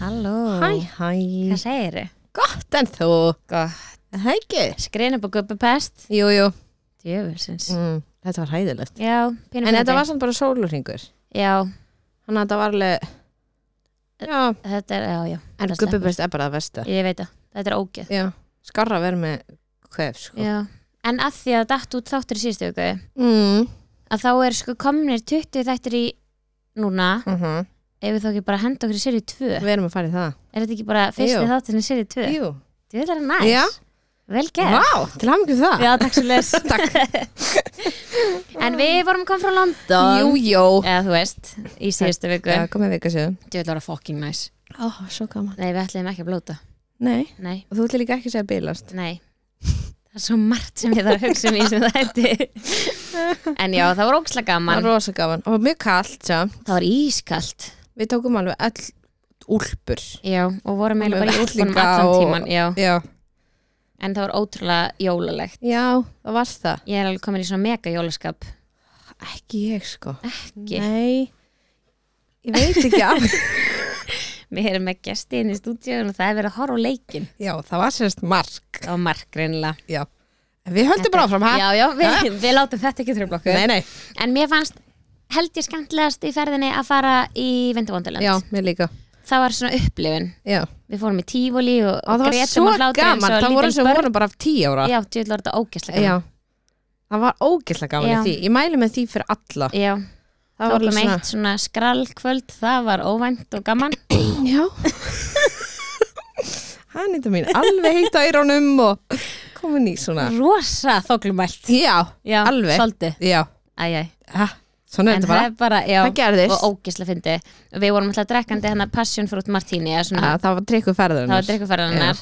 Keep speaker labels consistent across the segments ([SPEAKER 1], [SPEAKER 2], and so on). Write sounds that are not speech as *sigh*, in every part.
[SPEAKER 1] Halló
[SPEAKER 2] Hæ, hæ.
[SPEAKER 1] Hvað segir þau?
[SPEAKER 2] Gott en þú.
[SPEAKER 1] Gott
[SPEAKER 2] Það ekki.
[SPEAKER 1] Skrina upp á gubbupest
[SPEAKER 2] Jú, jú.
[SPEAKER 1] Djöfusins
[SPEAKER 2] Mm, þetta var hæðilegt.
[SPEAKER 1] Já, pínum
[SPEAKER 2] En þetta var samt bara sólurringur.
[SPEAKER 1] Já,
[SPEAKER 2] Þannig að þetta var alveg... Já,
[SPEAKER 1] þetta er, já, já
[SPEAKER 2] en
[SPEAKER 1] það sleppur.
[SPEAKER 2] gubbubest er bara það versta.
[SPEAKER 1] Ég veit það, þetta er ógeð
[SPEAKER 2] Já. Skarra verið með kvef, sko.
[SPEAKER 1] Já En að því að það datt út þáttur í síðustu viku
[SPEAKER 2] Mm.
[SPEAKER 1] að þá er sko komnir 20 þættir í núna
[SPEAKER 2] Uh -huh.
[SPEAKER 1] ef við þá ekki bara að henda okkur í serið 2
[SPEAKER 2] Við erum að fara í það.
[SPEAKER 1] Er þetta ekki bara fyrsti
[SPEAKER 2] Jú.
[SPEAKER 1] þátturinn í serið 2?
[SPEAKER 2] Jú.
[SPEAKER 1] Þetta er næs
[SPEAKER 2] Já.
[SPEAKER 1] Vel
[SPEAKER 2] Vá,
[SPEAKER 1] gert
[SPEAKER 2] til hafum við það.
[SPEAKER 1] Já, takk svo
[SPEAKER 2] *laughs*
[SPEAKER 1] les *laughs* En við vorum að koma frá London
[SPEAKER 2] Jú, jú.
[SPEAKER 1] Eða þú veist, í síðustu viku
[SPEAKER 2] Já, komið vika sér.
[SPEAKER 1] Þetta vil vera fucking næs
[SPEAKER 2] Ó, svo gaman.
[SPEAKER 1] Nei, við ætlum ekki að blóta
[SPEAKER 2] Nei,
[SPEAKER 1] Nei,
[SPEAKER 2] og þú ætlir líka ekki að segja bílast.
[SPEAKER 1] nei Það er svo margt sem ég þarf að hugsa um í sem þetta En já, það var ókslega
[SPEAKER 2] Það var
[SPEAKER 1] gaman
[SPEAKER 2] rosa gaman. Og mjög kallt, samt.
[SPEAKER 1] Það var ískalt
[SPEAKER 2] Við tókum alveg all úlpur.
[SPEAKER 1] Já, og vorum
[SPEAKER 2] Með
[SPEAKER 1] eiginlega bara í úlpunum
[SPEAKER 2] vettlinga
[SPEAKER 1] allan
[SPEAKER 2] og-
[SPEAKER 1] tíman já.
[SPEAKER 2] Já.
[SPEAKER 1] En það var ótrúlega jólalegt
[SPEAKER 2] Já, það var það.
[SPEAKER 1] Ég er alveg komin í svona mega jólaskap
[SPEAKER 2] Ekki ég sko.
[SPEAKER 1] Ekki,
[SPEAKER 2] Nei, ég veit ekki af. *laughs*
[SPEAKER 1] við erum með gesti inn í stúdíun og það er verið að horfa á leikin
[SPEAKER 2] já, það var sérst mark.
[SPEAKER 1] Það var margrinlega
[SPEAKER 2] Já. En við höldum bara áfram, hæ?
[SPEAKER 1] Já, já, við, við látum þetta ekki tröfla okkur
[SPEAKER 2] Nei, nei.
[SPEAKER 1] En mér fannst held ég skemmtilegast í ferðinni að fara í Vindavondaland
[SPEAKER 2] Já, mér líka.
[SPEAKER 1] Það var svona upplifun
[SPEAKER 2] Já.
[SPEAKER 1] Við fórum í tífóli og,
[SPEAKER 2] Og það
[SPEAKER 1] og
[SPEAKER 2] var
[SPEAKER 1] grétum
[SPEAKER 2] svo
[SPEAKER 1] og hlátum
[SPEAKER 2] gaman. Það voru sem voru bara af tíu ára.
[SPEAKER 1] Já, djöðl var þetta ógæslega
[SPEAKER 2] Já. Það var ógeðslega gaman
[SPEAKER 1] Já.
[SPEAKER 2] í því. Ég mæli með því fyrir alla.
[SPEAKER 1] Já,
[SPEAKER 2] Það var
[SPEAKER 1] tókum
[SPEAKER 2] alveg svona.
[SPEAKER 1] eitt svona skrallkvöld Það var óvænt og gaman
[SPEAKER 2] Já. *laughs* Hann eitthvað mín alveg heitt á eirónum og komin í svona.
[SPEAKER 1] Mm. Rosa þoklumælt
[SPEAKER 2] Já,
[SPEAKER 1] Já,
[SPEAKER 2] alveg.
[SPEAKER 1] Svolítið
[SPEAKER 2] Já.
[SPEAKER 1] Æ, æ.
[SPEAKER 2] Ha, Svona er
[SPEAKER 1] En
[SPEAKER 2] þetta
[SPEAKER 1] það
[SPEAKER 2] bara.
[SPEAKER 1] er bara, já,
[SPEAKER 2] Það gerðist.
[SPEAKER 1] og ógislega fyndi Við vorum alltaf drekkandi hennar Passion Fruit Martini eða svona,
[SPEAKER 2] Að Það var trikku ferðar.
[SPEAKER 1] Mm. Það var drikkufæraðanar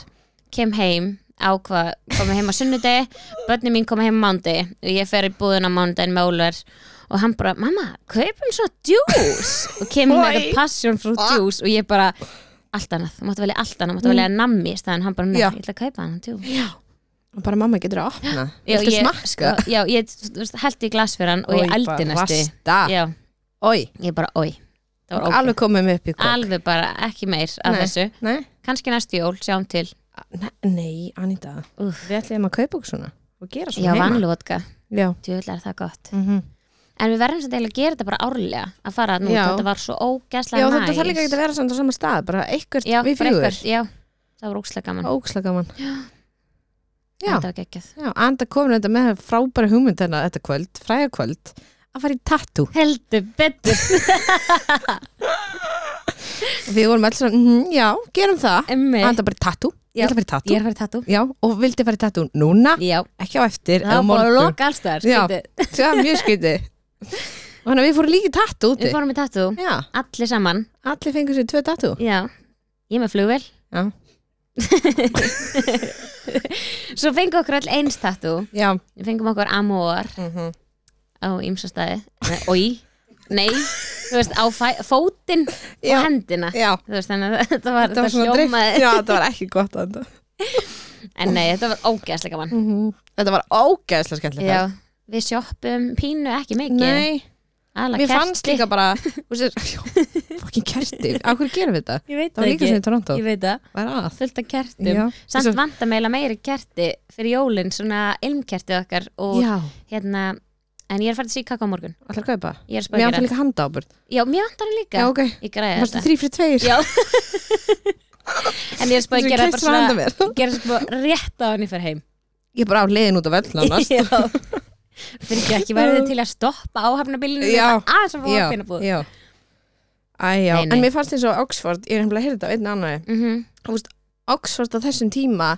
[SPEAKER 1] Kem heim, ákvað, komið heim á sunnudegi Bönni mín komið heim á mándi Og ég fer í búðun á mándaginn með Ólver Og hann bara, mamma, kaupum svona djús Og kemur
[SPEAKER 2] Oj.
[SPEAKER 1] með
[SPEAKER 2] Ah.
[SPEAKER 1] þetta Passion Fruit djús Og ég bara, allt annað Þú máttu velja allt annað, þú máttu velja nammi í staðan Hann bara,
[SPEAKER 2] Mm.
[SPEAKER 1] nei,
[SPEAKER 2] Já.
[SPEAKER 1] ég ætla að kaupa hann djús
[SPEAKER 2] Og bara mamma getur að opna
[SPEAKER 1] Já,
[SPEAKER 2] Viltu
[SPEAKER 1] ég-
[SPEAKER 2] smakka?
[SPEAKER 1] sko, Já, ég þú veist, held í glas fyrir hann Og ég eldi næstu
[SPEAKER 2] Vasta
[SPEAKER 1] Já,
[SPEAKER 2] Ói,
[SPEAKER 1] ég bara, oi Það var ógeð
[SPEAKER 2] alveg komum upp í kók
[SPEAKER 1] Alveg bara, ekki meir af
[SPEAKER 2] Nei.
[SPEAKER 1] þessu
[SPEAKER 2] Nei,
[SPEAKER 1] Kanski næstu jól, sjáum til
[SPEAKER 2] ne nei Anita
[SPEAKER 1] Úff.
[SPEAKER 2] Við ætlum að kaupa okkur svona Og gera
[SPEAKER 1] Já, Mhm.
[SPEAKER 2] svona heima
[SPEAKER 1] vanlótka,
[SPEAKER 2] Já,
[SPEAKER 1] djúðlega er það gott
[SPEAKER 2] mm -hmm.
[SPEAKER 1] En við verðum samt eiginlega að gera þetta bara árlega að fara nú,
[SPEAKER 2] Já.
[SPEAKER 1] þetta var svo ógæslega
[SPEAKER 2] Já
[SPEAKER 1] næs
[SPEAKER 2] þetta þarf líka ekki að vera samt á sama stað Bara eitthvað
[SPEAKER 1] Já,
[SPEAKER 2] við
[SPEAKER 1] bara
[SPEAKER 2] fjögur
[SPEAKER 1] eitthvað, Já, það var ógæslega gaman
[SPEAKER 2] Ókslega gaman Já,
[SPEAKER 1] Þetta var geggjað
[SPEAKER 2] já Anda komin þetta með frábæri hugmynd hennar þetta kvöld, fræga kvöld að fara í tattoo
[SPEAKER 1] Heldur
[SPEAKER 2] *laughs*
[SPEAKER 1] betur
[SPEAKER 2] Við vorum alls svona, mm, já, gerum það
[SPEAKER 1] Emmi
[SPEAKER 2] Anda bara í tattoo,
[SPEAKER 1] Já.
[SPEAKER 2] ég ætla að fara í
[SPEAKER 1] Ég
[SPEAKER 2] tattoo
[SPEAKER 1] er farið tattoo
[SPEAKER 2] Já, og vildi fara í tattoo núna
[SPEAKER 1] Já,
[SPEAKER 2] Ekki á eftir,
[SPEAKER 1] það
[SPEAKER 2] eða á
[SPEAKER 1] var bara að
[SPEAKER 2] morgun.
[SPEAKER 1] loka allstæðar
[SPEAKER 2] *laughs* Já. Það var mjög skytið Og þannig að við fórum líka í tattu úti
[SPEAKER 1] Við fórum í tattoo,
[SPEAKER 2] Já,
[SPEAKER 1] allir saman
[SPEAKER 2] allir fengur sér tvö tattu
[SPEAKER 1] Já, ég er með flugvel
[SPEAKER 2] Já,
[SPEAKER 1] Svo fengum okkur all eins tattoo
[SPEAKER 2] já
[SPEAKER 1] Við fengum okkur amor
[SPEAKER 2] Mhm.
[SPEAKER 1] á ýmsastæði og í, nei, þú veist á fæ, fótinn
[SPEAKER 2] Já.
[SPEAKER 1] og hendina
[SPEAKER 2] Já,
[SPEAKER 1] þú veist, þannig að *laughs* þetta var,
[SPEAKER 2] þetta var svona drift
[SPEAKER 1] hljómaði
[SPEAKER 2] Já, þetta var ekki gott að þetta
[SPEAKER 1] en nei, þetta var ógeðslega gaman
[SPEAKER 2] Þetta var ógeðslega skemmtilega
[SPEAKER 1] Mm. Já, við sjoppum pínu ekki mikið
[SPEAKER 2] Nei,
[SPEAKER 1] Alla
[SPEAKER 2] mér
[SPEAKER 1] kerti.
[SPEAKER 2] fannst líka bara
[SPEAKER 1] *laughs*
[SPEAKER 2] þú sér, já, Fokkin kerti, á hverju gerum við þetta?
[SPEAKER 1] ég veit
[SPEAKER 2] Það var líka svona í Toronto
[SPEAKER 1] ég veit það,
[SPEAKER 2] Hvað er að?
[SPEAKER 1] fullt af kertum
[SPEAKER 2] Já,
[SPEAKER 1] samt
[SPEAKER 2] Svo-
[SPEAKER 1] svo... vantar meila meiri kerti fyrir jólin, svona ilmkerti okkar og
[SPEAKER 2] já
[SPEAKER 1] hérna en ég er farið til Chicago á morgun,
[SPEAKER 2] allir kaupa
[SPEAKER 1] ég er
[SPEAKER 2] Mér áttu
[SPEAKER 1] spökir
[SPEAKER 2] líka handa ábyrð
[SPEAKER 1] já, mér vantar hann líka,
[SPEAKER 2] Já, ok
[SPEAKER 1] ég græði
[SPEAKER 2] Varstu
[SPEAKER 1] þetta
[SPEAKER 2] þrý fyrir tveir?
[SPEAKER 1] Já. en ég er spöð að
[SPEAKER 2] Þessu
[SPEAKER 1] gera bara
[SPEAKER 2] klistrað handa
[SPEAKER 1] svona
[SPEAKER 2] mér.
[SPEAKER 1] gera sko rétt á hann í fyrir
[SPEAKER 2] *laughs*
[SPEAKER 1] heim
[SPEAKER 2] Ég er bara á leiðin út af
[SPEAKER 1] *laughs*
[SPEAKER 2] öll nánast
[SPEAKER 1] Já. fyrir ekki ekki verið til að stoppa áhafnabilinu
[SPEAKER 2] Já.
[SPEAKER 1] aðeins að fá
[SPEAKER 2] Já,
[SPEAKER 1] áhafnabúð
[SPEAKER 2] já Æ, já,
[SPEAKER 1] Nei, nei.
[SPEAKER 2] en mér fannst eins og Oxford Ég er hefnilega að heyrða þetta á einn annari
[SPEAKER 1] mm -hmm.
[SPEAKER 2] þú veist, Oxford á þessum tíma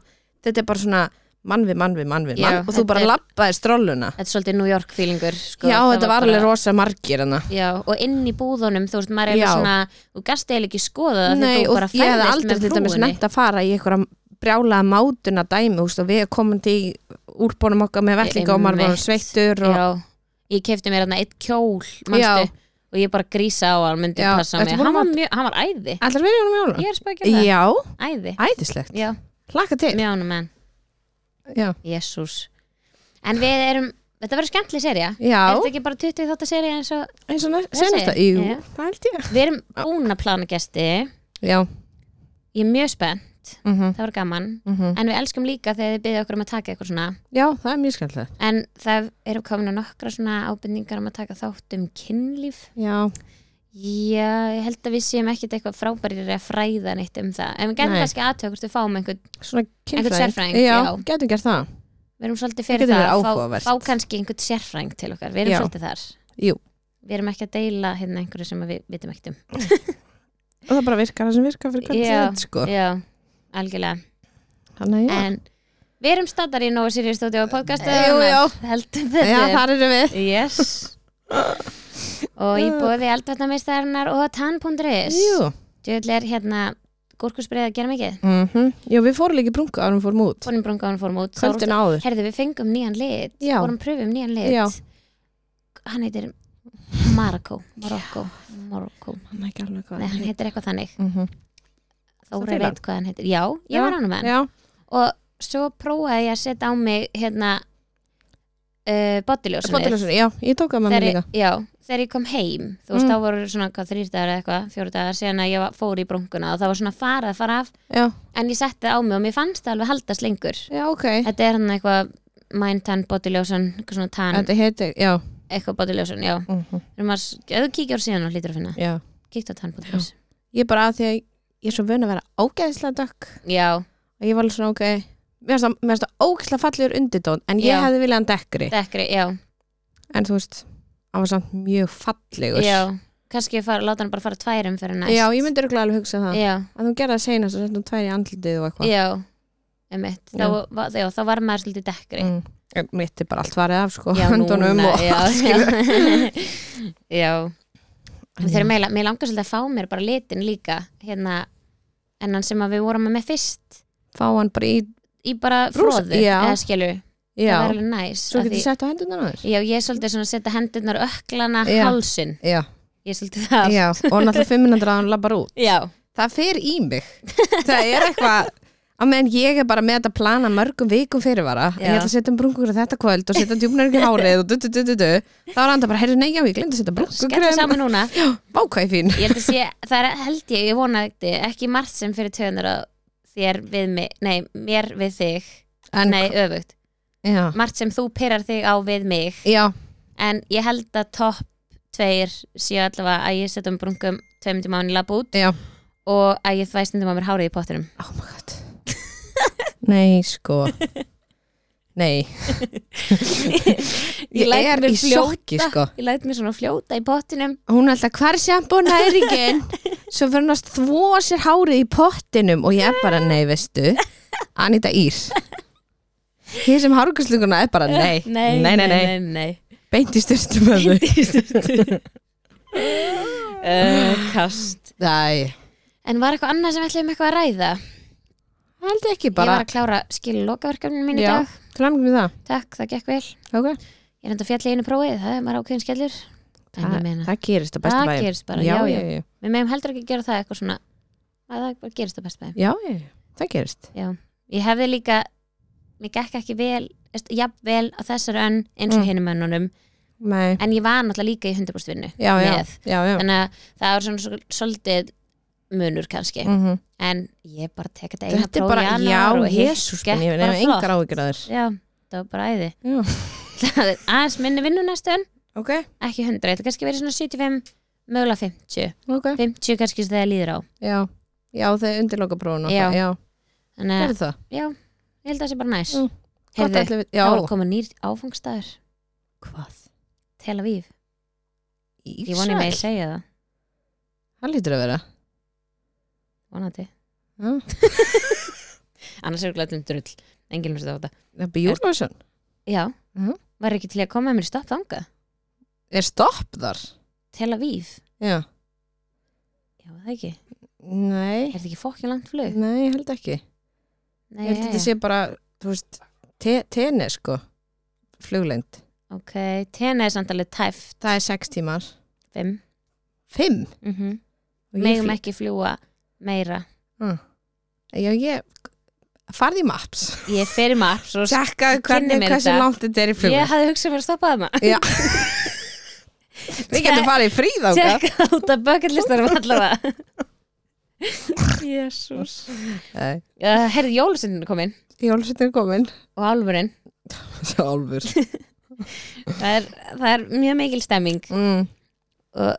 [SPEAKER 2] þetta er bara svona mann við mann við mann við
[SPEAKER 1] Já,
[SPEAKER 2] mann og þú
[SPEAKER 1] þetta
[SPEAKER 2] bara
[SPEAKER 1] er-
[SPEAKER 2] labbaðir strolluna
[SPEAKER 1] þetta er svolítið New York feelingur sko.
[SPEAKER 2] já,
[SPEAKER 1] Það
[SPEAKER 2] þetta var alveg
[SPEAKER 1] bara-
[SPEAKER 2] rosa margir hana
[SPEAKER 1] Já, og inn í búðunum, þú veist, maður er
[SPEAKER 2] Já.
[SPEAKER 1] alveg svona þú gast eiginlega ekki skoða það
[SPEAKER 2] Nei,
[SPEAKER 1] þegar þú
[SPEAKER 2] og
[SPEAKER 1] bara
[SPEAKER 2] ég hefði
[SPEAKER 1] færðist
[SPEAKER 2] aldrei
[SPEAKER 1] með
[SPEAKER 2] til dæmis
[SPEAKER 1] frúinni
[SPEAKER 2] nefnt að fara í einhverja brjálaða mátuna dæmi þú veist, og við erum komin til úrbónum okkar með vellinga og maður var
[SPEAKER 1] Einmitt.
[SPEAKER 2] sveittur og,
[SPEAKER 1] Já, ég kefti mér þarna eitt kjól
[SPEAKER 2] Já.
[SPEAKER 1] manstu, og ég bara grísa á hann myndi
[SPEAKER 2] Já,
[SPEAKER 1] passa á
[SPEAKER 2] ertu
[SPEAKER 1] mig,
[SPEAKER 2] búin að
[SPEAKER 1] hann var, mjög, hann var æði
[SPEAKER 2] allar verið honum
[SPEAKER 1] ég
[SPEAKER 2] jólan
[SPEAKER 1] er spækjað um það,
[SPEAKER 2] um já,
[SPEAKER 1] æði
[SPEAKER 2] æðislegt,
[SPEAKER 1] Já,
[SPEAKER 2] hlaka til
[SPEAKER 1] mjög ánum menn,
[SPEAKER 2] já,
[SPEAKER 1] jésús en við erum, þetta verður skemmtli serja
[SPEAKER 2] já.
[SPEAKER 1] er þetta ekki bara 20 þáttar serja eins og
[SPEAKER 2] eins og
[SPEAKER 1] Þessi?
[SPEAKER 2] senast að, jú,
[SPEAKER 1] Já.
[SPEAKER 2] það held ég
[SPEAKER 1] Við erum búin að plana gesti
[SPEAKER 2] já,
[SPEAKER 1] ég er mjög spennt,
[SPEAKER 2] mm
[SPEAKER 1] það var gaman
[SPEAKER 2] -hmm.
[SPEAKER 1] en við elskum líka þegar þið byggðu okkur um að taka eitthvað svona
[SPEAKER 2] Já, það er mjög skemmtilegt
[SPEAKER 1] en það eru komin nokkra svona ábendingar um að taka þátt um kynlíf
[SPEAKER 2] Já,
[SPEAKER 1] Já, ég held að við séum ekkert eitthvað frábærir að fræða neitt um það en við gætum
[SPEAKER 2] Nei.
[SPEAKER 1] kannski aðtöð hvort við fáum einhvern
[SPEAKER 2] svona
[SPEAKER 1] Einhvern
[SPEAKER 2] kynfræðing.
[SPEAKER 1] sérfræðing,
[SPEAKER 2] Já,
[SPEAKER 1] já.
[SPEAKER 2] getum gert það
[SPEAKER 1] við erum svolítið
[SPEAKER 2] Það
[SPEAKER 1] fyrir
[SPEAKER 2] getur
[SPEAKER 1] það,
[SPEAKER 2] verið
[SPEAKER 1] að
[SPEAKER 2] áhugavert.
[SPEAKER 1] fá, fá kannski einhvern sérfræng til okkar, við erum
[SPEAKER 2] Já.
[SPEAKER 1] svolítið þar
[SPEAKER 2] Jú.
[SPEAKER 1] Við erum ekki að deila hérna einhverju sem við vitum ekkert um
[SPEAKER 2] Og það bara virkar það sem virkar fyrir hvernig
[SPEAKER 1] Já.
[SPEAKER 2] þetta sko
[SPEAKER 1] Já, algjörlega
[SPEAKER 2] Þannig að já
[SPEAKER 1] En við erum staddar í Nóa Sirius Studio podcast
[SPEAKER 2] Eh, jú, jú.
[SPEAKER 1] Heldum
[SPEAKER 2] Já,
[SPEAKER 1] betur
[SPEAKER 2] þar eru við
[SPEAKER 1] Yes Og ég búið eldvarnameistarinnar og tann.is
[SPEAKER 2] Jú
[SPEAKER 1] Djöðl er hérna gúrkusbreið að gera mikið
[SPEAKER 2] mm Jú, við fórum líka í brungu árum fórum út
[SPEAKER 1] Fórum brungaðan fórum út þá
[SPEAKER 2] Kvöldin áður
[SPEAKER 1] Herðu, við fengum nýjan lit
[SPEAKER 2] Já.
[SPEAKER 1] vorum pröfum nýjan lit
[SPEAKER 2] Já.
[SPEAKER 1] Hann heitir Marokko Marokko, Marokko
[SPEAKER 2] Hann er ekki alveg hvað
[SPEAKER 1] Nei, hann heitir eitthvað þannig
[SPEAKER 2] mm
[SPEAKER 1] Þóra
[SPEAKER 2] til hann?
[SPEAKER 1] veit hvað hann heitir Já, ég
[SPEAKER 2] Já.
[SPEAKER 1] var hann um hann
[SPEAKER 2] Já,
[SPEAKER 1] Og svo prófaði ég að setja á mig hérna uh, bodyljósunir
[SPEAKER 2] spottulösun, já, ég tók að mamma líka
[SPEAKER 1] ég, já, þegar ég kom heim þú veist,
[SPEAKER 2] Mm.
[SPEAKER 1] þá voru svona hvað, þrýr dagar eða eitthvað, fjóru dagar síðan að ég var, fór í brúnkuna og það var svona farað að fara af
[SPEAKER 2] Já,
[SPEAKER 1] en ég setti það á mig og mér fannst það alveg haldast lengur
[SPEAKER 2] já, ok
[SPEAKER 1] þetta er hann eitthvað mind tan, body lotion, eitthvað svona tan
[SPEAKER 2] Þetta heitir, já
[SPEAKER 1] eitthvað body lotion, já
[SPEAKER 2] mm
[SPEAKER 1] Þegar maður- ef þú kíkir á síðan og hlýtur að finna
[SPEAKER 2] Já
[SPEAKER 1] kíkt á tan, body lotion
[SPEAKER 2] Ég bara að því að ég er svo vön að vera ógeðslega dökk
[SPEAKER 1] já,
[SPEAKER 2] og ég var alveg svona, ok Mér finnst það- mér finnst það ógeðslega fallegur undirtón en ég
[SPEAKER 1] Já.
[SPEAKER 2] hefði viljað hann dekkri
[SPEAKER 1] dekkri, já,
[SPEAKER 2] en þú veist, hann var samt mjög fallegur
[SPEAKER 1] já kannski ég fara, láta hann bara fara tværum fyrir næst
[SPEAKER 2] Já, ég myndi örgulega alveg hugsa það
[SPEAKER 1] já,
[SPEAKER 2] að þú gerði það seinast og settum tvær í andlitið og eitthvað
[SPEAKER 1] já, einmitt þá,
[SPEAKER 2] Já.
[SPEAKER 1] var- já, þá var maður svolítið dekkri
[SPEAKER 2] mm. En mitt er bara allt farið af sko
[SPEAKER 1] já,
[SPEAKER 2] *laughs* höndunum
[SPEAKER 1] núna,
[SPEAKER 2] og
[SPEAKER 1] já,
[SPEAKER 2] allt skilur
[SPEAKER 1] já, *laughs* já.
[SPEAKER 2] En
[SPEAKER 1] Við
[SPEAKER 2] Mm.
[SPEAKER 1] þurfum eiginlega, mér langar svolítið að fá mér bara litin líka hérna, en hann sem að við vorum með fyrst
[SPEAKER 2] fá hann bara í
[SPEAKER 1] í bara
[SPEAKER 2] Brúsa,
[SPEAKER 1] fróðu,
[SPEAKER 2] já.
[SPEAKER 1] eða skilur það var
[SPEAKER 2] já,
[SPEAKER 1] alveg næs
[SPEAKER 2] svo
[SPEAKER 1] af
[SPEAKER 2] getur
[SPEAKER 1] því-
[SPEAKER 2] þið sett á hendunar aður
[SPEAKER 1] Já, ég er svolítið svona að setja hendurnar öklana
[SPEAKER 2] Já.
[SPEAKER 1] hálsin,
[SPEAKER 2] já,
[SPEAKER 1] ég er svolítið það
[SPEAKER 2] já, og náttúrulega 500 að hann labbar út
[SPEAKER 1] Já,
[SPEAKER 2] það fer í
[SPEAKER 1] *laughs*
[SPEAKER 2] mig það er eitthvað að meðan ég er bara með þetta plana mörgum vikum fyrirvara
[SPEAKER 1] Já.
[SPEAKER 2] ég ætla að setja um brungur þetta kvöld og setja djúpnar ekki hárið og du, du, du, du, du. þá er hann bara, heyrðu, nei, já, ég glemt að setja
[SPEAKER 1] skella
[SPEAKER 2] brungur
[SPEAKER 1] saman núna
[SPEAKER 2] vákvæði fín
[SPEAKER 1] Ég held að sé, það er, held ég, ég vonaði ekki margt sem fyrir töðunar að þér við mig, nei, mér við þig
[SPEAKER 2] en,
[SPEAKER 1] nei, öfugt,
[SPEAKER 2] já,
[SPEAKER 1] margt sem þú pyrrar þig á við mig
[SPEAKER 2] já,
[SPEAKER 1] en ég held að topp tveir séu allavega að ég setja um brungum tveimundum á henni labbút
[SPEAKER 2] já
[SPEAKER 1] og að ég þvæ stundum á mér hárið í pottinum
[SPEAKER 2] oh my god *laughs* nei sko nei ég,
[SPEAKER 1] læt
[SPEAKER 2] er
[SPEAKER 1] mig
[SPEAKER 2] í sjokki sko
[SPEAKER 1] ég læt mér svona fljóta í pottinum
[SPEAKER 2] hún er alltaf hvar sjampo næringin svo fyrir hann að þvó sér hárið í pottinum og ég er bara nei veistu Anita Ír hér sem hárgursluguna er bara nei
[SPEAKER 1] *laughs* nei,
[SPEAKER 2] nei, nei, nei. beint í styrstum öðu
[SPEAKER 1] Uh, kast
[SPEAKER 2] nei,
[SPEAKER 1] en var eitthvað annað sem við ætlum eitthvað að ræða
[SPEAKER 2] held ekki
[SPEAKER 1] ég
[SPEAKER 2] bara
[SPEAKER 1] var að klára skilu lokaverkefninu mín í
[SPEAKER 2] Já.
[SPEAKER 1] dag
[SPEAKER 2] til hann með það
[SPEAKER 1] takk, það gekk vel
[SPEAKER 2] okay.
[SPEAKER 1] ég er enda fjall í einu prófið, það er maður ákveðin skellur en ég
[SPEAKER 2] það,
[SPEAKER 1] meina,
[SPEAKER 2] það gerist á bestu
[SPEAKER 1] það
[SPEAKER 2] bæjum
[SPEAKER 1] gerist bara
[SPEAKER 2] já,
[SPEAKER 1] já,
[SPEAKER 2] já,
[SPEAKER 1] já.
[SPEAKER 2] já,
[SPEAKER 1] við meðum heldur ekki að gera það eitthvað svona að það bara gerist það best með
[SPEAKER 2] já, já, það gerist
[SPEAKER 1] ég hefði líka, mér gekk ekki vel jafnvel á þessar önn eins og
[SPEAKER 2] Mm.
[SPEAKER 1] hinum önnunum
[SPEAKER 2] nei,
[SPEAKER 1] en ég var náttúrulega líka í 100% vinnu
[SPEAKER 2] já, já,
[SPEAKER 1] með.
[SPEAKER 2] já, já.
[SPEAKER 1] þannig að það var svona svol- svolítið munur kannski
[SPEAKER 2] Mm -hmm.
[SPEAKER 1] en ég bara tek þetta eina
[SPEAKER 2] Þetta er bara,
[SPEAKER 1] prófi annar
[SPEAKER 2] já,
[SPEAKER 1] og hitt
[SPEAKER 2] jésús
[SPEAKER 1] gekk
[SPEAKER 2] Ég
[SPEAKER 1] bara
[SPEAKER 2] nefnir engar
[SPEAKER 1] flott.
[SPEAKER 2] áhyggjur að þér
[SPEAKER 1] já, það var bara æði
[SPEAKER 2] Já.
[SPEAKER 1] Það er aðeins minni vinnu næstu en
[SPEAKER 2] Ok,
[SPEAKER 1] ekki 100, þetta kannski verið svona 75 mögulega 50,
[SPEAKER 2] ok
[SPEAKER 1] 50 kannski sem það líður á
[SPEAKER 2] Já, já þau undirloka prófuna
[SPEAKER 1] Já.
[SPEAKER 2] já.
[SPEAKER 1] þannig að,
[SPEAKER 2] Gerðu það
[SPEAKER 1] já, ég held að það sé bara næs
[SPEAKER 2] Mm. Gott
[SPEAKER 1] Eh, heyrðu,
[SPEAKER 2] ætli við-
[SPEAKER 1] þá er
[SPEAKER 2] Já,
[SPEAKER 1] komin nýr áfangstæður
[SPEAKER 2] hvað?
[SPEAKER 1] Tel Aviv, ég voni mig að segja það
[SPEAKER 2] Það lítur að vera
[SPEAKER 1] vonandi,
[SPEAKER 2] Já.
[SPEAKER 1] annars er
[SPEAKER 2] um
[SPEAKER 1] glæðum drull enginn hlusta á þetta
[SPEAKER 2] Það er Björnlöfsson
[SPEAKER 1] Já,
[SPEAKER 2] Mhm.
[SPEAKER 1] var ekki til að koma með mér í stopp þangað
[SPEAKER 2] Er stopp þar?
[SPEAKER 1] Tel Aviv,
[SPEAKER 2] Já
[SPEAKER 1] já það ekki
[SPEAKER 2] Nei,
[SPEAKER 1] Er þetta ekki fokkin langt flug?
[SPEAKER 2] nei, ég held ekki
[SPEAKER 1] Nei,
[SPEAKER 2] Ég held að
[SPEAKER 1] Eh.
[SPEAKER 2] þetta sé bara, þú veist te Tene sko, flugleind
[SPEAKER 1] Ok, tena er samt alveg tæft
[SPEAKER 2] Það er sex tímar
[SPEAKER 1] Fimm
[SPEAKER 2] Fimm
[SPEAKER 1] mm -hmm.
[SPEAKER 2] Og Mhm. ég
[SPEAKER 1] Megum
[SPEAKER 2] flý-
[SPEAKER 1] ekki fljúa meira
[SPEAKER 2] Já, ég Farði í maps
[SPEAKER 1] Ég fer í marg svo...
[SPEAKER 2] Tjekkaðu
[SPEAKER 1] Kynni
[SPEAKER 2] hvernig
[SPEAKER 1] mér
[SPEAKER 2] hversu
[SPEAKER 1] þetta.
[SPEAKER 2] langt þetta er í flugleind
[SPEAKER 1] Ég hafði hugsað mér að stoppa það maður
[SPEAKER 2] Já Við getum farið í fríð ákvæð
[SPEAKER 1] um Tjekka út af bucketlistanum allavega Jésús
[SPEAKER 2] Nei,
[SPEAKER 1] uh, Herði jólusinn komin
[SPEAKER 2] Jólasveitin er komin
[SPEAKER 1] og álfurinn
[SPEAKER 2] Sjálfur
[SPEAKER 1] það er, það er mjög mikil stemming
[SPEAKER 2] mm.
[SPEAKER 1] og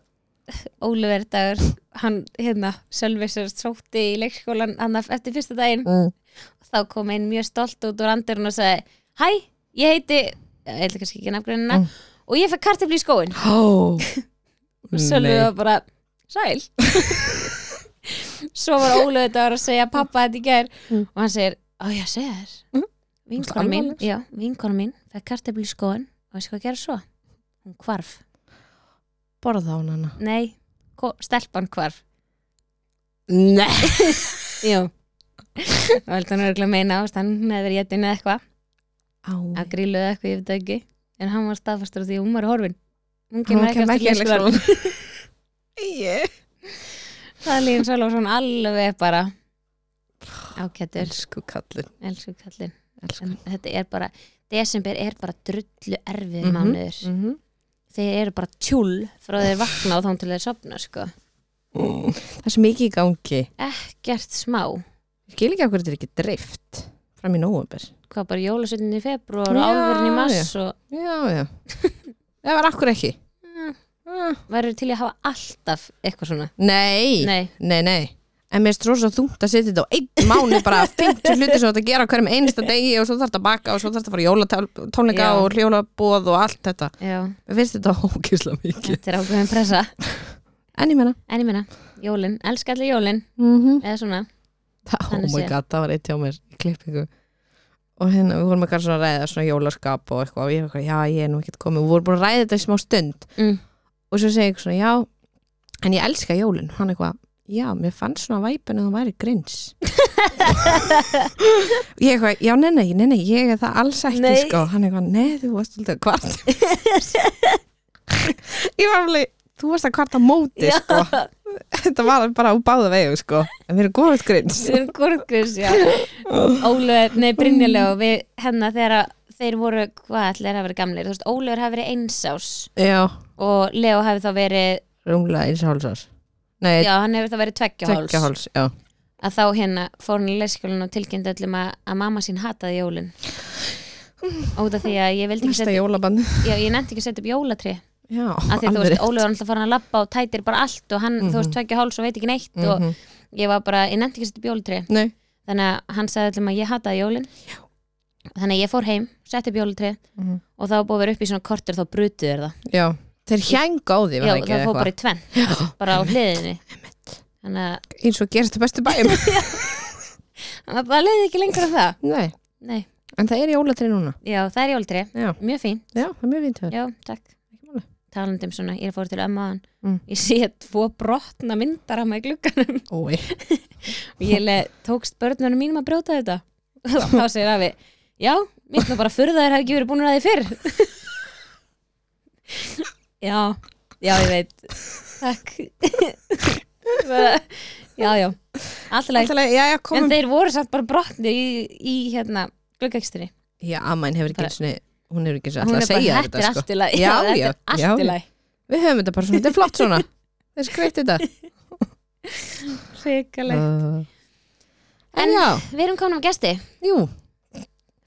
[SPEAKER 1] Ólífer dagur hann hérna Sölvi sér sótti í leikskólan hann eftir fyrsta daginn
[SPEAKER 2] Mm.
[SPEAKER 1] þá kom einn mjög stolt út úr andurinn og sagði Hæ, ég heiti ég heiti kannski ekki nafngrunina
[SPEAKER 2] Mm.
[SPEAKER 1] og ég fekk kartefli í skóin
[SPEAKER 2] Hó
[SPEAKER 1] og Sölvi var bara *laughs* Sæl Svo var Ólífer dagur að segja pappa þetta í gær
[SPEAKER 2] Mm.
[SPEAKER 1] og hann segir, á ég að segja þér
[SPEAKER 2] Mm.
[SPEAKER 1] vinkona mín,
[SPEAKER 2] Alvarlegs.
[SPEAKER 1] já, vinkona mín fekk kartefli í skóin og veist hvað að gera svo hún hvarf
[SPEAKER 2] Borða hún hana
[SPEAKER 1] Nei, ko- stelpan hvarf
[SPEAKER 2] Nei
[SPEAKER 1] Jú Það vildi hann örgulega meina ást hann hefði verið jættin eða eitthvað að grílu eða eitthvað, ég veit það ekki en hann var staðfastur af því að hún var horfin hún kemur ekki aftur í leikskólan
[SPEAKER 2] Ég
[SPEAKER 1] Það er líðin Sölvason alveg bara ákættur,
[SPEAKER 2] Elsku kallin
[SPEAKER 1] elsku kallinn
[SPEAKER 2] Elsku
[SPEAKER 1] En þetta er bara, desember er bara drullu erfið
[SPEAKER 2] Mhm,
[SPEAKER 1] mánuður
[SPEAKER 2] mm
[SPEAKER 1] þeir eru bara tjúl frá þeir vakna og þá til þeir sopna sko
[SPEAKER 2] Það er svo mikið í gangi
[SPEAKER 1] ekkert smá,
[SPEAKER 2] Ég skil ekki af hverju þetta er ekki dreift Fram í nóvember
[SPEAKER 1] hvað bara jólasveitin í februar og
[SPEAKER 2] Já,
[SPEAKER 1] álfurinn í mars og
[SPEAKER 2] Já, *laughs* já Það var akkur ekki Ah.
[SPEAKER 1] værið til í að hafa alltaf eitthvað svona
[SPEAKER 2] Nei,
[SPEAKER 1] Nei,
[SPEAKER 2] nei, nei En mér er rosa þungt að setja þetta á einn mánu bara 50 hluti sem þú átt að gera á hverjum einasta degi og svo þarf þetta að baka og svo þarf þetta að fara í jólatónleika
[SPEAKER 1] Já.
[SPEAKER 2] og hjólabóð og allt þetta
[SPEAKER 1] já,
[SPEAKER 2] Mér finnst þetta hókislega mikið
[SPEAKER 1] þetta er ákveðin pressa
[SPEAKER 2] En ég menna
[SPEAKER 1] *laughs* En ég minna, jólin, elska allir jólin
[SPEAKER 2] mm -hmm.
[SPEAKER 1] eða svona,
[SPEAKER 2] Oh
[SPEAKER 1] Þannig
[SPEAKER 2] my
[SPEAKER 1] séð.
[SPEAKER 2] god, það var eitt hjá mér í klippingu og hérna, við vorum eitthvað svona að ræða svona jólaskap og eitthvað og ég var eitthvað, já, ég er nú ekkert komið og við vorum búin að ræða þetta í smá stund
[SPEAKER 1] mm,
[SPEAKER 2] og svo segi ég svona, já, en ég elska jólin hann eitthvað, já, mér fannst svona væpun að það væri grins
[SPEAKER 1] *laughs*
[SPEAKER 2] ég eitthvað, já, nei, nei, nei, nei ég er það alls ekki,
[SPEAKER 1] Nei.
[SPEAKER 2] sko hann eitthvað, nei, þú varst alltaf kvart *laughs* ég var alveg þú varst að kvarta á móti,
[SPEAKER 1] Já.
[SPEAKER 2] sko þetta var bara á báða vegu, sko en við erum góðið grins
[SPEAKER 1] við erum gorgris, já Ólöður, nei, Brynjulega
[SPEAKER 2] Mm.
[SPEAKER 1] og við hennar þegar að þeir voru, hvað ætlir að vera gamlir, þú veist, Ólöður hafi verið einsás
[SPEAKER 2] já
[SPEAKER 1] og Leo hafi þá verið,
[SPEAKER 2] rúmlega eins hálsars Nei,
[SPEAKER 1] já, hann hefur þá verið
[SPEAKER 2] tveggja
[SPEAKER 1] tveggjaháls,
[SPEAKER 2] háls, já
[SPEAKER 1] að þá hérna fór hann í leikskólan og tilkynnti öllum að, að mamma sín hataði jólin út af því að ég vildi ekki
[SPEAKER 2] Næsta
[SPEAKER 1] setja,
[SPEAKER 2] jólabandi
[SPEAKER 1] já, ég nefndi ekki að setja upp jólatri
[SPEAKER 2] Já,
[SPEAKER 1] að því þú
[SPEAKER 2] alveg
[SPEAKER 1] veist,
[SPEAKER 2] rétt.
[SPEAKER 1] Ólöf var alltaf farin að labba og tætir bara allt og hann, þú veist, tveggja háls og veit ekki neitt
[SPEAKER 2] Mhm.
[SPEAKER 1] og ég var bara, ég nefndi ekki að setja upp bjólutri
[SPEAKER 2] Nei,
[SPEAKER 1] þannig að hann sagði allum að ég hataði jólin þannig að ég fór heim, setti bjólutri
[SPEAKER 2] Mhm.
[SPEAKER 1] og þá var búið að vera upp í svona kortur þá brutu þér það
[SPEAKER 2] já Þeir hjænga á því, var
[SPEAKER 1] já,
[SPEAKER 2] það ekki
[SPEAKER 1] það fór bara í tvenn,
[SPEAKER 2] eitthvað
[SPEAKER 1] bara á hliðinni þannig að
[SPEAKER 2] *gasps* Eins og gerist það bestu
[SPEAKER 1] *laughs*
[SPEAKER 2] bæjum
[SPEAKER 1] hann var bara leiði ekki lengur af það
[SPEAKER 2] Nei,
[SPEAKER 1] nei,
[SPEAKER 2] en það er jólatri núna
[SPEAKER 1] já, það er jólutri,
[SPEAKER 2] Já,
[SPEAKER 1] mjög fín
[SPEAKER 2] já það er mjög fínt að vera
[SPEAKER 1] já, takk
[SPEAKER 2] Ekki máli.
[SPEAKER 1] talandi um svona, ég fór til ömmu aðan
[SPEAKER 2] Mm.
[SPEAKER 1] ég sé tvo brotna myndar í glugganum *laughs*
[SPEAKER 2] Ói,
[SPEAKER 1] og ég le, tókst börnunum mínum að brjóta þetta og þá segir afi já, minnst nú bara furða þær hafi ekki verið búin að því fyrr *laughs* já, já ég veit takk *laughs* Bara, já, já, alltaf leik
[SPEAKER 2] Alltaf, já, já,
[SPEAKER 1] en
[SPEAKER 2] komum
[SPEAKER 1] þeir voru samt bara brotni í, í hérna gluggekstinni
[SPEAKER 2] Já, amman hefur ekki
[SPEAKER 1] Bara-
[SPEAKER 2] eins og hún hefur ekki eins og
[SPEAKER 1] hún
[SPEAKER 2] alltaf að
[SPEAKER 1] er
[SPEAKER 2] segja
[SPEAKER 1] bara,
[SPEAKER 2] þér
[SPEAKER 1] þetta er
[SPEAKER 2] þetta sko.
[SPEAKER 1] allt í lagi
[SPEAKER 2] Já,
[SPEAKER 1] *laughs* þetta
[SPEAKER 2] já,
[SPEAKER 1] er allt
[SPEAKER 2] já.
[SPEAKER 1] í lagi
[SPEAKER 2] Við höfum þetta bara svona, þetta er flott
[SPEAKER 1] *laughs*
[SPEAKER 2] svona Það er skreitt þetta
[SPEAKER 1] Hrikaleg.
[SPEAKER 2] uh,
[SPEAKER 1] En-
[SPEAKER 2] En já,
[SPEAKER 1] við erum komin á gesti,
[SPEAKER 2] jú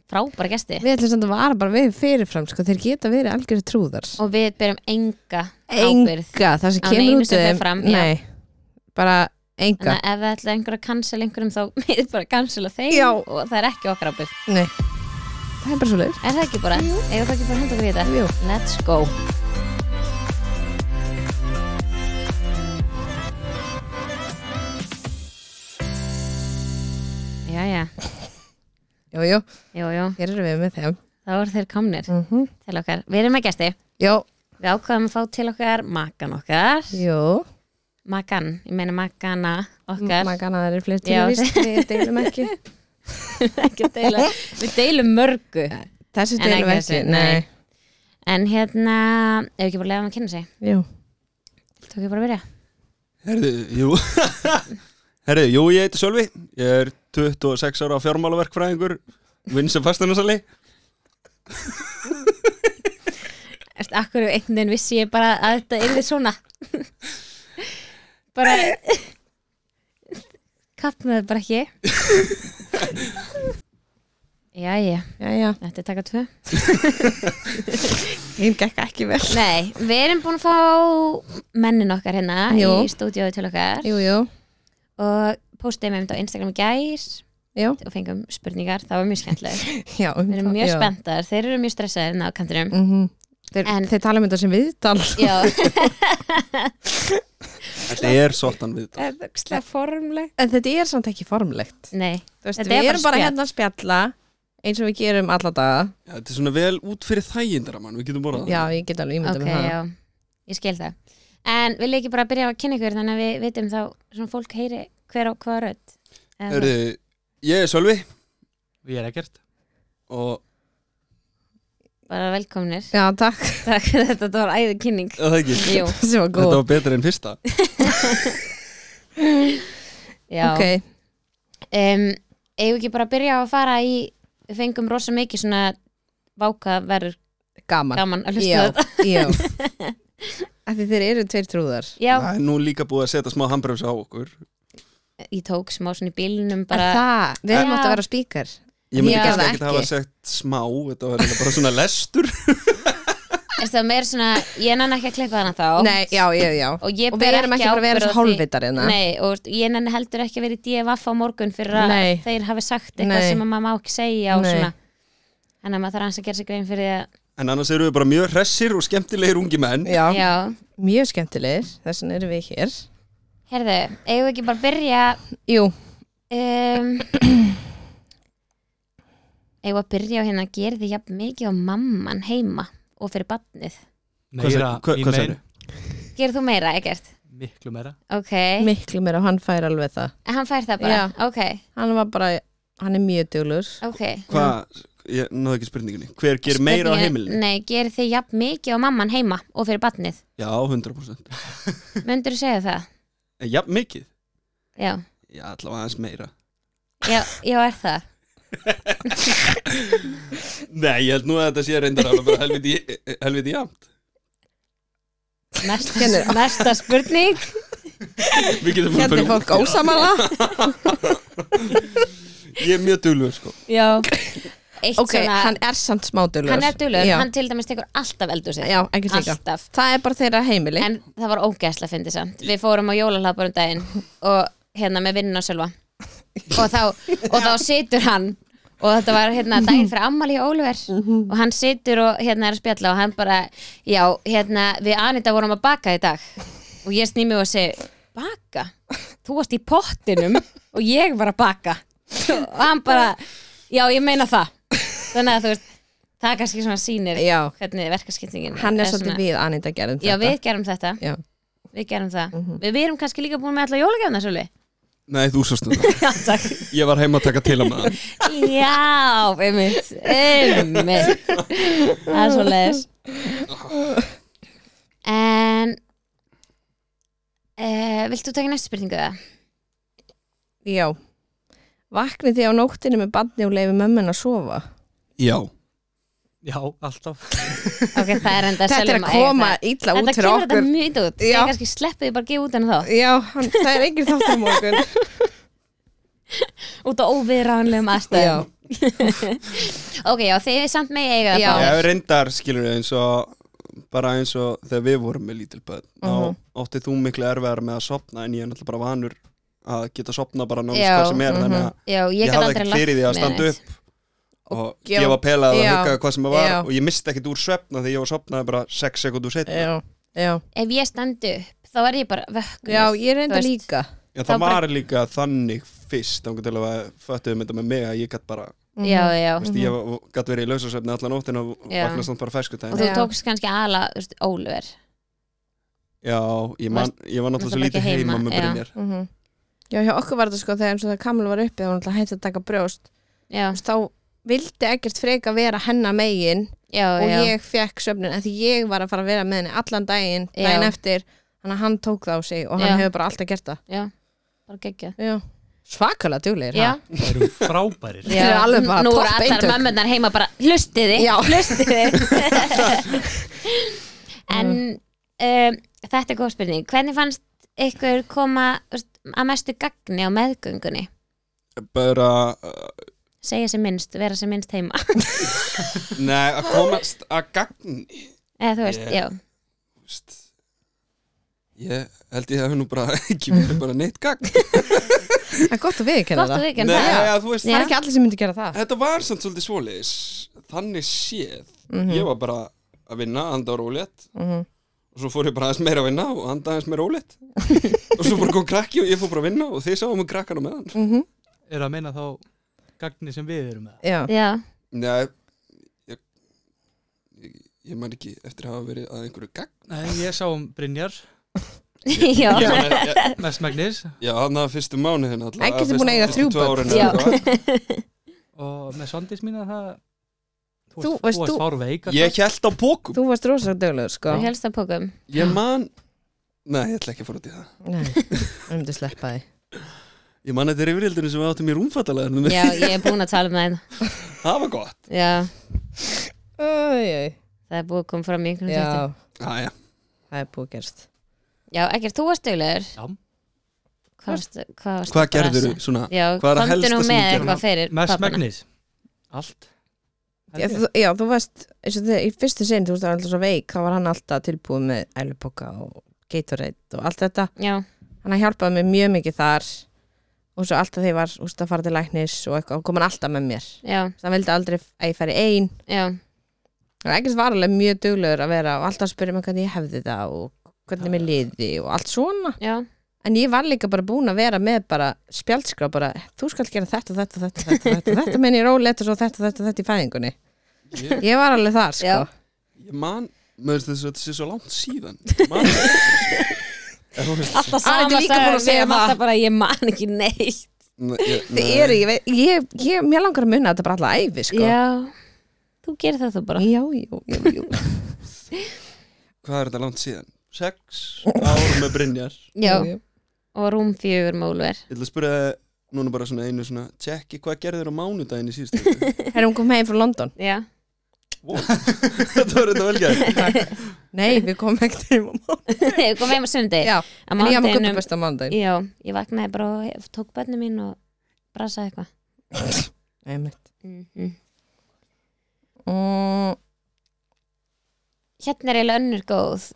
[SPEAKER 1] frábæra gesti
[SPEAKER 2] Við ætlum samt að vara bara við fyrirfram sko, þeir geta verið algjörðu trúðar
[SPEAKER 1] og við berum enga ábyrgð
[SPEAKER 2] Enga, það sem
[SPEAKER 1] Á
[SPEAKER 2] kemur
[SPEAKER 1] neinu
[SPEAKER 2] út
[SPEAKER 1] sem
[SPEAKER 2] úr
[SPEAKER 1] fer
[SPEAKER 2] þeim,
[SPEAKER 1] fram, já.
[SPEAKER 2] Nei, bara enga
[SPEAKER 1] Þannig að ef það ætla einhver að cancel einhverjum þá *laughs* með bara að cancela þeim
[SPEAKER 2] Já.
[SPEAKER 1] og það er ekki okkar ábyrg.
[SPEAKER 2] Nei, það er bara svo leir
[SPEAKER 1] Er það ekki bara? Jú. Eða það ekki bara að henda okkur í þetta?
[SPEAKER 2] Jú.
[SPEAKER 1] Let's go. Jæja,
[SPEAKER 2] Jú, jú,
[SPEAKER 1] jú, jú,
[SPEAKER 2] hér eru við með þeim
[SPEAKER 1] þá eru þeir komnir
[SPEAKER 2] mm -hmm.
[SPEAKER 1] til okkar. Við erum með gæsti.
[SPEAKER 2] Jú,
[SPEAKER 1] Við ákvaðum að fá til okkar makan okkar.
[SPEAKER 2] jú
[SPEAKER 1] Makan, ég meina makana okkar.
[SPEAKER 2] Maður kannan það eru fleiri
[SPEAKER 1] Já.
[SPEAKER 2] tilvist Við deilum ekki
[SPEAKER 1] Ekki deila. Við deilum mörgu.
[SPEAKER 2] Þessu
[SPEAKER 1] En
[SPEAKER 2] deilum
[SPEAKER 1] ekki
[SPEAKER 2] við
[SPEAKER 1] *laughs* þessu,
[SPEAKER 2] ekki,
[SPEAKER 1] nei.
[SPEAKER 2] nei
[SPEAKER 1] En hérna, ef ekki bara leiða hann að kynna sig.
[SPEAKER 2] Jú,
[SPEAKER 1] Tók ég bara að byrja?
[SPEAKER 3] Herðu, jú *laughs* Herðu, jú, ég heiti Sölvi Ég er 26 ára fjármálaverkfræðingur Vinn sem fastanarsali
[SPEAKER 1] Erst akkur einhvern veginn vissi ég bara að þetta yrði svona Bara Kappnaði bara *laughs* ekki Jæja,
[SPEAKER 2] Jæja,
[SPEAKER 1] þetta er taka tvö
[SPEAKER 2] hinn gekk ekki vel
[SPEAKER 1] Nei, við erum búin að fá mennin okkar hérna
[SPEAKER 2] Jú.
[SPEAKER 1] í stúdíói til okkar
[SPEAKER 2] Jú, jú,
[SPEAKER 1] og postaði með þetta á Instagram í gær
[SPEAKER 2] já,
[SPEAKER 1] og fengum spurningar, það var mjög skemmtileg
[SPEAKER 2] já um
[SPEAKER 1] Við erum
[SPEAKER 2] það-
[SPEAKER 1] mjög
[SPEAKER 2] já.
[SPEAKER 1] spenntar, þeir eru mjög stressaðir hérna á
[SPEAKER 2] *laughs*
[SPEAKER 1] kantinum
[SPEAKER 2] Mhm. Þeir,
[SPEAKER 1] En-
[SPEAKER 2] þeir tala um þetta sem viðtal *laughs*
[SPEAKER 1] Já,
[SPEAKER 3] Þetta er svolítan við þetta.
[SPEAKER 1] það er bækslega formleg
[SPEAKER 2] En þetta er samt ekki formlegt
[SPEAKER 1] Nei,
[SPEAKER 2] Þú veist,
[SPEAKER 1] Þetta
[SPEAKER 2] Við
[SPEAKER 1] er
[SPEAKER 2] erum bara
[SPEAKER 1] bara spjall.
[SPEAKER 2] hérna að spjalla eins og við gerum alla daga
[SPEAKER 3] Já, þetta er svona vel út fyrir þægindara mann, við getum borðað
[SPEAKER 2] Já, ég get alveg ímyndað
[SPEAKER 1] ok,
[SPEAKER 2] okay, með það
[SPEAKER 1] já, ég skil það En við leikir bara að byrja að kynna ykkur hérna, þannig að við vitum þá svona fólk heyri hver á hvaða rödd Eða-
[SPEAKER 3] Hörðu, ég er Sölvi
[SPEAKER 4] Ég er ekkert
[SPEAKER 3] og
[SPEAKER 1] Bara velkomnir *laughs*
[SPEAKER 2] Já, takk, *laughs*
[SPEAKER 1] Takk, þetta var æði kynning
[SPEAKER 3] Já, það ekki.
[SPEAKER 1] Jú,
[SPEAKER 2] sem var góð
[SPEAKER 3] Þetta var betra en fyrsta.
[SPEAKER 1] já
[SPEAKER 2] Ok,
[SPEAKER 1] um, eigum við ekki bara að byrja á að fara í við fengum rosa mikið svona váka verður
[SPEAKER 2] gaman
[SPEAKER 1] gaman að hlusta á
[SPEAKER 2] Já,
[SPEAKER 1] þetta
[SPEAKER 2] já
[SPEAKER 1] *laughs*
[SPEAKER 2] Af Því þeir eru tveir trúðar
[SPEAKER 1] já,
[SPEAKER 3] Það er nú líka búið að setja smá handbremsa á okkur.
[SPEAKER 1] ég tók smá svona í bílnum
[SPEAKER 2] Er
[SPEAKER 1] bara,
[SPEAKER 2] það, við hefum
[SPEAKER 1] Já.
[SPEAKER 2] átt að vera spíkar
[SPEAKER 3] Ég myndi
[SPEAKER 1] Já,
[SPEAKER 3] kannski
[SPEAKER 2] það
[SPEAKER 3] ekkert
[SPEAKER 2] ekki.
[SPEAKER 3] hafa sett smá, þetta var eiginlega bara svona lestur.
[SPEAKER 1] er það meira svona ég nenni ekki að klippa hana þá
[SPEAKER 2] Nei, já, já, já
[SPEAKER 1] og ég
[SPEAKER 2] Og
[SPEAKER 1] ber
[SPEAKER 2] við erum ekki bara að vera
[SPEAKER 1] ábyrgð
[SPEAKER 2] svo
[SPEAKER 1] á því-
[SPEAKER 2] hálfvitar hérna
[SPEAKER 1] Nei, og ég nenni heldur ekki að vera í DFF á morgun fyrir að
[SPEAKER 2] Nei.
[SPEAKER 1] þeir hafi sagt eitthvað
[SPEAKER 2] Nei.
[SPEAKER 1] sem að maður má ekki segja og
[SPEAKER 2] Nei.
[SPEAKER 1] svona þannig að maður þarf aðeins að gera sér grein fyrir því að
[SPEAKER 3] En annars eru við bara mjög hressir og skemmtilegir ungi menn.
[SPEAKER 2] Já,
[SPEAKER 1] já,
[SPEAKER 2] mjög skemmtilegir, þess vegna erum við hér
[SPEAKER 1] heyrðu, eigum við ekki bara að byrja
[SPEAKER 2] Jú,
[SPEAKER 1] um, *clears throat* eigum við að byrja á hérna að gera því jafn mikið á mamman heima og fyrir badnið
[SPEAKER 3] Hvað
[SPEAKER 4] Meira
[SPEAKER 3] sagði- hvað-
[SPEAKER 4] í
[SPEAKER 3] hvað
[SPEAKER 4] mein
[SPEAKER 3] sagði?
[SPEAKER 1] gerir þú meira ekkert?
[SPEAKER 4] Miklu meira
[SPEAKER 1] ok,
[SPEAKER 2] miklu meira, hann fær alveg það
[SPEAKER 1] en hann fær það bara
[SPEAKER 2] Já.
[SPEAKER 1] ok,
[SPEAKER 2] Hann var bara, hann er mjög duglur
[SPEAKER 1] ok
[SPEAKER 3] Hvað, ég náðu ekki spurningunni. Hver ger meira á
[SPEAKER 1] Spurningin-
[SPEAKER 3] heimilinu?
[SPEAKER 1] nei, gerir því jafn mikið á mamman heima og fyrir badnið
[SPEAKER 3] Já, 100%.
[SPEAKER 1] myndur þú segja það?
[SPEAKER 3] Já, Eh, mikið.
[SPEAKER 1] já,
[SPEAKER 3] Já, allavega aðeins meira.
[SPEAKER 1] já, já er það
[SPEAKER 3] Nei, ég held nú að þetta sé reyndar alveg bara helviti, eh, helviti jamt.
[SPEAKER 1] næsta, næsta spurning
[SPEAKER 3] Við getum
[SPEAKER 2] Hérna
[SPEAKER 3] bara
[SPEAKER 2] er
[SPEAKER 3] farið
[SPEAKER 2] fólk ósamala
[SPEAKER 3] út. Ég er mjög dugluð, sko.
[SPEAKER 1] já eitt
[SPEAKER 2] Ok,
[SPEAKER 1] *laughs* svona,
[SPEAKER 2] hann er samt smá duglur
[SPEAKER 1] hann er dulur,
[SPEAKER 2] Já,
[SPEAKER 1] hann til dæmis tekur alltaf eldur sig
[SPEAKER 2] já ekki líka
[SPEAKER 1] alltaf
[SPEAKER 2] Það er bara þeirra heimili
[SPEAKER 1] En það var ógæslega fyndið samt Við fórum á jólalapar um daginn og hérna með vinnun og sjálfa og þá, og þá situr hann og þetta var hérna daginn fyrir ammali í Óliver og hann situr og hérna er að spjalla og hann bara, já, hérna við Anita vorum að baka í dag og ég sný mig og segi, baka? Þú varst í pottinum og ég var að baka og hann bara, já, ég meina það þannig að þú veist það er kannski svona sýnir
[SPEAKER 2] Já,
[SPEAKER 1] hvernig verkaskiptingin
[SPEAKER 2] hann er
[SPEAKER 1] svona-
[SPEAKER 2] svolítið við Anita gerðum
[SPEAKER 1] Já,
[SPEAKER 2] þetta
[SPEAKER 1] við gerum þetta,
[SPEAKER 2] Já.
[SPEAKER 1] við gerum það
[SPEAKER 2] Mhm.
[SPEAKER 1] við, við erum kannski líka búin með alla jólagefna svolvi
[SPEAKER 3] Nei, þú sást þetta.
[SPEAKER 1] Já, takk
[SPEAKER 3] Ég var heima að taka til að maður.
[SPEAKER 1] *laughs* Já, einmitt, einmitt Það er svo leiðis En uh, Viltu taka næstu spurningu það?
[SPEAKER 2] Já Vaknið því á nóttinu með badni og leiði mömmun að sofa
[SPEAKER 3] Já.
[SPEAKER 4] Já, alltaf
[SPEAKER 1] Ok, það er
[SPEAKER 2] *laughs*
[SPEAKER 1] enda
[SPEAKER 2] Þetta er
[SPEAKER 1] Selma
[SPEAKER 2] að
[SPEAKER 1] eiga
[SPEAKER 2] koma
[SPEAKER 1] það.
[SPEAKER 2] illa út
[SPEAKER 1] Enda
[SPEAKER 2] fyrir
[SPEAKER 1] kemur
[SPEAKER 2] okkur
[SPEAKER 1] þetta mjög illa út
[SPEAKER 2] Já.
[SPEAKER 1] Ég kannski sleppið bara að gefa út henni þá
[SPEAKER 2] Já, hann, það er engin þáttur á morgun
[SPEAKER 1] Út á óviðránlegum
[SPEAKER 2] Já,
[SPEAKER 1] aðstæðum *laughs* Ok, já, þið er samt með eiga það
[SPEAKER 2] Já.
[SPEAKER 1] báðar.
[SPEAKER 3] Ég reyndar, skilur við, eins og bara eins og þegar við vorum með lítil börn
[SPEAKER 2] Mhm.
[SPEAKER 3] þá átti þú miklu erfiðar með að sopna en ég er náttúrulega bara vanur að geta sopna bara náttúrulega
[SPEAKER 1] Já, mhm.
[SPEAKER 3] hvað sem er þannig
[SPEAKER 2] mhm.
[SPEAKER 3] að
[SPEAKER 1] Já, ég,
[SPEAKER 3] ég
[SPEAKER 1] gat
[SPEAKER 3] hafði
[SPEAKER 1] aldrei
[SPEAKER 3] ekkert
[SPEAKER 1] lagt
[SPEAKER 3] fyrir því að
[SPEAKER 1] mig
[SPEAKER 3] standa
[SPEAKER 1] neitt.
[SPEAKER 3] upp og
[SPEAKER 2] já.
[SPEAKER 3] gefa pelað að
[SPEAKER 2] Já.
[SPEAKER 3] hugga hvað sem það var
[SPEAKER 2] Já.
[SPEAKER 3] og ég misti ekkert úr svefna því ég var sopnaði bara 6 sekundur setna
[SPEAKER 1] Eh,
[SPEAKER 2] já, já
[SPEAKER 1] Ef ég standa upp, þá er ég bara vökkuð
[SPEAKER 2] Já, ég reynda
[SPEAKER 1] Þú veist.
[SPEAKER 2] líka
[SPEAKER 3] en
[SPEAKER 1] Þá
[SPEAKER 3] það var líka þannig fyrst þá til að föttuðum þetta með mig að ég gætt bara
[SPEAKER 1] já, já.
[SPEAKER 2] Mhm.
[SPEAKER 3] veist, ég gætt verið í lausasvefni allan óttin og
[SPEAKER 1] Mhm. Já.
[SPEAKER 3] vakna samt bara
[SPEAKER 1] og
[SPEAKER 3] ferskutæðin
[SPEAKER 1] þú
[SPEAKER 2] Já.
[SPEAKER 1] tókst kannski aðla Ólver
[SPEAKER 3] já, ég, man, ég var
[SPEAKER 1] náttúrulega
[SPEAKER 3] náttúrulega svo lítið
[SPEAKER 1] ekki
[SPEAKER 3] heima
[SPEAKER 1] heima,
[SPEAKER 3] með
[SPEAKER 1] já.
[SPEAKER 3] Brynjar
[SPEAKER 2] Mhm. Já, hjá okkur var þetta sko þegar eins og það Kamil var uppið og hann hætti að taka brjóst
[SPEAKER 1] já,
[SPEAKER 2] Þú veist, þá vildi ekkert freka vera hennar megin
[SPEAKER 1] já,
[SPEAKER 2] og
[SPEAKER 1] já.
[SPEAKER 2] ég fekk söfnin en því ég var að fara að vera með henni allan daginn
[SPEAKER 1] Já.
[SPEAKER 2] daginn eftir, þannig að hann tók það á sig og hann
[SPEAKER 1] Já.
[SPEAKER 2] hefur bara alltaf gert það
[SPEAKER 1] já. bara geggja
[SPEAKER 2] já. svakalega djúlegir
[SPEAKER 1] já,
[SPEAKER 4] Það eru frábærir
[SPEAKER 2] Þeir eru alveg bara
[SPEAKER 1] nú
[SPEAKER 2] topp
[SPEAKER 1] eru allar
[SPEAKER 2] eintök.
[SPEAKER 1] mömmunar heima bara hlustiði
[SPEAKER 2] Já.
[SPEAKER 1] hlustiði
[SPEAKER 2] *laughs* Mm.
[SPEAKER 1] en um, þetta er góð spurning hvernig fannst ykkur koma þú veist, að mestu gagni á meðgöngunni
[SPEAKER 3] bara, uh,
[SPEAKER 1] segja sem minnst, vera sem minnst heima *laughs*
[SPEAKER 3] nei, að komast að gagn
[SPEAKER 1] eða þú veist,
[SPEAKER 3] Ég-
[SPEAKER 1] já,
[SPEAKER 3] veist, ég held ég hef nú bara *laughs* ekki verið bara neitt gagn
[SPEAKER 2] Það er gott að viðkenna
[SPEAKER 1] gott
[SPEAKER 2] það
[SPEAKER 1] að við
[SPEAKER 3] Nei,
[SPEAKER 1] gerum það
[SPEAKER 3] að þú veist,
[SPEAKER 2] Það er ekki allir sem myndi gera það
[SPEAKER 3] þetta var samt svolítið svoleiðis þannig séð
[SPEAKER 2] Mhm.
[SPEAKER 3] ég var bara að vinna, anda og rólegt
[SPEAKER 2] Mhm.
[SPEAKER 3] og svo fór ég bara aðeins meira að vinna og anda aðeins meira rólegt og svo bara kom krakki og ég fór bara að vinna og þið sáum að krakkana með hann
[SPEAKER 2] Mhm.
[SPEAKER 4] Er að meina þá gagni sem við erum með
[SPEAKER 2] Já,
[SPEAKER 1] já,
[SPEAKER 3] Nei, ég, ég, ég man ekki eftir að hafa verið að einhverju gagn
[SPEAKER 4] Nei, ég sá um Brynjar,
[SPEAKER 1] já, *laughs*
[SPEAKER 3] Ég man- ég-
[SPEAKER 4] mestmagnis
[SPEAKER 3] Já, þannig að fyrstu mánuðin alltaf
[SPEAKER 2] Hann getur búin að eiga þrjú börn.
[SPEAKER 1] Já.
[SPEAKER 4] og með Svandís mína það
[SPEAKER 2] Þú veist, þú-
[SPEAKER 4] þú Fár veik
[SPEAKER 3] Ég held á bókum
[SPEAKER 2] þú varst rosa döglegur sko
[SPEAKER 1] þú helst að pókum
[SPEAKER 3] Ég man Nei, ég ætla ekki að fara út í það
[SPEAKER 2] Nei, við myndum sleppa því
[SPEAKER 3] Ég man þetta er yfirhildinu sem við áttum í rúmfattalega
[SPEAKER 1] já, ég er búin að tala um það hérna.
[SPEAKER 3] Það var gott
[SPEAKER 1] já,
[SPEAKER 2] Æj, æj.
[SPEAKER 1] það er búið að koma fram í einhvern veginn
[SPEAKER 2] Já,
[SPEAKER 3] Æja,
[SPEAKER 2] það er búið gerst
[SPEAKER 1] já, ekkert, þú varst duglegur
[SPEAKER 4] Já.
[SPEAKER 1] hvað, varstu- hvað, varstu
[SPEAKER 3] hvað
[SPEAKER 1] bara að
[SPEAKER 3] gerður
[SPEAKER 1] segja?
[SPEAKER 3] svona?
[SPEAKER 1] já,
[SPEAKER 3] Hvað er að
[SPEAKER 1] komdu
[SPEAKER 3] helsta
[SPEAKER 1] nú
[SPEAKER 3] sem
[SPEAKER 1] með
[SPEAKER 3] þú gerðir?
[SPEAKER 1] eitthvað fyrir pappana
[SPEAKER 4] Mestmagnis Allt
[SPEAKER 2] Já, þú, já, þú varst, eins og þegar í fyrstu sinn, þú veist, það var alltaf svo veik, þá var hann alltaf tilbúið með ælupoka og Gatorade og allt þetta.
[SPEAKER 1] já,
[SPEAKER 2] Hann hjálpaði mér mjög mikið þar og svo alltaf þegar ég var, þú veist, að fara til læknis og eitthvað, og kom hann alltaf með mér.
[SPEAKER 1] já,
[SPEAKER 2] Þú veist, Hann vildi aldrei að ég færi ein.
[SPEAKER 1] já
[SPEAKER 2] Hann ekkert var alveg mjög duglegur að vera og alltaf að spyrja mig hvernig ég hefði það og hvernig mér liði og allt svona.
[SPEAKER 1] já,
[SPEAKER 2] En ég var líka bara búin að vera með bara spjaldskrá, bara, þú skal gera þetta, þetta, þetta, þetta, þetta, þetta, menn ég rólegt og svo þetta, þetta, þetta í fæðingunni.
[SPEAKER 3] Ég,
[SPEAKER 2] Ég var alveg þar, sko.
[SPEAKER 1] Já.
[SPEAKER 3] ég man Mér finnst þess að þetta sé svo langt
[SPEAKER 2] *laughs*
[SPEAKER 3] síðan Ég Man En þú veist,
[SPEAKER 1] alltaf
[SPEAKER 2] Hann er
[SPEAKER 1] sama
[SPEAKER 2] líka búin að
[SPEAKER 1] sagan,
[SPEAKER 2] segja
[SPEAKER 1] við erum
[SPEAKER 2] það.
[SPEAKER 1] alltaf bara ég man ekki neitt
[SPEAKER 3] ne- ég-
[SPEAKER 2] Þið
[SPEAKER 3] nei.
[SPEAKER 2] eru, ég veit, ég, ég, mér langar að munna þetta bara alla æfi, sko.
[SPEAKER 1] já, þú gerir það þú bara
[SPEAKER 2] já, já, já, já.
[SPEAKER 3] Hvað er þetta langt síðan? Sex ár með Brynjar
[SPEAKER 1] já, og rúm fjögur mólver
[SPEAKER 3] Ég ætla að spyrja þig núna bara svona einu svona Tjekki hvað gerður á mánudaginn í
[SPEAKER 2] *laughs*
[SPEAKER 3] síðustu viku?
[SPEAKER 2] Herra, hún kom heim frá London.
[SPEAKER 1] já,
[SPEAKER 3] Wow. Þetta var þetta velgerð
[SPEAKER 2] Nei, við komum ekkert heim á mándag.
[SPEAKER 1] ég kom heim á sundi
[SPEAKER 2] Já,
[SPEAKER 1] á
[SPEAKER 2] en ég hafa
[SPEAKER 1] mánudeginum-
[SPEAKER 2] guppupest á mándag.
[SPEAKER 1] já, ég vaknaði bara og tók bönni mín og brasaði eitthvað
[SPEAKER 2] Nei, mitt.
[SPEAKER 1] mm -hmm.
[SPEAKER 2] Mm,
[SPEAKER 1] hérna er eiginlega önnur góð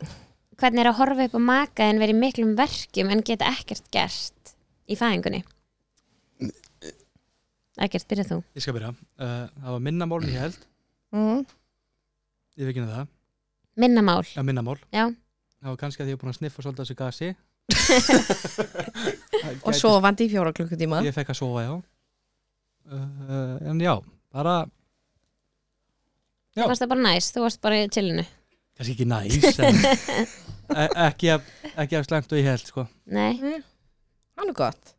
[SPEAKER 1] hvernig er að horfa upp á maka en vera í miklum verkjum en geta ekkert gert í fæðingunni ekkert, byrja þú
[SPEAKER 4] Ég skal byrja uh, Það var minna mál en ég held
[SPEAKER 2] mm,
[SPEAKER 4] Ég veit ekki um það
[SPEAKER 1] minna mál,
[SPEAKER 4] Já, minna mál
[SPEAKER 1] já,
[SPEAKER 4] Það var kannski að ég er búin að sniffa svolítið af þessu gasi Það
[SPEAKER 2] og
[SPEAKER 4] gæti-
[SPEAKER 2] svo vandi í fjóra klukkutíma.
[SPEAKER 4] Ég fekk að sofa, já uh, En já, bara Já.
[SPEAKER 1] það varst það bara næst þú varst bara í chillinu,
[SPEAKER 4] kannski ekki næs *laughs* en, e- ekki, af, ekki af slæmt og ég held sko.
[SPEAKER 1] nei
[SPEAKER 2] Hann er gott.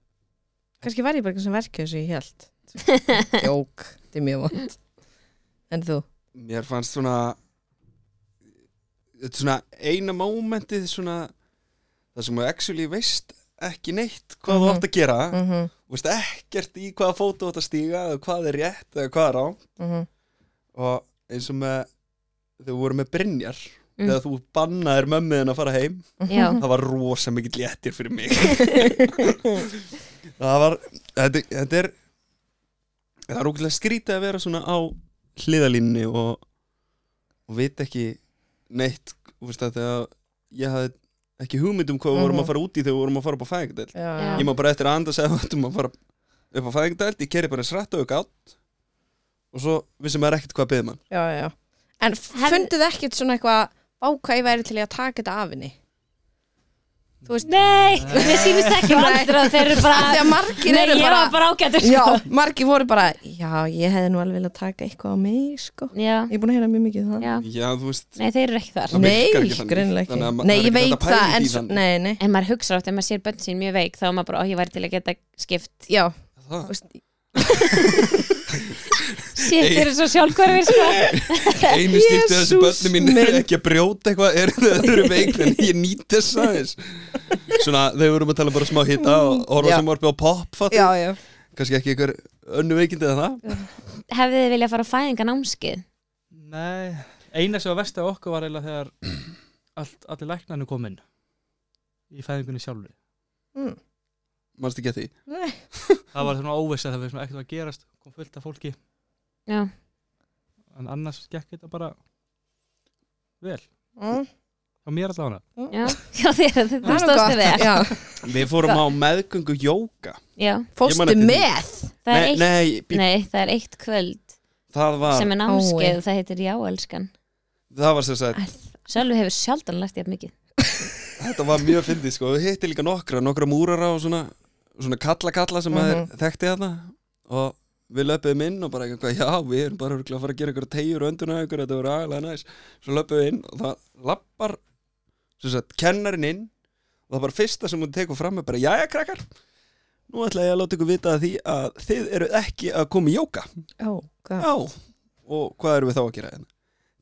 [SPEAKER 2] Kannski var ég bara eitthvað sem verkið sem ég held.
[SPEAKER 1] *laughs*
[SPEAKER 2] Jók, þetta er mjög vond. En þú?
[SPEAKER 3] Mér fannst svona Þetta er svona eina mómentið svona Það sem þú actually veist ekki neitt hvað þú
[SPEAKER 2] Mhm.
[SPEAKER 3] átt að gera
[SPEAKER 2] Mm -hmm,
[SPEAKER 3] Þú veist ekkert í hvaða fótu átt að stíga eða hvað er rétt eða hvað er á
[SPEAKER 2] mm -hmm.
[SPEAKER 3] og eins og með þegar við vorum með Brynjar
[SPEAKER 1] Mm.
[SPEAKER 3] þegar þú bannaðir mömmuðin að fara heim
[SPEAKER 1] já,
[SPEAKER 3] það var rosa mikill léttir fyrir mig það var þetta, þetta er það er ógæslega skrítið að vera svona á hliðalínni og, og veit ekki neitt þú veist að þegar ég hafði ekki hugmynd um hvað við vorum
[SPEAKER 2] Mhm.
[SPEAKER 3] að fara út í þegar við vorum að fara upp á fæðingdæld
[SPEAKER 2] Já,
[SPEAKER 1] Já.
[SPEAKER 3] ég má bara eftir að anda segja að við ættum að fara upp á fæðingdæld ég keri bara srætt og gátt og svo vissi maður ekkert hvað beðið mann
[SPEAKER 2] já, já. En funduð ekkert svona eitthvað ákvæði væri til í að taka þetta af henni? Þú veist,
[SPEAKER 1] Nei, mér sýnist ekki vandra þeir eru bara
[SPEAKER 2] Þegar margir
[SPEAKER 1] Ah, Nei,
[SPEAKER 2] eru
[SPEAKER 1] ég
[SPEAKER 2] bara,
[SPEAKER 1] var bara ágætur
[SPEAKER 2] Já,
[SPEAKER 1] sko.
[SPEAKER 2] margir voru bara Já, ég hefði nú alveg viljað taka eitthvað á mig sko.
[SPEAKER 1] já,
[SPEAKER 2] Ég er búin að heyra mjög mikið um það
[SPEAKER 1] já
[SPEAKER 3] já þú veist
[SPEAKER 1] Nei, þeir eru ekki þar
[SPEAKER 3] Það
[SPEAKER 2] Nei,
[SPEAKER 3] virkar ekki þannig.
[SPEAKER 2] greinilega ekki
[SPEAKER 3] Þannig að ma-
[SPEAKER 2] Nei,
[SPEAKER 3] það er
[SPEAKER 2] ég
[SPEAKER 3] ekki
[SPEAKER 2] veit
[SPEAKER 3] hægt að
[SPEAKER 2] það,
[SPEAKER 3] pæla í
[SPEAKER 2] en
[SPEAKER 3] því
[SPEAKER 2] svo
[SPEAKER 3] þannig.
[SPEAKER 2] Nei, nei,
[SPEAKER 1] En maður hugsa átt, ef maður sér bönn sín mjög veik þá er maður bara, ó, ég væri til að geta skipt
[SPEAKER 2] já
[SPEAKER 3] það
[SPEAKER 2] þú veist,
[SPEAKER 1] Sér, þeir eru svo sjálfkvarfir sko.
[SPEAKER 3] einu skipti þessi
[SPEAKER 2] Jesús
[SPEAKER 3] börnum mín
[SPEAKER 2] minn.
[SPEAKER 3] er ekki að brjóta eitthvað er þau eru veik en ég nýt þess aðeins svona þau vorum að tala bara smá hitta
[SPEAKER 1] Mm,
[SPEAKER 3] og
[SPEAKER 2] Já.
[SPEAKER 3] horfa sem varpi á pop fatt.
[SPEAKER 2] Já, já
[SPEAKER 3] kannski ekki einhver önnu veikindi eða það
[SPEAKER 1] Hefði þið viljað fara á fæðingan ámskið
[SPEAKER 4] Nei, eina sem var vest af okkur var eiginlega þegar allt, allir læknarnir kom inn í fæðingunni sjálfu
[SPEAKER 2] mm.
[SPEAKER 3] Manst ekki að því?
[SPEAKER 2] Nei.
[SPEAKER 4] það var svona óvissa það var svona ekkert var að gerast kom fullt af fólki
[SPEAKER 1] Já.
[SPEAKER 4] en annars gekk þetta bara vel
[SPEAKER 2] Mm.
[SPEAKER 4] á mér allavega
[SPEAKER 1] Já, *laughs* já þér, þú
[SPEAKER 2] Það er
[SPEAKER 1] stóðstu
[SPEAKER 2] gott.
[SPEAKER 1] við það.
[SPEAKER 2] Já.
[SPEAKER 3] Við fórum á meðgöngu jóka
[SPEAKER 1] Já,
[SPEAKER 3] man
[SPEAKER 2] Fóstu
[SPEAKER 3] eftir því.
[SPEAKER 2] með
[SPEAKER 1] það er
[SPEAKER 3] Nei, Ah.
[SPEAKER 1] eitt,
[SPEAKER 3] nei,
[SPEAKER 1] nei,
[SPEAKER 3] bí,
[SPEAKER 1] það er eitt kvöld
[SPEAKER 3] það var
[SPEAKER 1] sem er námskeið
[SPEAKER 2] Ái.
[SPEAKER 1] og það heitir Jáelskan.
[SPEAKER 3] það var sem sagt,
[SPEAKER 1] Sjálfu hefur sjaldan lært ég mikið.
[SPEAKER 3] þetta var mjög fyndið sko, við hittum líka nokkra, nokkra múrara og svona, svona kalla-kalla sem maður
[SPEAKER 2] Mhm.
[SPEAKER 3] þekkti þarna og við löpum inn og bara eitthvað, já, við erum bara örugglega að fara að gera ykkur tegjur og önduna ykkur, þetta voru aðlega næs svo löpum við inn og það lappar sem sagt, kennarin inn og það bara fyrsta sem hún tekur fram er bara, jæja krakkar nú ætla ég að láta ykkur vita að því að þið eru ekki að koma í jóka
[SPEAKER 2] oh, God.
[SPEAKER 3] já, og hvað erum við þá að gera hérna?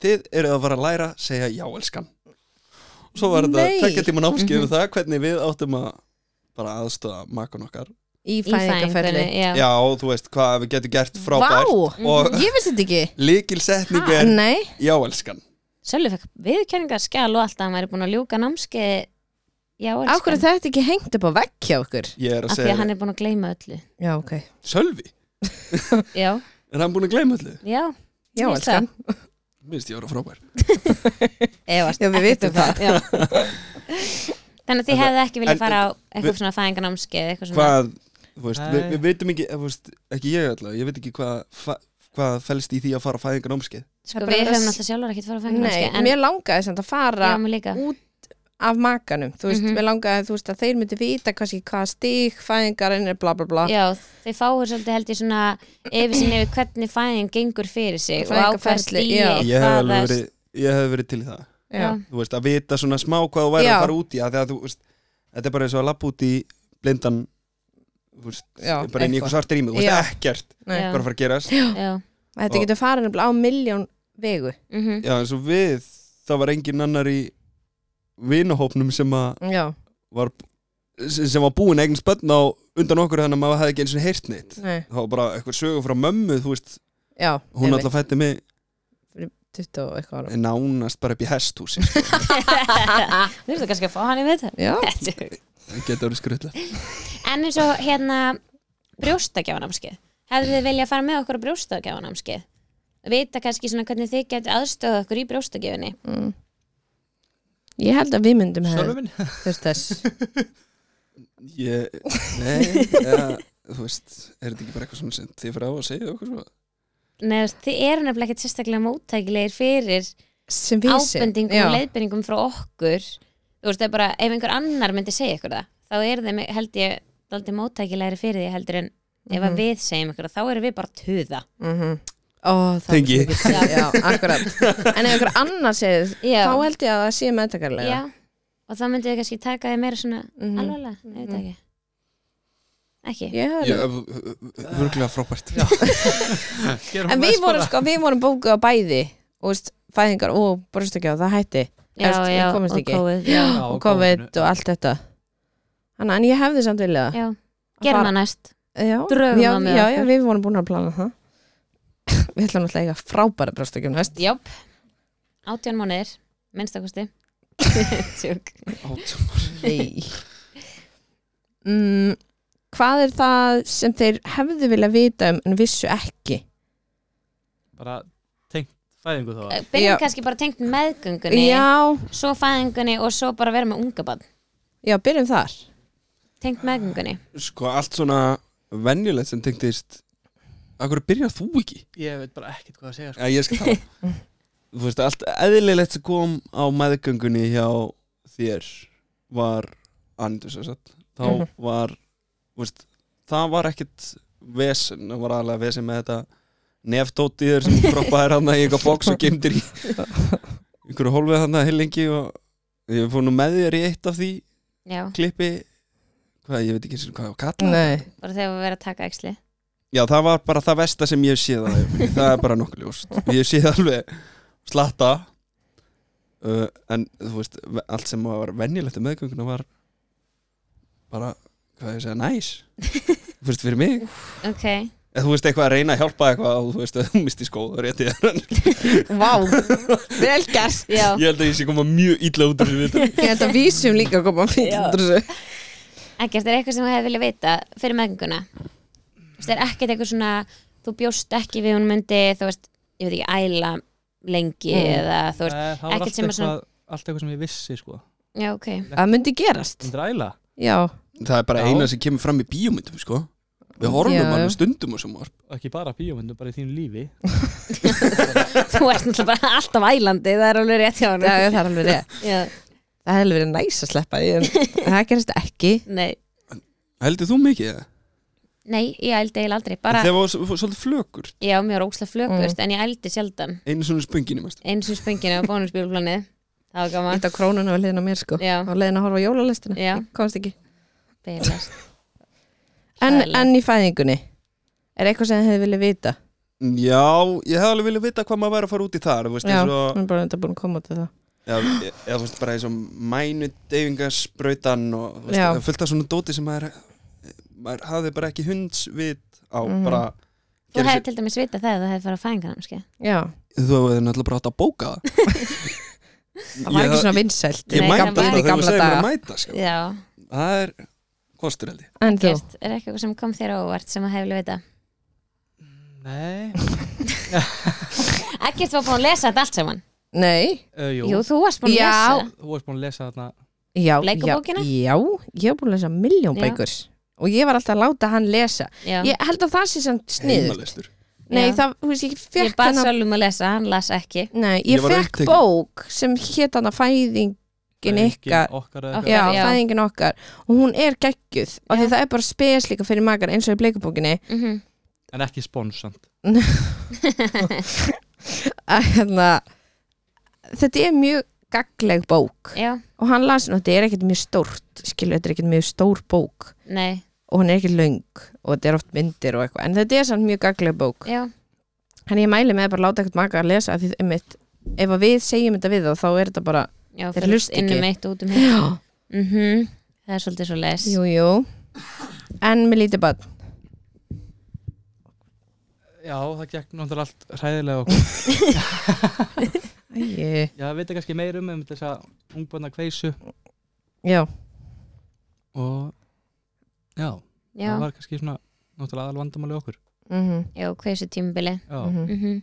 [SPEAKER 3] Þið eruð að fara að læra að segja já, elskan og svo var
[SPEAKER 2] Nei.
[SPEAKER 3] þetta tekja tíma námskeið um
[SPEAKER 1] Mhm.
[SPEAKER 3] það hvernig við áttum að bara aðstöða makun okkar
[SPEAKER 2] Í
[SPEAKER 1] Í fæðingunni,
[SPEAKER 2] fæðingaferli
[SPEAKER 1] já. Mhm.
[SPEAKER 3] já, þú veist hvað við getum gert
[SPEAKER 2] Vá,
[SPEAKER 3] frábært og
[SPEAKER 2] ég vissi þetta ekki
[SPEAKER 3] líkilsetning er
[SPEAKER 2] Nei,
[SPEAKER 3] já, elskan
[SPEAKER 1] Sjálfu fekk viðkenningar skjál og allt að hann væri búin að ljúka námskeið Jáelskan.
[SPEAKER 2] ákveður þetta ekki hengt upp á vegg hjá okkur
[SPEAKER 3] ég er að
[SPEAKER 1] Af því
[SPEAKER 3] segja,
[SPEAKER 1] að hann er búin að gleyma öllu.
[SPEAKER 2] Já, ok
[SPEAKER 3] Sölvi,
[SPEAKER 1] Já,
[SPEAKER 3] er hann búin að gleyma allir?
[SPEAKER 1] já.
[SPEAKER 2] Já,
[SPEAKER 1] Ég
[SPEAKER 2] elskan
[SPEAKER 3] minnst ég að vera frábær
[SPEAKER 1] Efast
[SPEAKER 2] Já, við
[SPEAKER 1] ekkert
[SPEAKER 2] vitum
[SPEAKER 1] um Já. Þannig að þið hefði ekki
[SPEAKER 3] en-
[SPEAKER 1] viljað fara á
[SPEAKER 3] við-
[SPEAKER 1] eitthvað svona fæðingarnámskeið eitthvað svona
[SPEAKER 3] hvað, þú veist, við,
[SPEAKER 4] Nei.
[SPEAKER 3] við veitum ekki þú veist, ekki ég alltaf, ég veit ekki hvað fa- hvað felst í því að fara að fæðingar námskeið
[SPEAKER 1] Sko
[SPEAKER 2] Það er
[SPEAKER 1] við
[SPEAKER 2] bara
[SPEAKER 1] höfum
[SPEAKER 2] þess-
[SPEAKER 1] náttúrulega sjálfur ekkert fara á
[SPEAKER 2] Nei,
[SPEAKER 1] fæðingarnámskeið en
[SPEAKER 2] mér langaði samt að fara
[SPEAKER 1] já, mér líka
[SPEAKER 2] af makanum, þú veist,
[SPEAKER 1] Mhm.
[SPEAKER 2] mér langaði þú veist, að þeir myndi vita kannski hvað stig fæðingarinn er bla bla bla
[SPEAKER 1] Já, þið fáur svolítið held ég svona yfir sinni yfir hvernig fæðin gengur fyrir sig og á hvað
[SPEAKER 2] Fæðingarferli,
[SPEAKER 1] stíi
[SPEAKER 2] já.
[SPEAKER 3] ég hef alveg
[SPEAKER 1] hvaða-
[SPEAKER 3] verið, ég hef verið til í það
[SPEAKER 1] Já,
[SPEAKER 3] þú veist, að vita svona smá hvað þú væri
[SPEAKER 2] Já.
[SPEAKER 3] að fara út í að því að þú veist, þetta er bara eins og að lappa út í blindan þú veist,
[SPEAKER 2] Já,
[SPEAKER 3] bara inn í
[SPEAKER 2] eitthvað.
[SPEAKER 3] eitthvað svart rými, þú veist,
[SPEAKER 2] Já.
[SPEAKER 3] ekkert
[SPEAKER 2] Nei.
[SPEAKER 1] Já.
[SPEAKER 3] hvað er að fara að gerast
[SPEAKER 1] já,
[SPEAKER 2] Þetta
[SPEAKER 3] Og-
[SPEAKER 2] getur farið nefnilega á miljón vegu
[SPEAKER 1] mhm,
[SPEAKER 3] já, eins og við, það var engin annar í vinahópnum sem að
[SPEAKER 2] Já,
[SPEAKER 3] var sem var búin eigin spönn á undan okkur þannig að maður hefði ekki eins og heyrt neitt
[SPEAKER 2] nei,
[SPEAKER 3] það var bara eitthvað sögur frá mömmu, þú veist
[SPEAKER 2] já
[SPEAKER 3] hún
[SPEAKER 2] einmitt,
[SPEAKER 3] alltaf fætti mig
[SPEAKER 2] 20 og eitthvað ára
[SPEAKER 3] nánast bara upp í sko. hesthúsi
[SPEAKER 1] *laughs* Þú veist það kannski að fá hann í við
[SPEAKER 2] Já,
[SPEAKER 1] þetta
[SPEAKER 3] það getur verið skrullar
[SPEAKER 1] En eins og hérna brjóstakjáfanámskeið Hefðu þið viljað fara með okkur á brjóstakjáfanámskeið Vita kannski svona hvernig þið getur aðstöða okkur í brjóstakjöfunni
[SPEAKER 2] mm. Ég held að við myndum hefði
[SPEAKER 4] Sjálfur minn?
[SPEAKER 2] þurft þess
[SPEAKER 3] ég, nei, ja, þú veist er þetta ekki bara eitthvað svona sem þið fyrir á að segja okkur svo
[SPEAKER 1] Nei, þú veist, þið eru nefnilega ekkert sérstaklega móttækilegir fyrir
[SPEAKER 2] sem vísi
[SPEAKER 1] ábendingum
[SPEAKER 2] Já.
[SPEAKER 1] og leiðbendingum frá okkur þú veist, það er bara, ef einhver annar myndi segja ykkur það, þá er þeim, held ég aldrei móttækilegri fyrir því heldur en ef
[SPEAKER 2] Mhm.
[SPEAKER 1] að við segjum ykkur, það, þá erum við bara töða
[SPEAKER 2] Mhm. Ó, það
[SPEAKER 3] Tengi.
[SPEAKER 2] er svo mikið- Já, akkurat En ef einhver annar segir
[SPEAKER 1] Já,
[SPEAKER 2] þá held ég að það sé meðtakarlega
[SPEAKER 1] já og þá myndið þið kannski taka því meira svona
[SPEAKER 2] Mhm.
[SPEAKER 1] alvarlega, ég veit það ekki ekki,
[SPEAKER 2] Ég hefði
[SPEAKER 3] Vörglega frábært *laughs*
[SPEAKER 4] Já. Gerum
[SPEAKER 2] En
[SPEAKER 4] mest
[SPEAKER 2] við vorum
[SPEAKER 4] bara.
[SPEAKER 2] sko, við vorum bókuð á bæði og veist, fæðingar og brjóstakjáð, það hætti
[SPEAKER 1] já,
[SPEAKER 2] Erst-
[SPEAKER 1] já,
[SPEAKER 2] komumst
[SPEAKER 1] og
[SPEAKER 2] ekki.
[SPEAKER 1] kóið já,
[SPEAKER 4] Já,
[SPEAKER 2] og COVID og allt þetta Þannig en ég hefði samt viljað
[SPEAKER 1] já, gerum það
[SPEAKER 2] það
[SPEAKER 1] næst
[SPEAKER 2] Já,
[SPEAKER 1] Drögum
[SPEAKER 2] já,
[SPEAKER 1] það með
[SPEAKER 2] já,
[SPEAKER 1] okkur.
[SPEAKER 2] já, við vorum búin að plana það *laughs* Við ætlum alltaf eiga frábæra brjóstakjáð næst
[SPEAKER 1] Jáp, átján mánuðir
[SPEAKER 2] *laughs*
[SPEAKER 1] minnstakosti Tjók.
[SPEAKER 2] Nei mm, Hvað er það sem þeir hefðu viljað vita um en vissu ekki?
[SPEAKER 4] bara tengt fæðingu þá
[SPEAKER 1] byrjum
[SPEAKER 2] Já.
[SPEAKER 1] kannski bara tengt meðgöngunni
[SPEAKER 2] Já,
[SPEAKER 1] svo fæðingunni og svo bara vera með unga barn
[SPEAKER 2] já, byrjum þar
[SPEAKER 1] tengt meðgöngunni
[SPEAKER 3] Sko allt svona venjulegt sem tengdist Akkur byrjar þú ekki?
[SPEAKER 4] ég veit bara ekkert hvað að segja sko.
[SPEAKER 3] Já, ég skal tala Þú veist, allt eðlilegt sem kom á meðgöngunni hjá þér var Andus og satt Þá
[SPEAKER 2] Mhm.
[SPEAKER 3] var, þú veist, það var ekkit vesen Það var aðlega vesen með þetta neftótt í þér sem kroppaðir hann í eitthvað box og gemdir í einhverju hólfið hann að heilengi og ég fór nú með þér í eitt af því
[SPEAKER 1] já,
[SPEAKER 3] klippi hvað, ég veit ekki einu sinni hvað ég á að kalla það.
[SPEAKER 2] Nei,
[SPEAKER 1] bara þegar við verðum að taka æxli
[SPEAKER 3] já, það var bara það versta sem ég séð að það er bara nokkuð ljóst ég séð alveg slatta uh, en þú veist ve- allt sem var venjulegt um meðgönguna var bara, hvað ég segja, næs þú veist, fyrir mig
[SPEAKER 1] ok,
[SPEAKER 3] eða þú veist eitthvað að reyna að hjálpa eitthvað og þú veist að þú misti skóður rétti þér
[SPEAKER 2] Vá, vel gert
[SPEAKER 1] já,
[SPEAKER 3] ég held að ég sé koma mjög illa út úr þessu viðtali.
[SPEAKER 2] Ég held að vísum líka að koma fínt
[SPEAKER 1] Já.
[SPEAKER 2] út úr þessu
[SPEAKER 1] ekkert er eitthvað sem þú hefði viljað vita fyrir meðgönguna þú veist, er ekkert eitthvað svona þú bjóst ekki við hún myndi þú veist, ég veit ekki, æla lengi
[SPEAKER 2] Mm.
[SPEAKER 1] eða þú veist,
[SPEAKER 4] Eh, Það var
[SPEAKER 1] ekkert
[SPEAKER 4] allt
[SPEAKER 1] sem að
[SPEAKER 4] eitthvað,
[SPEAKER 1] svona-
[SPEAKER 4] allt eitthvað sem ég vissi sko
[SPEAKER 1] já, ok *laughs*
[SPEAKER 2] Það myndi gerast
[SPEAKER 4] Myndir æla?
[SPEAKER 2] Já,
[SPEAKER 3] það er bara
[SPEAKER 4] Já.
[SPEAKER 3] eina sem kemur fram í bíómyndum sko. við horfum
[SPEAKER 2] Já.
[SPEAKER 3] alveg stundum og sem var
[SPEAKER 4] Ekki bara bíómyndum, bara í þínu lífi
[SPEAKER 1] þú ert náttúrulega bara alltaf ælandi það er alveg rétt hjá
[SPEAKER 2] já,
[SPEAKER 1] hann
[SPEAKER 2] það er alveg rétt
[SPEAKER 1] já,
[SPEAKER 2] Það hefði verið næs að sleppa því
[SPEAKER 1] *laughs*
[SPEAKER 2] en það gerist ekki
[SPEAKER 1] nei,
[SPEAKER 3] heldur þú mikið það?
[SPEAKER 1] nei, ég ældi eiginlega aldrei bara,
[SPEAKER 3] það var s- var svolítið flökur
[SPEAKER 1] já, mér var ókslega flökust en ég ældi sjaldan
[SPEAKER 3] einu svona spönginu mest
[SPEAKER 1] eins og spönginu á bónusbjólplanið það var gaman
[SPEAKER 2] Þetta krónuna var liðin á mér sko
[SPEAKER 1] Já.
[SPEAKER 2] og leiðin að horfa á jólalestina
[SPEAKER 1] Já.
[SPEAKER 2] Ég komst ekki
[SPEAKER 1] Bilast.
[SPEAKER 2] en,
[SPEAKER 1] Hræðilegt.
[SPEAKER 2] en í fæðingunni er eitthvað sem þið hefði viljað vita
[SPEAKER 3] Já, ég hef alveg viljað vita hvað maður væri að fara út í þar þú veist,
[SPEAKER 2] Já,
[SPEAKER 3] eins
[SPEAKER 2] hún
[SPEAKER 3] og,
[SPEAKER 2] er bara enda búin að koma til það
[SPEAKER 3] já, ég, ég, þú veist, bara eins og mænu deyfingasbrautan og þú veist,
[SPEAKER 2] Já.
[SPEAKER 3] það er fullt af svona dóti sem maður, maður hafði bara ekki hundsvit á
[SPEAKER 2] Mhm.
[SPEAKER 3] bara,
[SPEAKER 1] Þú
[SPEAKER 3] Gerðu
[SPEAKER 1] hefði til dæmis vita það að þú hefði farið á fæðingarnámskeið
[SPEAKER 2] Já,
[SPEAKER 3] sér- þú hefði náttúrulega bara átt að bóka það
[SPEAKER 2] *laughs* það var
[SPEAKER 3] Ég-
[SPEAKER 2] ekki svona vinsælt
[SPEAKER 3] Ég
[SPEAKER 1] Nei,
[SPEAKER 3] mætti
[SPEAKER 1] það var-
[SPEAKER 3] alltaf
[SPEAKER 2] í
[SPEAKER 3] þegar þú
[SPEAKER 2] gamla
[SPEAKER 3] segir mér að
[SPEAKER 2] daga
[SPEAKER 3] mæta sko.
[SPEAKER 1] Já,
[SPEAKER 3] Það er kostur held ég
[SPEAKER 2] En þú,
[SPEAKER 1] gert, er eitthvað sem kom þér á óvart sem að hefði vita
[SPEAKER 4] *laughs* Nei
[SPEAKER 1] Ekkert var búin að lesa þetta allt saman
[SPEAKER 2] nei
[SPEAKER 4] uh, Jú,
[SPEAKER 1] Jú, þú varst búin að
[SPEAKER 2] Já.
[SPEAKER 1] lesa
[SPEAKER 4] þú varst búin að lesa þarna
[SPEAKER 2] Já, já,
[SPEAKER 1] Leikabókina?
[SPEAKER 2] já, ég hef búin að lesa miljón
[SPEAKER 1] Já.
[SPEAKER 2] bækur og ég var alltaf að láta hann lesa
[SPEAKER 1] Já.
[SPEAKER 2] Ég held að það sé samt sniður
[SPEAKER 3] Heimalistur.
[SPEAKER 2] Nei,
[SPEAKER 1] Já.
[SPEAKER 2] það, þú veist, ég
[SPEAKER 1] Ég
[SPEAKER 2] fekk
[SPEAKER 1] bað
[SPEAKER 2] hann að
[SPEAKER 1] Sölum að lesa, hann las ekki
[SPEAKER 2] Nei,
[SPEAKER 3] Ég
[SPEAKER 2] ég
[SPEAKER 3] var
[SPEAKER 2] fekk
[SPEAKER 3] upptekinn.
[SPEAKER 2] bók sem hét hann að fæðingin ykkar
[SPEAKER 4] okkar eða
[SPEAKER 1] Okkar.
[SPEAKER 2] Já,
[SPEAKER 1] Já.
[SPEAKER 2] fæðingin okkar og hún er geggjuð og því
[SPEAKER 1] Já.
[SPEAKER 2] það er bara spes líka fyrir magar eins og í bleikabókinni
[SPEAKER 1] mm
[SPEAKER 4] eitthvað. en ekki sponsant
[SPEAKER 2] að hérna þetta er mjög gaggleg bók
[SPEAKER 1] Já,
[SPEAKER 2] og hann las hún og þetta er ekkert mjög stórt skilu, þetta er ekkert mjög stór bók
[SPEAKER 1] nei,
[SPEAKER 2] og hún er ekkert löng og þetta er oft myndir og eitthvað en þetta er samt mjög gaggleg bók
[SPEAKER 1] já,
[SPEAKER 2] hann ég mæli með að bara láta ekkert magar að lesa af því einmitt, ef að við segjum þetta við þá þá er þetta bara
[SPEAKER 1] já
[SPEAKER 2] Þeir
[SPEAKER 1] fyrir
[SPEAKER 2] hlusta
[SPEAKER 1] inn
[SPEAKER 2] ekki.
[SPEAKER 1] um eitt og út um hitt mm Það er svolítið svo les
[SPEAKER 2] jú, jú. en með lítið bann
[SPEAKER 4] Já, það gekk náttúrulega allt hræðilega okkur
[SPEAKER 2] Æi.
[SPEAKER 4] Já, við veitum kannski meir um um þessa ungbarna kveisu
[SPEAKER 2] já,
[SPEAKER 4] og já,
[SPEAKER 1] Já,
[SPEAKER 4] það var kannski svona náttúrulega aðal vandamáli okkur
[SPEAKER 2] mm -hmm.
[SPEAKER 1] já, hvað er þessu tímabili?
[SPEAKER 4] Já,
[SPEAKER 1] Mm
[SPEAKER 2] Mhm.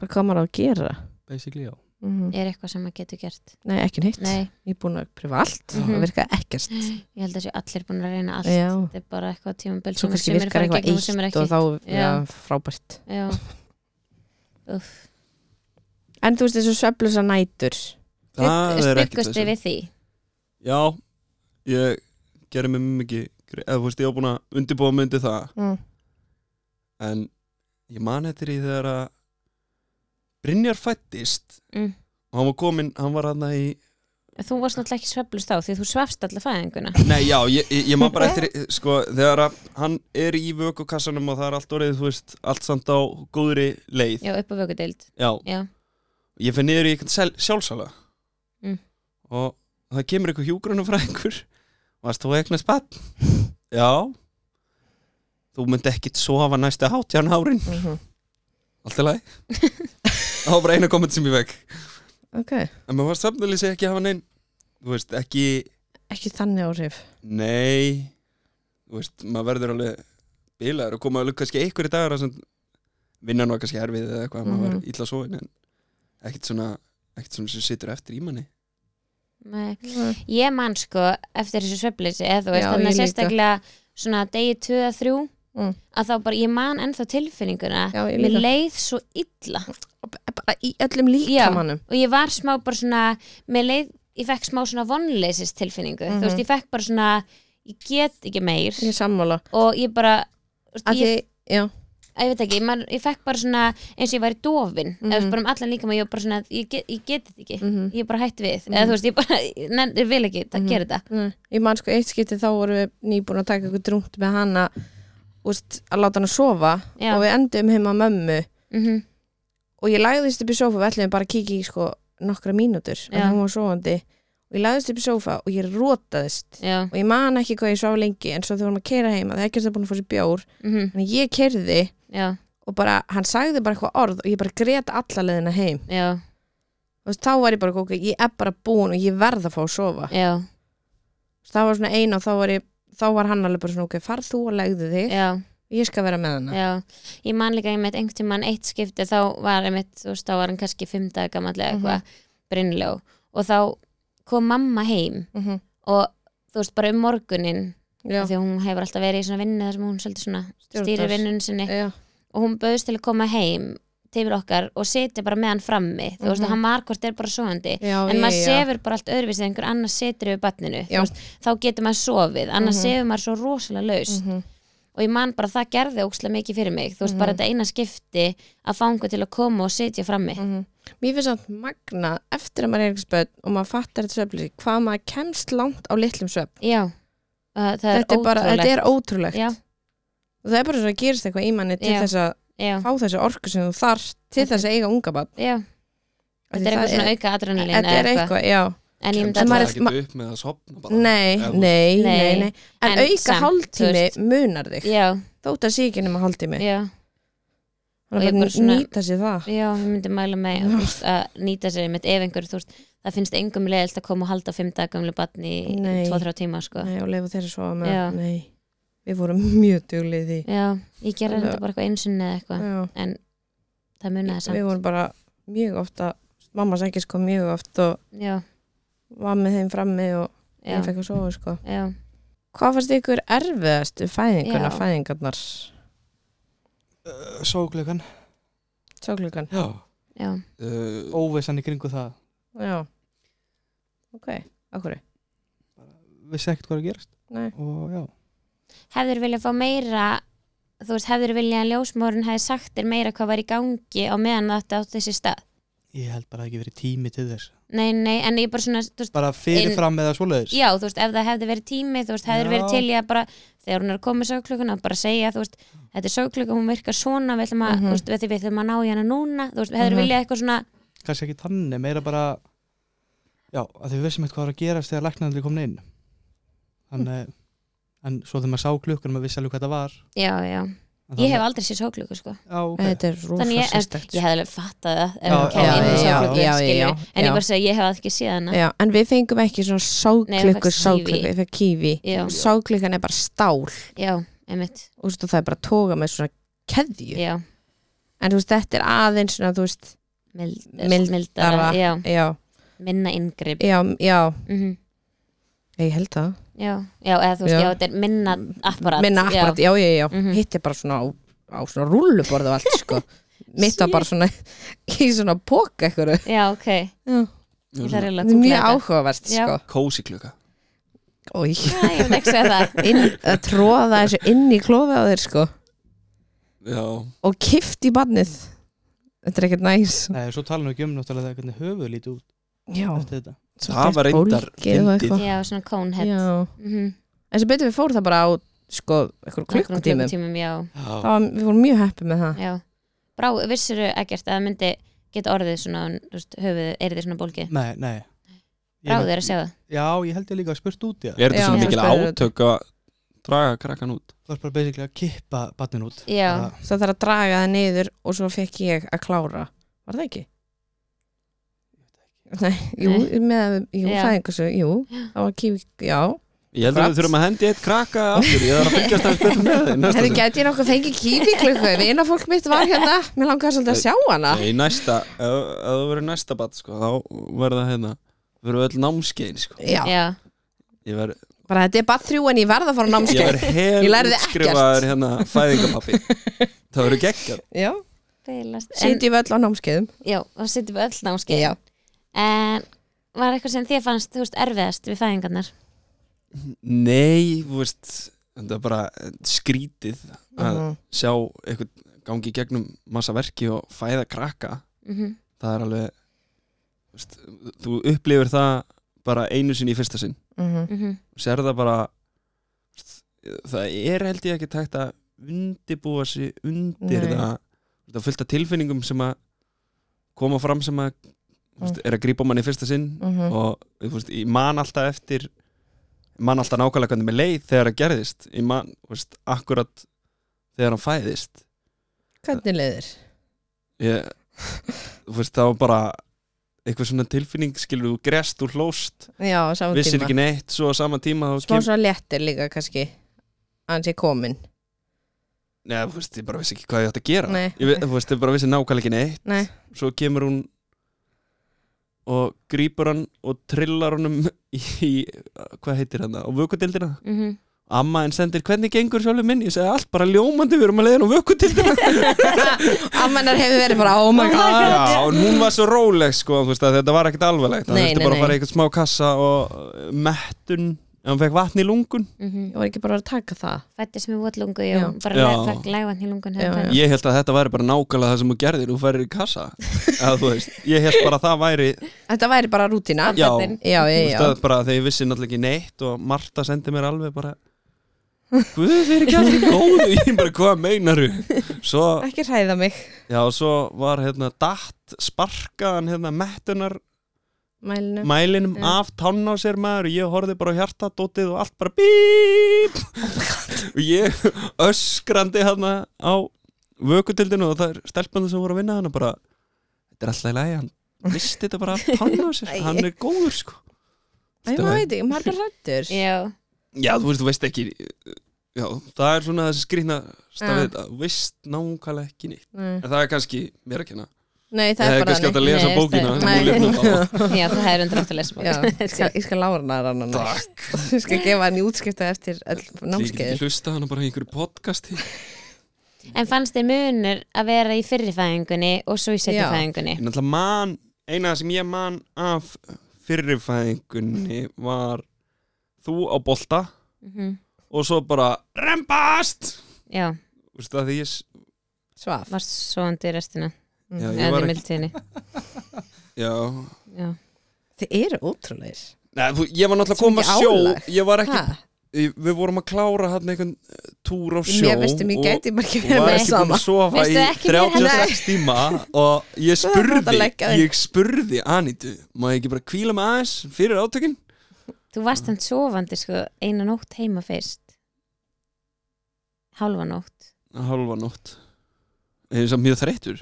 [SPEAKER 2] bara hvað maður á að gera
[SPEAKER 4] basically já
[SPEAKER 2] mm -hmm.
[SPEAKER 1] Er eitthvað sem maður getur gert?
[SPEAKER 2] nei, ekki neitt
[SPEAKER 1] Mhm. Nei,
[SPEAKER 2] ég er búin að pröfa allt
[SPEAKER 4] Mhm.
[SPEAKER 2] það virkaði ekkert
[SPEAKER 1] ég held að þessu allir búin að reyna allt
[SPEAKER 2] Já.
[SPEAKER 1] Þetta er bara eitthvað tímabil
[SPEAKER 2] svo
[SPEAKER 1] sem
[SPEAKER 2] kannski
[SPEAKER 1] sumir
[SPEAKER 2] virkar
[SPEAKER 1] fara í
[SPEAKER 2] eitthvað
[SPEAKER 1] gegnum og sumir
[SPEAKER 2] eitt
[SPEAKER 1] ekki
[SPEAKER 2] og þá
[SPEAKER 1] Já.
[SPEAKER 2] já, frábært *laughs*
[SPEAKER 1] Já, uff
[SPEAKER 2] en þú veist þessu sveflusa nætur
[SPEAKER 3] Það er ekkert
[SPEAKER 1] Stuggustu við því?
[SPEAKER 3] Já, ég gerði mér mjög mikið gre- eða þú veist, ég var búin að undirbúa myndi það
[SPEAKER 2] mm.
[SPEAKER 3] en ég man eftir í þegar að Brynjar fættist
[SPEAKER 1] Mm.
[SPEAKER 3] og hann var komin, hann var hann í
[SPEAKER 1] Þú varst náttúrulega ekki sveflust þá því þú svefst alla fæðinguna
[SPEAKER 3] Nei, já, ég, ég, ég man bara
[SPEAKER 1] *laughs*
[SPEAKER 3] eftir í- sko, þegar að hann er í vökukassanum og það er allt orðið, þú veist, allt samt á góðri leið
[SPEAKER 1] Já, upp á vökudeild
[SPEAKER 3] Já,
[SPEAKER 1] Já,
[SPEAKER 3] ég finn niður í eitthvað sel- sjálfsala
[SPEAKER 1] Mm.
[SPEAKER 3] og það kemur eitthvað hjúgrunum frá einhver varst þú að eignast
[SPEAKER 1] *laughs*
[SPEAKER 3] bann? já þú myndi ekkit sofa næstu hátján árin
[SPEAKER 2] Mm
[SPEAKER 3] allt
[SPEAKER 1] *laughs*
[SPEAKER 3] er læg það var bara eina komment sem ég vekk
[SPEAKER 2] ok,
[SPEAKER 3] en maður var samtalið sig ekki að hafa neinn þú veist ekki
[SPEAKER 2] ekki þannig áhrif
[SPEAKER 3] nei þú veist maður verður alveg bilaður og koma alveg kannski einhverju dagar sem vinnan var kannski erfið eða eitthvað maður
[SPEAKER 2] Mhm.
[SPEAKER 3] var illa sofin en ekkit svona ekkit svona sem situr eftir í manni
[SPEAKER 1] nei Ég man sko eftir þessu sveflisi eða þú
[SPEAKER 2] Já,
[SPEAKER 1] veist,
[SPEAKER 2] ég
[SPEAKER 1] þannig að
[SPEAKER 2] líka.
[SPEAKER 1] sérstaklega svona degi 2-3
[SPEAKER 2] Mm.
[SPEAKER 1] að þá bara, ég man ennþá tilfinninguna
[SPEAKER 2] Já, ég
[SPEAKER 1] Mér
[SPEAKER 2] líka.
[SPEAKER 1] leið svo illa
[SPEAKER 2] bara í öllum líkamannum
[SPEAKER 1] og ég var smá bara svona mér leið, ég fekk smá svona vonleisis tilfinningu,
[SPEAKER 2] Mhm.
[SPEAKER 1] þú veist, ég fekk bara svona ég get ekki meir
[SPEAKER 2] ég er sammála
[SPEAKER 1] og ég bara þú veist,
[SPEAKER 2] að
[SPEAKER 1] ég
[SPEAKER 2] því, já,
[SPEAKER 1] að ég veit ekki, man, ég fekk bara svona eins og ég væri dofin, mm
[SPEAKER 2] Mhm.
[SPEAKER 1] -hmm. bara um allan líka ég, var bara svona, ég, get, ég geti þetta ekki
[SPEAKER 2] Mhm.
[SPEAKER 1] ég er bara hætt við, eða þú veist, ég bara nenn, ég vil ekki, það
[SPEAKER 2] Mhm.
[SPEAKER 1] gerir þetta
[SPEAKER 2] ég man sko eitt skipti þá vorum við nýbúin að taka eitthvað drúmt með hana úst, að láta hann að sofa
[SPEAKER 1] Já.
[SPEAKER 2] og við endum heima á mömmu
[SPEAKER 1] mm
[SPEAKER 2] Mhm. og ég lagðist upp í sofa við ætlum bara að kíkja í sko nokkra mínútur
[SPEAKER 1] Já.
[SPEAKER 2] en hún var sofandi og ég lagðist upp í sófa og ég rótaðist
[SPEAKER 1] já,
[SPEAKER 2] og ég man ekki hvað ég svaf lengi en svo þau vorum að keira heima, það er ekki að það búin að fá sér bjór
[SPEAKER 1] mhm,
[SPEAKER 2] en ég keirði
[SPEAKER 1] já,
[SPEAKER 2] og bara, hann sagði bara eitthvað orð og ég bara grét alla leðina heim
[SPEAKER 1] já,
[SPEAKER 2] og þá var ég bara, ok, ég er bara búin og ég verð að fá að sofa
[SPEAKER 1] já,
[SPEAKER 2] það var svona eina og þá var, ég, þá var hann alveg bara svona, ok, farð þú og legðu þig
[SPEAKER 1] já,
[SPEAKER 2] ég skal vera með hana
[SPEAKER 1] já ég man líka einmitt einhvern tímann eitt skipti þá var einmitt, þú veist, þá var hann kannski fimm dag
[SPEAKER 2] Mhm.
[SPEAKER 1] gamallega eitthvað, mm og þá kom mamma heim
[SPEAKER 2] mm -hmm.
[SPEAKER 1] og þú veist, bara um morgunin
[SPEAKER 2] já,
[SPEAKER 1] af því að hún hefur alltaf verið í svona vinnu þar sem hún svolítið svona stýrir
[SPEAKER 2] Stjórnar.
[SPEAKER 1] vinnun sinni
[SPEAKER 2] já,
[SPEAKER 1] og hún bauðst til að koma heim til okkar og sitja bara með hann frammi þú veist,
[SPEAKER 2] Mhm.
[SPEAKER 1] hann var hvort er bara sofandi
[SPEAKER 2] já
[SPEAKER 1] en maður
[SPEAKER 2] ég, já.
[SPEAKER 1] sefur bara allt öðruvísið einhver annars situr yfir barninu
[SPEAKER 2] Já.
[SPEAKER 1] þú veist, þá getur maður sofið, annars
[SPEAKER 2] Mhm.
[SPEAKER 1] sefur maður svo rosalega laust
[SPEAKER 2] Mhm.
[SPEAKER 1] og ég man bara að það gerði ókslega mikið fyrir mig þú veist,
[SPEAKER 2] Mhm.
[SPEAKER 1] bara þetta eina skipti að fanga til að koma og sitja frammi
[SPEAKER 2] Mhm. Mér finnst samt magna eftir að maður er eitthvað spöð og maður fattar þetta svefnlýsi hvað maður kemst langt á litlum svefn
[SPEAKER 1] já, uh, það er
[SPEAKER 2] þetta er, bara, þetta
[SPEAKER 1] ótrúlegt
[SPEAKER 2] er ótrúlegt
[SPEAKER 1] Já.
[SPEAKER 2] og það er bara svona að gerist eitthvað í manni til
[SPEAKER 1] Já.
[SPEAKER 2] þess að
[SPEAKER 1] já,
[SPEAKER 2] fá þessi orku sem þú þarf til
[SPEAKER 1] Þetta-
[SPEAKER 2] þess að eiga unga bann
[SPEAKER 1] já, þetta er eitthvað svona auka adrenalin
[SPEAKER 2] Þetta
[SPEAKER 1] eða
[SPEAKER 2] er eitthvað, já
[SPEAKER 1] en ég myndi
[SPEAKER 2] En
[SPEAKER 3] Kemst
[SPEAKER 2] maður
[SPEAKER 1] alltaf
[SPEAKER 3] það
[SPEAKER 2] er-
[SPEAKER 3] ekkert upp með að sopna bara
[SPEAKER 2] Nei,
[SPEAKER 3] Ef-
[SPEAKER 2] nei, nei,
[SPEAKER 1] Nei.
[SPEAKER 2] nei En,
[SPEAKER 1] En
[SPEAKER 2] auka
[SPEAKER 1] samt,
[SPEAKER 2] hálftími
[SPEAKER 1] þú veist.
[SPEAKER 2] munar þig
[SPEAKER 1] já,
[SPEAKER 2] Þótt að sé ekki nema hálftími
[SPEAKER 1] já
[SPEAKER 2] Þannig
[SPEAKER 1] og ég
[SPEAKER 2] að
[SPEAKER 1] bara
[SPEAKER 2] bara
[SPEAKER 1] svona-
[SPEAKER 2] nýta sér það
[SPEAKER 1] Já, ég myndi mæla með þú veist, að nýta sér einmitt ef einhver, þú veist, það finnst engum leiðilt að koma og halda fimm dag gamlu batni í
[SPEAKER 2] Nei.
[SPEAKER 1] 2-3 tíma, sko.
[SPEAKER 2] Nei, og leifa þeirra svo með
[SPEAKER 1] Já.
[SPEAKER 2] Nei, við vorum *laughs* mjög duglið í því
[SPEAKER 1] Já, ég gerði
[SPEAKER 2] Alveg.
[SPEAKER 1] þetta bara eitthvað einsunni eða eitthvað,
[SPEAKER 2] Já
[SPEAKER 1] en það munaði samt.
[SPEAKER 2] við vorum bara mjög oft að mamma sækist kom mjög oft og
[SPEAKER 1] Já,
[SPEAKER 2] var með þeim frammi og
[SPEAKER 1] já,
[SPEAKER 2] ég fekk að sofa sko.
[SPEAKER 1] já.
[SPEAKER 2] hvað fannst ykkur erfiðast við fæðinguna,
[SPEAKER 1] Já.
[SPEAKER 2] fæðingarnar
[SPEAKER 4] Eh, Sóklökan
[SPEAKER 2] sjóklíkan
[SPEAKER 3] Já
[SPEAKER 1] Já,
[SPEAKER 3] uh,
[SPEAKER 4] Óvissan í kringu það
[SPEAKER 2] já, ok, okkur
[SPEAKER 4] Vissi ekkert hvað er að gerast
[SPEAKER 2] Nei.
[SPEAKER 4] Og já
[SPEAKER 1] hefður viljað fá meira þú veist, hefður viljað að ljósmórun hefði sagt þér meira hvað var í gangi á meðan þetta átt þessi stað.
[SPEAKER 4] Ég held bara að ekki verið tími til þess
[SPEAKER 1] Nei, nei, en ég bara svona, þú veist,
[SPEAKER 4] Bara fyrirfram eða svoleiðis
[SPEAKER 1] já, þú veist, ef það hefði verið tími þú veist, hefði
[SPEAKER 4] Já.
[SPEAKER 1] verið til ég að bara þegar hún er að koma með sögklukuna, bara segja þú veist, þetta er sögkluka, hún virkar svona við ætlum að,
[SPEAKER 2] Mhm.
[SPEAKER 1] þú veist, við því við ætlum að ná í hana núna þú veist, hefur
[SPEAKER 2] Mhm.
[SPEAKER 1] viljað eitthvað svona
[SPEAKER 4] Kanski ekki þannig, meira bara Já, að þið vissum eitthvað var að gerast þegar læknarnir komin inn Þannig En svo þegar maður sá klukkan maður vissi alveg hvað það var
[SPEAKER 1] já, já, ég
[SPEAKER 4] En þannig-
[SPEAKER 1] hef aldrei séð sögkluku, sko
[SPEAKER 4] Já, ok
[SPEAKER 2] þetta er
[SPEAKER 1] Þannig
[SPEAKER 2] rosa sko.
[SPEAKER 1] ég-
[SPEAKER 2] sérstækt
[SPEAKER 1] ég hefði alveg fattað það ef
[SPEAKER 4] Já,
[SPEAKER 1] hún kemur
[SPEAKER 4] já,
[SPEAKER 1] inn í
[SPEAKER 4] já,
[SPEAKER 1] sögkluku,
[SPEAKER 2] já, já,
[SPEAKER 1] skilju
[SPEAKER 2] já,
[SPEAKER 1] en
[SPEAKER 2] já.
[SPEAKER 1] ég bara segi, ég hef ekki séð hana
[SPEAKER 2] Já, en við fengum ekki svona
[SPEAKER 1] hérna. Nei, hún
[SPEAKER 2] sáklíku
[SPEAKER 1] fékk kíví.
[SPEAKER 2] sáklíku, við fekk kífi
[SPEAKER 1] Já.
[SPEAKER 2] sáklíkan er bara stál
[SPEAKER 1] já, einmitt,
[SPEAKER 2] og þú veist, og það er bara tóka með svona keðju
[SPEAKER 1] já,
[SPEAKER 2] en þú veist, þetta er aðeins svona, þú veist,
[SPEAKER 1] mild, eh,
[SPEAKER 2] Mildara.
[SPEAKER 1] mildara já,
[SPEAKER 2] já,
[SPEAKER 1] minna inngrip
[SPEAKER 2] já, já
[SPEAKER 1] mm
[SPEAKER 2] ég held það
[SPEAKER 1] já, já, eða þú veist,
[SPEAKER 2] Já.
[SPEAKER 1] já, þetta er minna apparat,
[SPEAKER 2] minna akkurat,
[SPEAKER 1] já,
[SPEAKER 2] já, já, já,
[SPEAKER 1] Mhm.
[SPEAKER 2] hitt er bara svona á, á svona rúlluborð og allt *laughs* sko mitt var bara svona *laughs* í svona póka eitthvað,
[SPEAKER 1] já, ok ég þarf
[SPEAKER 3] svona
[SPEAKER 1] eiginlega að
[SPEAKER 2] þetta er mjög
[SPEAKER 1] googla þetta.
[SPEAKER 2] áhugavert
[SPEAKER 1] Já.
[SPEAKER 2] sko,
[SPEAKER 3] Kósi klukka
[SPEAKER 2] og
[SPEAKER 1] Æ, ég vil ekki segja um það
[SPEAKER 2] *laughs* inn, að tróða þessu inn í klófi á þér sko,
[SPEAKER 3] Já
[SPEAKER 2] og kift í bannið þetta er ekkert næs
[SPEAKER 4] Nei, svo tala nú ekki um náttúrulega þegar hvernig höfuð lítið út
[SPEAKER 2] já,
[SPEAKER 4] eftir þetta
[SPEAKER 2] svo
[SPEAKER 3] Það var
[SPEAKER 2] sterkt
[SPEAKER 3] reyndar
[SPEAKER 2] bólgið og
[SPEAKER 3] fyndið.
[SPEAKER 2] eitthvað.
[SPEAKER 1] Já, svona kónhett
[SPEAKER 2] já,
[SPEAKER 1] mm -hmm.
[SPEAKER 2] en sem betur við fór það bara á sko, eitthvað klukkutímum
[SPEAKER 1] já,
[SPEAKER 3] Já
[SPEAKER 2] það var, við vorum mjög heppið með það
[SPEAKER 1] já. Brá, vissirðu ekkert að það myndi geta orðið svona, þú veist, höfuð er þið svona bólki
[SPEAKER 4] Nei, nei Ég
[SPEAKER 1] Brá
[SPEAKER 4] veit-
[SPEAKER 1] þér að segja það
[SPEAKER 4] Já, ég held ég líka að spurt út í það
[SPEAKER 3] Er þetta
[SPEAKER 2] Já.
[SPEAKER 3] svona
[SPEAKER 1] Já.
[SPEAKER 3] mikil
[SPEAKER 2] Spyrir
[SPEAKER 3] átök að draga krakkan út?
[SPEAKER 4] Þú var bara basically að kippa batnin út
[SPEAKER 1] Já,
[SPEAKER 4] Bara-
[SPEAKER 2] svo þarf að draga það niður og svo fekk ég að klára var það ekki? Nei, jú, með, jú,
[SPEAKER 1] Já.
[SPEAKER 2] fæðingarsu, jú, það var kífi, já.
[SPEAKER 3] Ég heldur að við
[SPEAKER 2] Kratts.
[SPEAKER 3] þurfum að hendi eitt krakka aftur Ég þarf að fylgjast aðeins betur með þeim næsta
[SPEAKER 2] Hefði
[SPEAKER 3] sinn.
[SPEAKER 2] gæti ég nokkuð fengið kífi klukku, eina fólk mitt var hérna, mér langaði svolítið að sjá hana.
[SPEAKER 3] Nei, næsta Ef ef það verður næsta bat sko Þá verða hérna Verður öll námskein sko
[SPEAKER 2] Já,
[SPEAKER 1] já,
[SPEAKER 3] Ég verð
[SPEAKER 2] bara þetta er bara þrjú en ég verð að fara á
[SPEAKER 3] Ég
[SPEAKER 2] námskeið.
[SPEAKER 3] verð hel
[SPEAKER 2] Ég lærði
[SPEAKER 3] útskrifaður hérna fæðingapappi Það verður geggjað
[SPEAKER 2] Já,
[SPEAKER 1] feilast en,
[SPEAKER 2] sitjum við öll á námskeiðum.
[SPEAKER 1] Já, þá sitjum við öll námskeið
[SPEAKER 2] Já.
[SPEAKER 1] En var eitthvað sem þér fannst, þú veist, erfiðast við fæðingarnar
[SPEAKER 3] Nei, þú veist Þetta er bara eh, skrítið að
[SPEAKER 2] Mhm.
[SPEAKER 3] sjá eitthvað gangi í gegnum massa verki og fæða krakka
[SPEAKER 1] mm
[SPEAKER 3] það er alveg þú veist, þú upplifir það bara einu sinni í fyrsta sinn
[SPEAKER 2] Mhm.
[SPEAKER 3] og sér það bara þú veist, það er held ég ekki tækt að undibúa sig undir
[SPEAKER 2] Nei.
[SPEAKER 3] það það er fullt af tilfinningum sem að koma fram sem að þú
[SPEAKER 2] Mm.
[SPEAKER 3] veist, er að grípa manni í fyrsta sinn
[SPEAKER 2] Mhm.
[SPEAKER 3] og þú veist, ég man alltaf eftir man alltaf nákvæmlega hvernig með leið þegar það gerðist ég man, þú veist, akkurat þegar hann fæðist
[SPEAKER 2] Hvernig leiðir?
[SPEAKER 3] ég, þú veist, það var bara eitthvað svona tilfinning skilur þú grest úr hlóst,
[SPEAKER 2] Já, á sama
[SPEAKER 3] vissir
[SPEAKER 2] tíma
[SPEAKER 3] ekki neitt svo á sama tíma þá
[SPEAKER 2] Smá
[SPEAKER 3] kem,
[SPEAKER 2] svo léttir líka kannski Annars ég komin
[SPEAKER 3] neða, þú veist, ég bara vissi ekki hvað ég átt að gera
[SPEAKER 2] Nei.
[SPEAKER 3] ég, ve- þú veist, ég bara vissi nákvæmlega ekki neitt
[SPEAKER 2] Nei,
[SPEAKER 3] svo kemur hún og grípur hann og trillar honum í, í hvað heitir hann það, á vökutildina
[SPEAKER 1] mm -hmm.
[SPEAKER 3] amma en sendir hvernig gengur sjálfur minn ég segi allt bara ljómandi, við erum að leiðin
[SPEAKER 2] *laughs*
[SPEAKER 3] á vökutildina
[SPEAKER 2] ammanar hefur verið bara Oh my god
[SPEAKER 3] já, og hún var svo róleg sko, þú veist, að þetta var ekkert alvarlegt hann
[SPEAKER 2] Nei,
[SPEAKER 3] þurfti
[SPEAKER 2] nei,
[SPEAKER 3] bara að fara
[SPEAKER 2] nei.
[SPEAKER 3] í eitthvað smá kassa og uh, mettun en hann fekk vatn í lungun
[SPEAKER 1] mm -hmm.
[SPEAKER 2] Ég var ekki bara að taka það
[SPEAKER 1] fættist með votlungu
[SPEAKER 2] Já.
[SPEAKER 1] og bara
[SPEAKER 3] Já.
[SPEAKER 1] læ- fekk lægvann í lungun
[SPEAKER 2] Já, já.
[SPEAKER 3] ég held að þetta væri bara nákvæmlega það sem þú gerðir þú færir í
[SPEAKER 2] *laughs*
[SPEAKER 3] kassa að, þú veist, ég held bara að það væri
[SPEAKER 2] Þetta væri bara rútina
[SPEAKER 3] Já.
[SPEAKER 2] já, já,
[SPEAKER 3] Þú veist
[SPEAKER 2] já.
[SPEAKER 3] að bara þegar ég vissi náttúrulega ekki neitt og Marta sendi mér alveg bara Guð fyrir ekki allir góðu *laughs* ég bara hvað meinaru svo,
[SPEAKER 2] Ekki hræða mig
[SPEAKER 3] já, svo var hérna datt sparkaðan hérna mettunar
[SPEAKER 2] Mælinu
[SPEAKER 3] mælinum af tánn á sér maður og ég horfði bara á hjartadótið og allt bara bíp og ég öskrandi hérna á vökutildinu og það er stelpandi sem voru að vinna hana bara þetta er alltaf í lagi hann visti þetta bara af tánn á sér
[SPEAKER 2] Æi.
[SPEAKER 3] hann er góður sko
[SPEAKER 2] Æ, maður veit ekki, maður er bara hrættur
[SPEAKER 1] Já.
[SPEAKER 3] Já, þú veist, þú veist ekki Já, það er svona þessi skrýtna stafið
[SPEAKER 2] Ja.
[SPEAKER 3] þetta, þú veist nákvæmlega ekki neitt
[SPEAKER 2] Nei,
[SPEAKER 3] En það er kannski mér að kenna
[SPEAKER 2] Nei, það er
[SPEAKER 3] Ég hefði
[SPEAKER 2] bara
[SPEAKER 3] kannski átt
[SPEAKER 2] þannig.
[SPEAKER 3] að lesa
[SPEAKER 1] Nei,
[SPEAKER 3] bókina
[SPEAKER 1] það-
[SPEAKER 3] sem hún
[SPEAKER 2] Nei.
[SPEAKER 3] lifnaði á.
[SPEAKER 1] já, það er undir aftur lesma
[SPEAKER 2] *laughs* Já, ég skal, ég skal lára hana hana næst. *laughs* Ég skal gefa hann í útskipta eftir öll
[SPEAKER 3] Ég get
[SPEAKER 2] námskeið
[SPEAKER 3] ekki hlusta hana bara í einhverju podcasti
[SPEAKER 1] En fannst þér munur að vera í fyrrifæðingunni og svo í
[SPEAKER 2] Já.
[SPEAKER 1] setjufæðingunni?
[SPEAKER 3] Ég náttúrulega man, eina sem ég man af fyrirfæðingunni var þú á bolta
[SPEAKER 1] Mm
[SPEAKER 2] Mhm.
[SPEAKER 3] og svo bara rembast
[SPEAKER 1] Já,
[SPEAKER 3] Þú veist það því ég, s-
[SPEAKER 2] Svaf
[SPEAKER 1] varst svo undir restina
[SPEAKER 2] Mm.
[SPEAKER 3] já, ég
[SPEAKER 1] eða
[SPEAKER 3] var
[SPEAKER 1] í
[SPEAKER 3] ekki
[SPEAKER 1] mildtíðinni
[SPEAKER 3] Já,
[SPEAKER 1] Já,
[SPEAKER 2] Þið eru ótrúleir
[SPEAKER 3] Nei, þú, ég var náttúrulega
[SPEAKER 2] Svo
[SPEAKER 3] kom að
[SPEAKER 2] mikið álag.
[SPEAKER 3] sjó Ég var ekki
[SPEAKER 2] Hæ?
[SPEAKER 3] Í- við vorum að klára hann einhvern eh, túr á sjó
[SPEAKER 2] Mér veistum, ég
[SPEAKER 3] og-
[SPEAKER 2] gæti bara ekki
[SPEAKER 3] og
[SPEAKER 2] verið
[SPEAKER 3] *laughs* var
[SPEAKER 2] með
[SPEAKER 3] ekki búin
[SPEAKER 2] sama
[SPEAKER 3] að sofa
[SPEAKER 1] Veistu
[SPEAKER 3] í
[SPEAKER 1] ekki mér
[SPEAKER 3] 36 tíma og ég
[SPEAKER 2] Svo er þetta að
[SPEAKER 3] spurði
[SPEAKER 2] leggja þig.
[SPEAKER 3] ég spurði Anitu, má ég ekki bara kvíla mig aðeins fyrir átökin?
[SPEAKER 1] þú varst hann sofandi sko eina nótt heima fyrst Hálfa nótt
[SPEAKER 3] Halva nótt ég er samt mjög þreyttur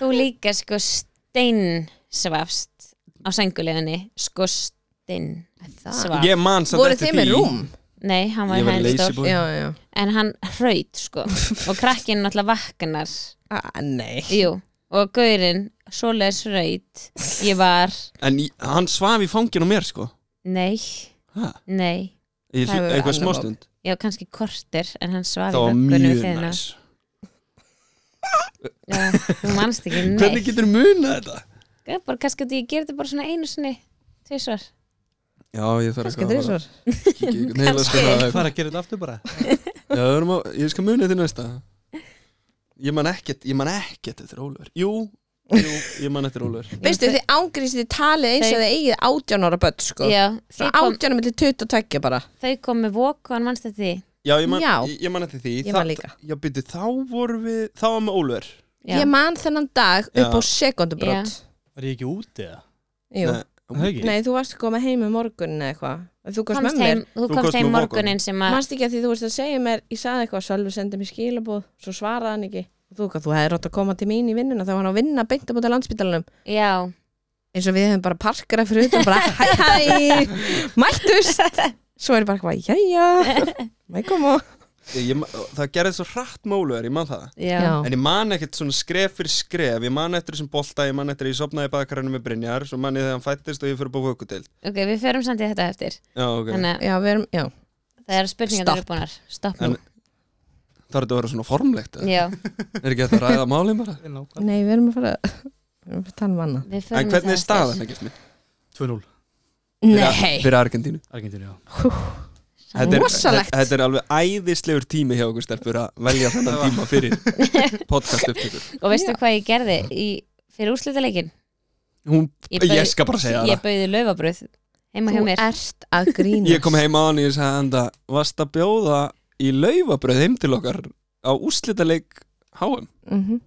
[SPEAKER 1] Þú líka sko stein svafst á senguleginni sko stein svafst
[SPEAKER 3] ég man samt
[SPEAKER 2] Voru
[SPEAKER 3] eftir
[SPEAKER 2] þið með
[SPEAKER 3] því-
[SPEAKER 2] rúm?
[SPEAKER 1] Nei, hann var
[SPEAKER 3] Ég var
[SPEAKER 1] hægri
[SPEAKER 3] lazy
[SPEAKER 1] stór
[SPEAKER 3] boy.
[SPEAKER 2] Já, já
[SPEAKER 1] En hann hraut sko og krakkinn náttúrulega vaknar
[SPEAKER 2] Ah, Nei
[SPEAKER 1] Jú, og gaurinn svoleiðis hraut Ég var,
[SPEAKER 3] en í- hann svaf í fanginu á mér sko
[SPEAKER 1] nei,
[SPEAKER 3] ha,
[SPEAKER 1] nei
[SPEAKER 3] ég,
[SPEAKER 2] Það hefur verið
[SPEAKER 3] eitthvað
[SPEAKER 2] annað
[SPEAKER 3] smástund
[SPEAKER 1] Já, kannski kortir, en hann svaf
[SPEAKER 3] það var mjög næs
[SPEAKER 1] Já, þú manst ekki neitt
[SPEAKER 3] hvernig getur munað þetta?
[SPEAKER 1] Já, bara, kannski að ég gerði þetta bara svona einu sinni tvisvar
[SPEAKER 3] já, ég þarf
[SPEAKER 2] Kannski
[SPEAKER 3] eitthvað
[SPEAKER 2] þrísvar
[SPEAKER 3] að fara að kíkja í einhvern heilaskrá eða
[SPEAKER 4] Það er að gera þetta aftur bara
[SPEAKER 3] Já, við erum að, ég skal muni til næsta Ég man ekkert, ég man ekkert eftir Ólfur Jú, jú, ég man eftir Ólfur
[SPEAKER 2] Veistu, þið ángriðst þið talið eins og þið eigið átján ára börn, sko
[SPEAKER 1] Já, þau
[SPEAKER 2] Frá
[SPEAKER 1] kom,
[SPEAKER 2] átjánum til 22 bara
[SPEAKER 1] þau kom með vokan, mannst þetta því
[SPEAKER 3] Já, ég man,
[SPEAKER 2] Já.
[SPEAKER 3] Ég, ég man eftir því
[SPEAKER 2] Ég man líka.
[SPEAKER 3] Já, byrju, þá voru við, þá var með Ólfur
[SPEAKER 1] Já,
[SPEAKER 2] Ég man þennan dag upp á
[SPEAKER 3] Já.
[SPEAKER 2] sekundubrót
[SPEAKER 4] Var ég ekki úti eða?
[SPEAKER 2] Jú
[SPEAKER 3] Nei,
[SPEAKER 4] Það ekki?
[SPEAKER 2] Nei, þú varst að koma heim um morgunin eða eitthvað Þú komst
[SPEAKER 1] komst
[SPEAKER 2] með mér
[SPEAKER 1] heim, þú
[SPEAKER 3] Þú komst
[SPEAKER 1] komst heim
[SPEAKER 3] með Vogon.
[SPEAKER 1] morgunin sem að
[SPEAKER 2] Manst ekki að því þú veist að segja mér Ég sagði eitthvað, Sölvi sendi mér skilabóð Svo svaraði hann ekki Og Þú, þú hefði rátt að koma til mín í vinnuna Þá var hann að vinna beint á búta landspítalanum
[SPEAKER 1] Já,
[SPEAKER 2] Eins og við hefum bara parkera fyrir utan Bara hæ hæ, mættust Svo er bara eitthvað, jæja Mæ koma
[SPEAKER 3] ég, ég, man- Það gerði svo hratt með Ólfur, ég man það
[SPEAKER 1] já,
[SPEAKER 2] Já,
[SPEAKER 3] En ég man ekkert svona skref fyrir skref Ég man eftir þessum bolta, ég man eftir að ég sopnaði bakarinu með Brynjar Svo man ég þegar hann fættist og ég fyrir að búið vökutild
[SPEAKER 1] ok, við förum samt í þetta eftir
[SPEAKER 3] Já, ok
[SPEAKER 1] Þannig að
[SPEAKER 2] já, við erum, já
[SPEAKER 1] það eru spurningar
[SPEAKER 2] Stopp.
[SPEAKER 1] Stopp. uppbúnar Stopp
[SPEAKER 3] En-
[SPEAKER 1] nú
[SPEAKER 3] Það er þetta að vera svona formlegt eða?
[SPEAKER 1] Já,
[SPEAKER 3] Er ekki hægt að ræða málið bara?
[SPEAKER 4] Nákvæm.
[SPEAKER 2] Nei, við erum að fara Við erum að fara að tala um annað
[SPEAKER 1] við förum
[SPEAKER 3] En
[SPEAKER 1] í
[SPEAKER 3] hvernig
[SPEAKER 1] það
[SPEAKER 3] er
[SPEAKER 1] eftir.
[SPEAKER 3] staðan, ekkert mér?
[SPEAKER 4] 2-0
[SPEAKER 2] Nei,
[SPEAKER 3] Fyrir Argentínu
[SPEAKER 4] Argentínu, já
[SPEAKER 3] Þetta er,
[SPEAKER 2] Rosalegt.
[SPEAKER 3] þe- Þetta er alveg æðislegur tími hjá okkur stelpur að velja þennan tíma
[SPEAKER 2] *laughs*
[SPEAKER 3] fyrir podcast upptökur
[SPEAKER 1] Og veistu hvað ég gerði í, fyrir úrslitaleikin?
[SPEAKER 3] Hún,
[SPEAKER 1] Ég
[SPEAKER 3] ég,
[SPEAKER 1] bauð-
[SPEAKER 3] skal bara segja
[SPEAKER 1] Ég bauði laufabröð heima hjá
[SPEAKER 2] þú
[SPEAKER 1] mér
[SPEAKER 2] ert að
[SPEAKER 3] það
[SPEAKER 2] grínast
[SPEAKER 3] Ég kom heim á hann og ég sagði enda Varst að bjóða í laufabröð heim til okkar á úrslitaleik háum
[SPEAKER 2] Mhm.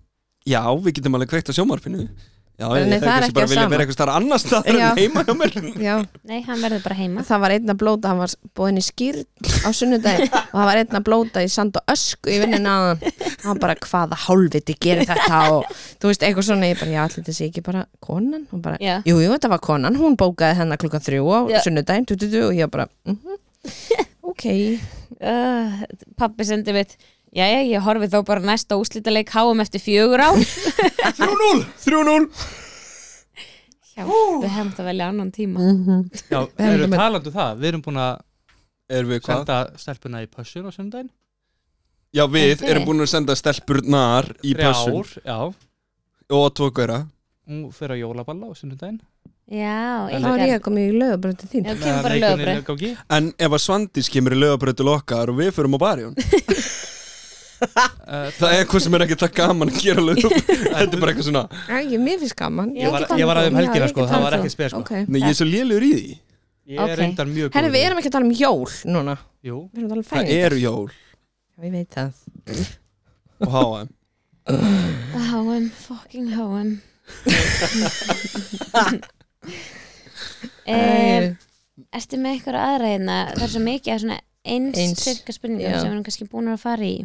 [SPEAKER 3] já, við getum alveg kveikt á sjómarpinu já,
[SPEAKER 2] En
[SPEAKER 3] ég-
[SPEAKER 2] það er
[SPEAKER 3] kannski
[SPEAKER 2] ekki
[SPEAKER 3] bara
[SPEAKER 2] það
[SPEAKER 3] vilja
[SPEAKER 2] sama.
[SPEAKER 3] vera eitthvað starf annars staðar
[SPEAKER 2] Já.
[SPEAKER 3] en heima hjá
[SPEAKER 2] *laughs*
[SPEAKER 3] mér
[SPEAKER 2] Já,
[SPEAKER 1] Nei, hann verður bara heima
[SPEAKER 2] það var einn að blóta, hann var búin í skýrn á
[SPEAKER 1] *laughs*
[SPEAKER 2] sunnudaginn og það var einn að blóta í sand og ösku í vinninu að hann hann bara hvaða hálfviti gerir þetta og þú veist eitthvað svona, ég bara já, allir þessi ekki bara konan og bara,
[SPEAKER 1] Já.
[SPEAKER 2] jú, jú, þetta var konan, hún bókaði hennar klukkan þrjú á
[SPEAKER 1] Já.
[SPEAKER 2] sunnudaginn, tu, tu, tu, og ég bara mm
[SPEAKER 1] *laughs*
[SPEAKER 2] ok,
[SPEAKER 1] uh, Pappi sendi mitt Jæja, ég horfi þá bara næsta úslítaleik háum eftir fjögur *laughs* á
[SPEAKER 3] 3-0, 3-0
[SPEAKER 1] Já, við hefum þetta velja annan tíma
[SPEAKER 4] Já,
[SPEAKER 2] erum
[SPEAKER 4] við erum
[SPEAKER 2] með-
[SPEAKER 4] talandu það, við erum búin að
[SPEAKER 3] erum við hvað?
[SPEAKER 4] senda stelpuna í pössun á sundaginn
[SPEAKER 3] já, við
[SPEAKER 1] Þið?
[SPEAKER 3] erum búin að senda stelpurnar í pössun
[SPEAKER 4] Þrjár, já,
[SPEAKER 3] og tvo gauðra
[SPEAKER 4] hún fer á jólaballa á sundaginn
[SPEAKER 2] þá
[SPEAKER 1] Já,
[SPEAKER 2] er ég að
[SPEAKER 1] engar
[SPEAKER 2] koma í lögabrönd til þín
[SPEAKER 1] Já, kemur bara lögabræð
[SPEAKER 3] en ef að Svandís kemur í lögabröðu okkar og við förum á
[SPEAKER 2] *laughs*
[SPEAKER 3] barjón
[SPEAKER 4] lögabræð
[SPEAKER 3] það er eitthvað sem er ekki það gaman að gera lög *laughs* þetta er bara eitthvað svona
[SPEAKER 2] Já, ég, mér finnst gaman
[SPEAKER 1] Ég var-
[SPEAKER 4] Ég var aðeins helgina sko, það var
[SPEAKER 1] tala um
[SPEAKER 4] ekki spes sko
[SPEAKER 2] okay.
[SPEAKER 3] Nei, ég er svo lélugur í því
[SPEAKER 4] Ég
[SPEAKER 1] Ok.
[SPEAKER 4] er reyndar mjög
[SPEAKER 2] Herri,
[SPEAKER 4] góður
[SPEAKER 2] við
[SPEAKER 4] í-
[SPEAKER 2] erum ekki að tala um jól núna
[SPEAKER 4] Jú,
[SPEAKER 2] Við erum að tala um
[SPEAKER 3] það
[SPEAKER 2] fæðingar
[SPEAKER 3] eru jól
[SPEAKER 2] Já, Ég veit það
[SPEAKER 3] og háa
[SPEAKER 1] HM, fucking HM *laughs* um, Ertu með eitthvað aðra hérna? Það er svo mikið af svona eins,
[SPEAKER 2] Eins.
[SPEAKER 1] eins. cirka spurningum
[SPEAKER 2] Já.
[SPEAKER 1] sem við erum kannski búin að fara í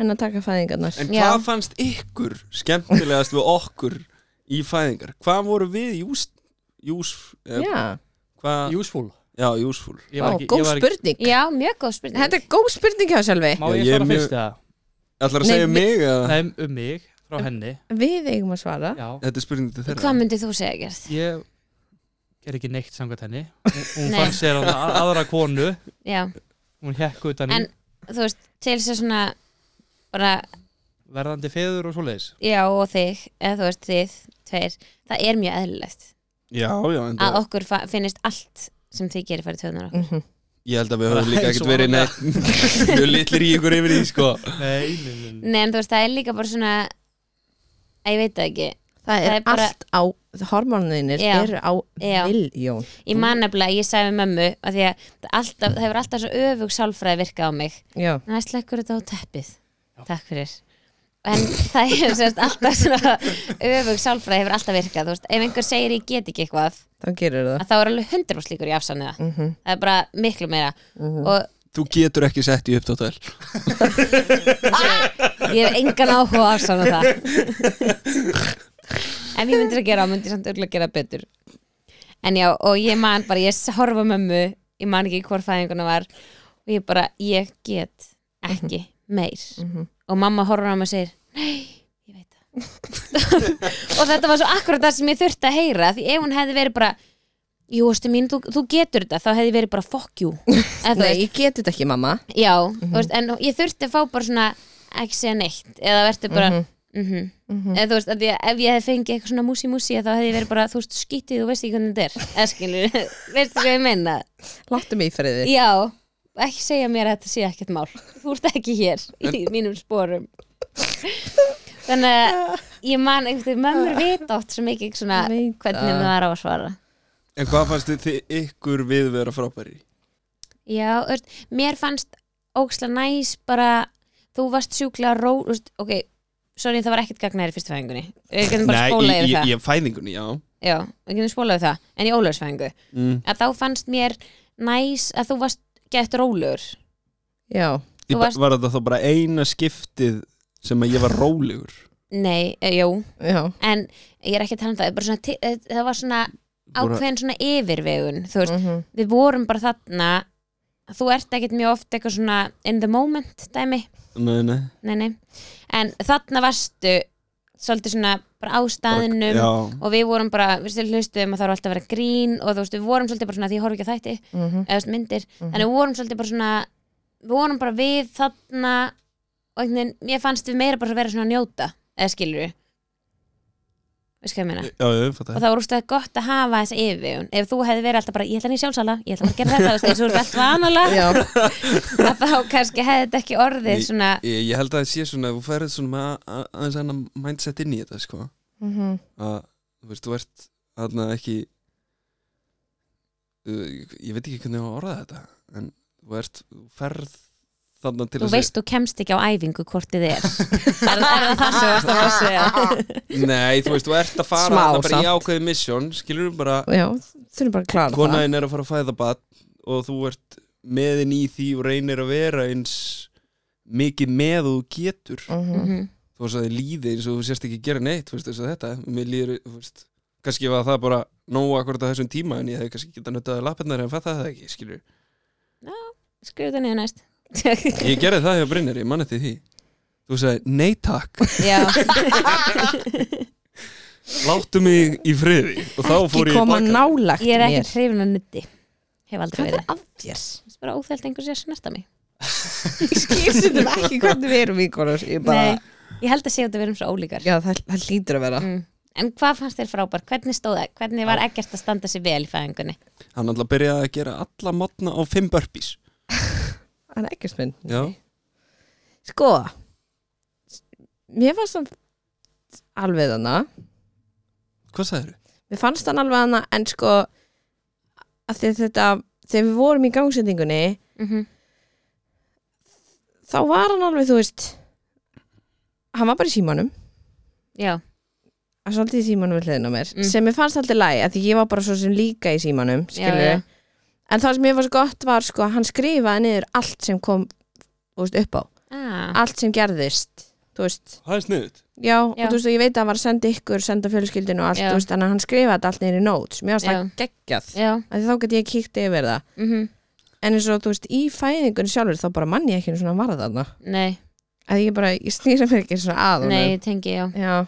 [SPEAKER 2] En að taka fæðingarnar
[SPEAKER 3] en
[SPEAKER 1] Já.
[SPEAKER 3] hvað fannst ykkur skemmtilegast við okkur í fæðingar hvað voru við jús, jús eða,
[SPEAKER 2] Já,
[SPEAKER 3] hvað,
[SPEAKER 4] useful
[SPEAKER 3] já, júsfúl
[SPEAKER 4] Ég
[SPEAKER 2] Ó,
[SPEAKER 4] var ekki- ég
[SPEAKER 2] góð
[SPEAKER 4] var ekki-
[SPEAKER 2] spurning
[SPEAKER 1] Já, mjög góð spurning
[SPEAKER 2] Þetta er góð spurning hjá sjálfi
[SPEAKER 4] Má
[SPEAKER 3] Já,
[SPEAKER 4] ég Ah.
[SPEAKER 3] ég er
[SPEAKER 4] svara
[SPEAKER 3] mjög-
[SPEAKER 4] fyrst eða?
[SPEAKER 3] ætlar að
[SPEAKER 2] Nei,
[SPEAKER 3] segja
[SPEAKER 2] við-
[SPEAKER 3] mig að
[SPEAKER 4] Nei, um mig, frá henni
[SPEAKER 2] Við eigum að svara
[SPEAKER 4] Já,
[SPEAKER 3] þetta er spurning til þeirra
[SPEAKER 1] Hvað myndið þú segja gerð?
[SPEAKER 4] ég er ekki neitt samkvæmt henni Hún, hún
[SPEAKER 1] Nei.
[SPEAKER 4] fann sér að aðra konu
[SPEAKER 1] Já,
[SPEAKER 4] Hún hekk utan í
[SPEAKER 1] En- þú veist, til þess að svona bara,
[SPEAKER 4] verðandi feður og svoleiðis
[SPEAKER 1] já og þig eða þú veist, þið, tveir það er mjög eðlilegt
[SPEAKER 3] já, já, en
[SPEAKER 1] að okkur fa- finnist allt sem þið gerir farið töðunar okkur
[SPEAKER 2] mm -hmm.
[SPEAKER 3] ég held að við höfum
[SPEAKER 4] Bara
[SPEAKER 3] líka
[SPEAKER 4] eins
[SPEAKER 3] ekkert
[SPEAKER 4] og
[SPEAKER 3] verið neitt *laughs* mjög litlir í ykkur yfir því sko
[SPEAKER 4] Nei, nei, nei, nei.
[SPEAKER 1] Nei, en þú veist, það er líka bara svona að ég veit það ekki
[SPEAKER 2] Það er
[SPEAKER 1] Það er bara-
[SPEAKER 2] allt á Hormonuðinir
[SPEAKER 1] Já.
[SPEAKER 2] eru á
[SPEAKER 1] Já.
[SPEAKER 2] miljón
[SPEAKER 1] Ég man nefnilega, að ég sagði við mömmu að því að það alltaf, það hefur alltaf svo öfug sálfræði virka á mig
[SPEAKER 2] Já,
[SPEAKER 1] Það er slekkur þetta á teppið Takk fyrir En það hefur sérst alltaf svona öfug sálfræði hefur alltaf virkað þú veist, Ef einhver segir ég get ekki eitthvað
[SPEAKER 2] þá gerir það
[SPEAKER 1] að þá er alveg hundur og slíkur í afsanniða
[SPEAKER 2] mm -hmm.
[SPEAKER 1] það er bara miklu meira og
[SPEAKER 3] þú getur ekki sett í uppdáttel
[SPEAKER 1] ég hef engan áhuga á afsanna það ef ég myndir að gera þá myndi ég samt örgulega gera betur en já, og ég man bara ég horfa á mömmu, ég man ekki hvort fæðinguna var og ég bara, ég get ekki meir og mamma horfa á mig og segir nei, ég veit það *laughs* og þetta var svo akkurat það sem ég þurfti að heyra því ef hún hefði verið bara jú, ástu mín, þú, þú getur þetta þá hefði ég verið bara fuck you Eða þú
[SPEAKER 2] Nei,
[SPEAKER 1] veist,
[SPEAKER 2] ég geti þetta ekki mamma
[SPEAKER 1] Já, þú veist, en ég þurfti að fá bara svona ekki segja neitt, eða verður bara mhm,
[SPEAKER 2] Mhm.
[SPEAKER 1] eða þú veist, að ég, ef ég hef fengið eitthvað svona músi músi, þá hefði ég verið bara, þú veist, skítið og veist ekki hvernig þetta er, eða skilur veistu hvað ég meina,
[SPEAKER 2] Láttu mig í friði
[SPEAKER 1] já ekki segja mér að þetta sé ekkert mál þú ert ekki hér í mínum sporum þannig að ég man einhvern veginn, mömmur vita oft svo mikið svona
[SPEAKER 2] Veit
[SPEAKER 1] hvernig
[SPEAKER 2] það.
[SPEAKER 1] maður var á að svara
[SPEAKER 3] en hvað fannst þið ykkur við vera frábæri
[SPEAKER 1] Já, þú veist, mér fannst óksla næs bara þú varst sjúklega ró þú veist, ok, sorry, það var ekkert gagnaðir í fyrstu fæðingunni við getum bara spólað
[SPEAKER 3] ég,
[SPEAKER 1] yfir
[SPEAKER 3] ég,
[SPEAKER 1] það
[SPEAKER 3] ég fæðingunni, já
[SPEAKER 1] Já, við getum spólað yfir það, en í ólöfsfæðingu
[SPEAKER 3] mm.
[SPEAKER 1] að þá fannst mér næs að þú varst gett rólegur
[SPEAKER 2] Já,
[SPEAKER 1] Þú
[SPEAKER 3] Ég ba-
[SPEAKER 1] varst-
[SPEAKER 3] Var þetta þá bara eina skiptið sem að ég var rólegur
[SPEAKER 1] Nei, e, jú,
[SPEAKER 2] já,
[SPEAKER 1] en ég er ekki að tala um það, bara svona, ti- eh, það var svona
[SPEAKER 3] Bara-
[SPEAKER 1] ákveðin svona yfirvegun þú veist,
[SPEAKER 2] mm -hmm.
[SPEAKER 1] við vorum bara þarna þú ert ekkert mjög oft eitthvað svona in the moment dæmi
[SPEAKER 3] Nei, nei
[SPEAKER 1] nei, nei. en þarna varstu svolítið svona bara á staðinum
[SPEAKER 3] Já,
[SPEAKER 1] og við vorum bara, við stil hlustuðum að það var alltaf að vera grín og þú veist, við vorum svolítið bara svona því ég horf ekki að þætti, eða þú veist, myndir
[SPEAKER 2] Mhm.
[SPEAKER 1] þannig við vorum svolítið bara svona við vorum bara við þarna og einhvern veginn, mér fannst við meira bara að vera svona að njóta eða skilur við veist hvað ég meina
[SPEAKER 3] já, ég fatt
[SPEAKER 1] og
[SPEAKER 3] það
[SPEAKER 1] það voru úrstæða gott að hafa þessa yfirvegun ef þú hefði verið alltaf bara, ég ætla hann í sjálfsala ég ætla bara að gera þetta, þú veist, eins og þú ert vanalega
[SPEAKER 2] já,
[SPEAKER 1] að *laughs* þá kannski hefði þetta ekki orðið
[SPEAKER 3] Ég-
[SPEAKER 1] svona,
[SPEAKER 3] ég, ég held að það sé svona, þú færið svona með a- a- aðeins annan mindset inn í þetta, sko
[SPEAKER 2] mm -hmm.
[SPEAKER 3] að, þú veist, þú ert þarna ekki uh, ég veit ekki hvernig ég á að orða þetta en þú ert, þú ferð þarna til
[SPEAKER 1] Þú
[SPEAKER 3] að
[SPEAKER 1] veist, þú kemst ekki á æfingu hvort
[SPEAKER 2] *laughs*
[SPEAKER 1] þið er Er, er það það sem þú varst að fara að segja?
[SPEAKER 3] segja Nei, þú veist, þú ert að fara
[SPEAKER 2] Smá
[SPEAKER 3] þarna bara í
[SPEAKER 2] samt.
[SPEAKER 3] ákveðið misjón skilur við bara,
[SPEAKER 2] já, þurfum bara að klara það
[SPEAKER 3] konaðin er að fara að fæða bat og þú ert meðin í því og reynir að vera eins mikið með og þú getur
[SPEAKER 2] Mhm.
[SPEAKER 1] Mhm.
[SPEAKER 3] þú veist að þið líði eins og þú sérst ekki gera neitt þú veist þess að þetta, mér líður þú veist, kannski var það bara nógu akkurat á þessum tíma en ég hefði kannski getað nöttaði lappirnar en fattaði það ekki, skilur
[SPEAKER 1] Skrifu það niður
[SPEAKER 2] *laughs*
[SPEAKER 1] næst
[SPEAKER 3] Ég gerði það hjá Brynjar, ég manna til því Þú sagði, nei takk,
[SPEAKER 1] Já,
[SPEAKER 3] *laughs* láttu mig í friði og þá
[SPEAKER 2] ekki
[SPEAKER 3] fór ég í
[SPEAKER 2] koma
[SPEAKER 3] baka.
[SPEAKER 2] nálagt
[SPEAKER 1] ég er ekki
[SPEAKER 2] mér
[SPEAKER 1] hrifin að nutti Hef aldrei
[SPEAKER 2] hvað
[SPEAKER 1] verið
[SPEAKER 2] er að þér?
[SPEAKER 1] Það er bara óþælt einhver sér að snerta mig
[SPEAKER 2] *laughs* ég skilstum ekki hvernig við erum vinkonur ég bara,
[SPEAKER 1] Nei, ég held að segja að við erum svo ólíkar
[SPEAKER 2] já það, það lítur að vera
[SPEAKER 1] mm. En hvað fannst þér frábær? Hvernig stóð það? Hvernig var ekkert að standa sér vel í fæðingunni?
[SPEAKER 3] Hann alltaf byrjaði að gera alla matna á fimm burpees
[SPEAKER 2] það er ekkert minn
[SPEAKER 3] Já,
[SPEAKER 2] sko mér fannst hann alveg þarna
[SPEAKER 3] hvað sagðirðu?
[SPEAKER 2] mér fannst hann alveg þarna en sko að því að þetta þegar við vorum í gangsetningunni
[SPEAKER 1] Mm
[SPEAKER 2] Mhm.
[SPEAKER 1] -hmm.
[SPEAKER 2] þá var hann alveg þú veist hann var bara í símanum
[SPEAKER 1] Já,
[SPEAKER 2] að svolítið í símanum við hliðin á mér
[SPEAKER 1] Mm.
[SPEAKER 2] sem mér fannst alltaf læg að því ég var bara svo sem líka í símanum skilur
[SPEAKER 1] já.
[SPEAKER 2] en það sem mér fannst gott var sko að hann skrifaði niður allt sem kom þú veist, upp á
[SPEAKER 1] ah,
[SPEAKER 2] allt sem gerðist þú veist
[SPEAKER 3] Það er sniðut
[SPEAKER 2] Já, og
[SPEAKER 1] Já.
[SPEAKER 2] þú veist, og ég veit að það var að senda ykkur, senda fjölskyldinu og allt,
[SPEAKER 1] Já.
[SPEAKER 2] þú veist, þannig að hann skrifaði þetta allt neyri notes, mér varst
[SPEAKER 1] Já.
[SPEAKER 2] það geggjað
[SPEAKER 1] já
[SPEAKER 2] af því þá get ég kíkt yfir það,
[SPEAKER 1] mm
[SPEAKER 2] en eins og þú veist, í fæðingunni sjálfur þá bara mann ég ekki einu svona varða þarna,
[SPEAKER 1] Nei,
[SPEAKER 2] af því ég bara, ég snýra mér ekki svona að honum.
[SPEAKER 1] nei, ég tengi, já
[SPEAKER 2] Já,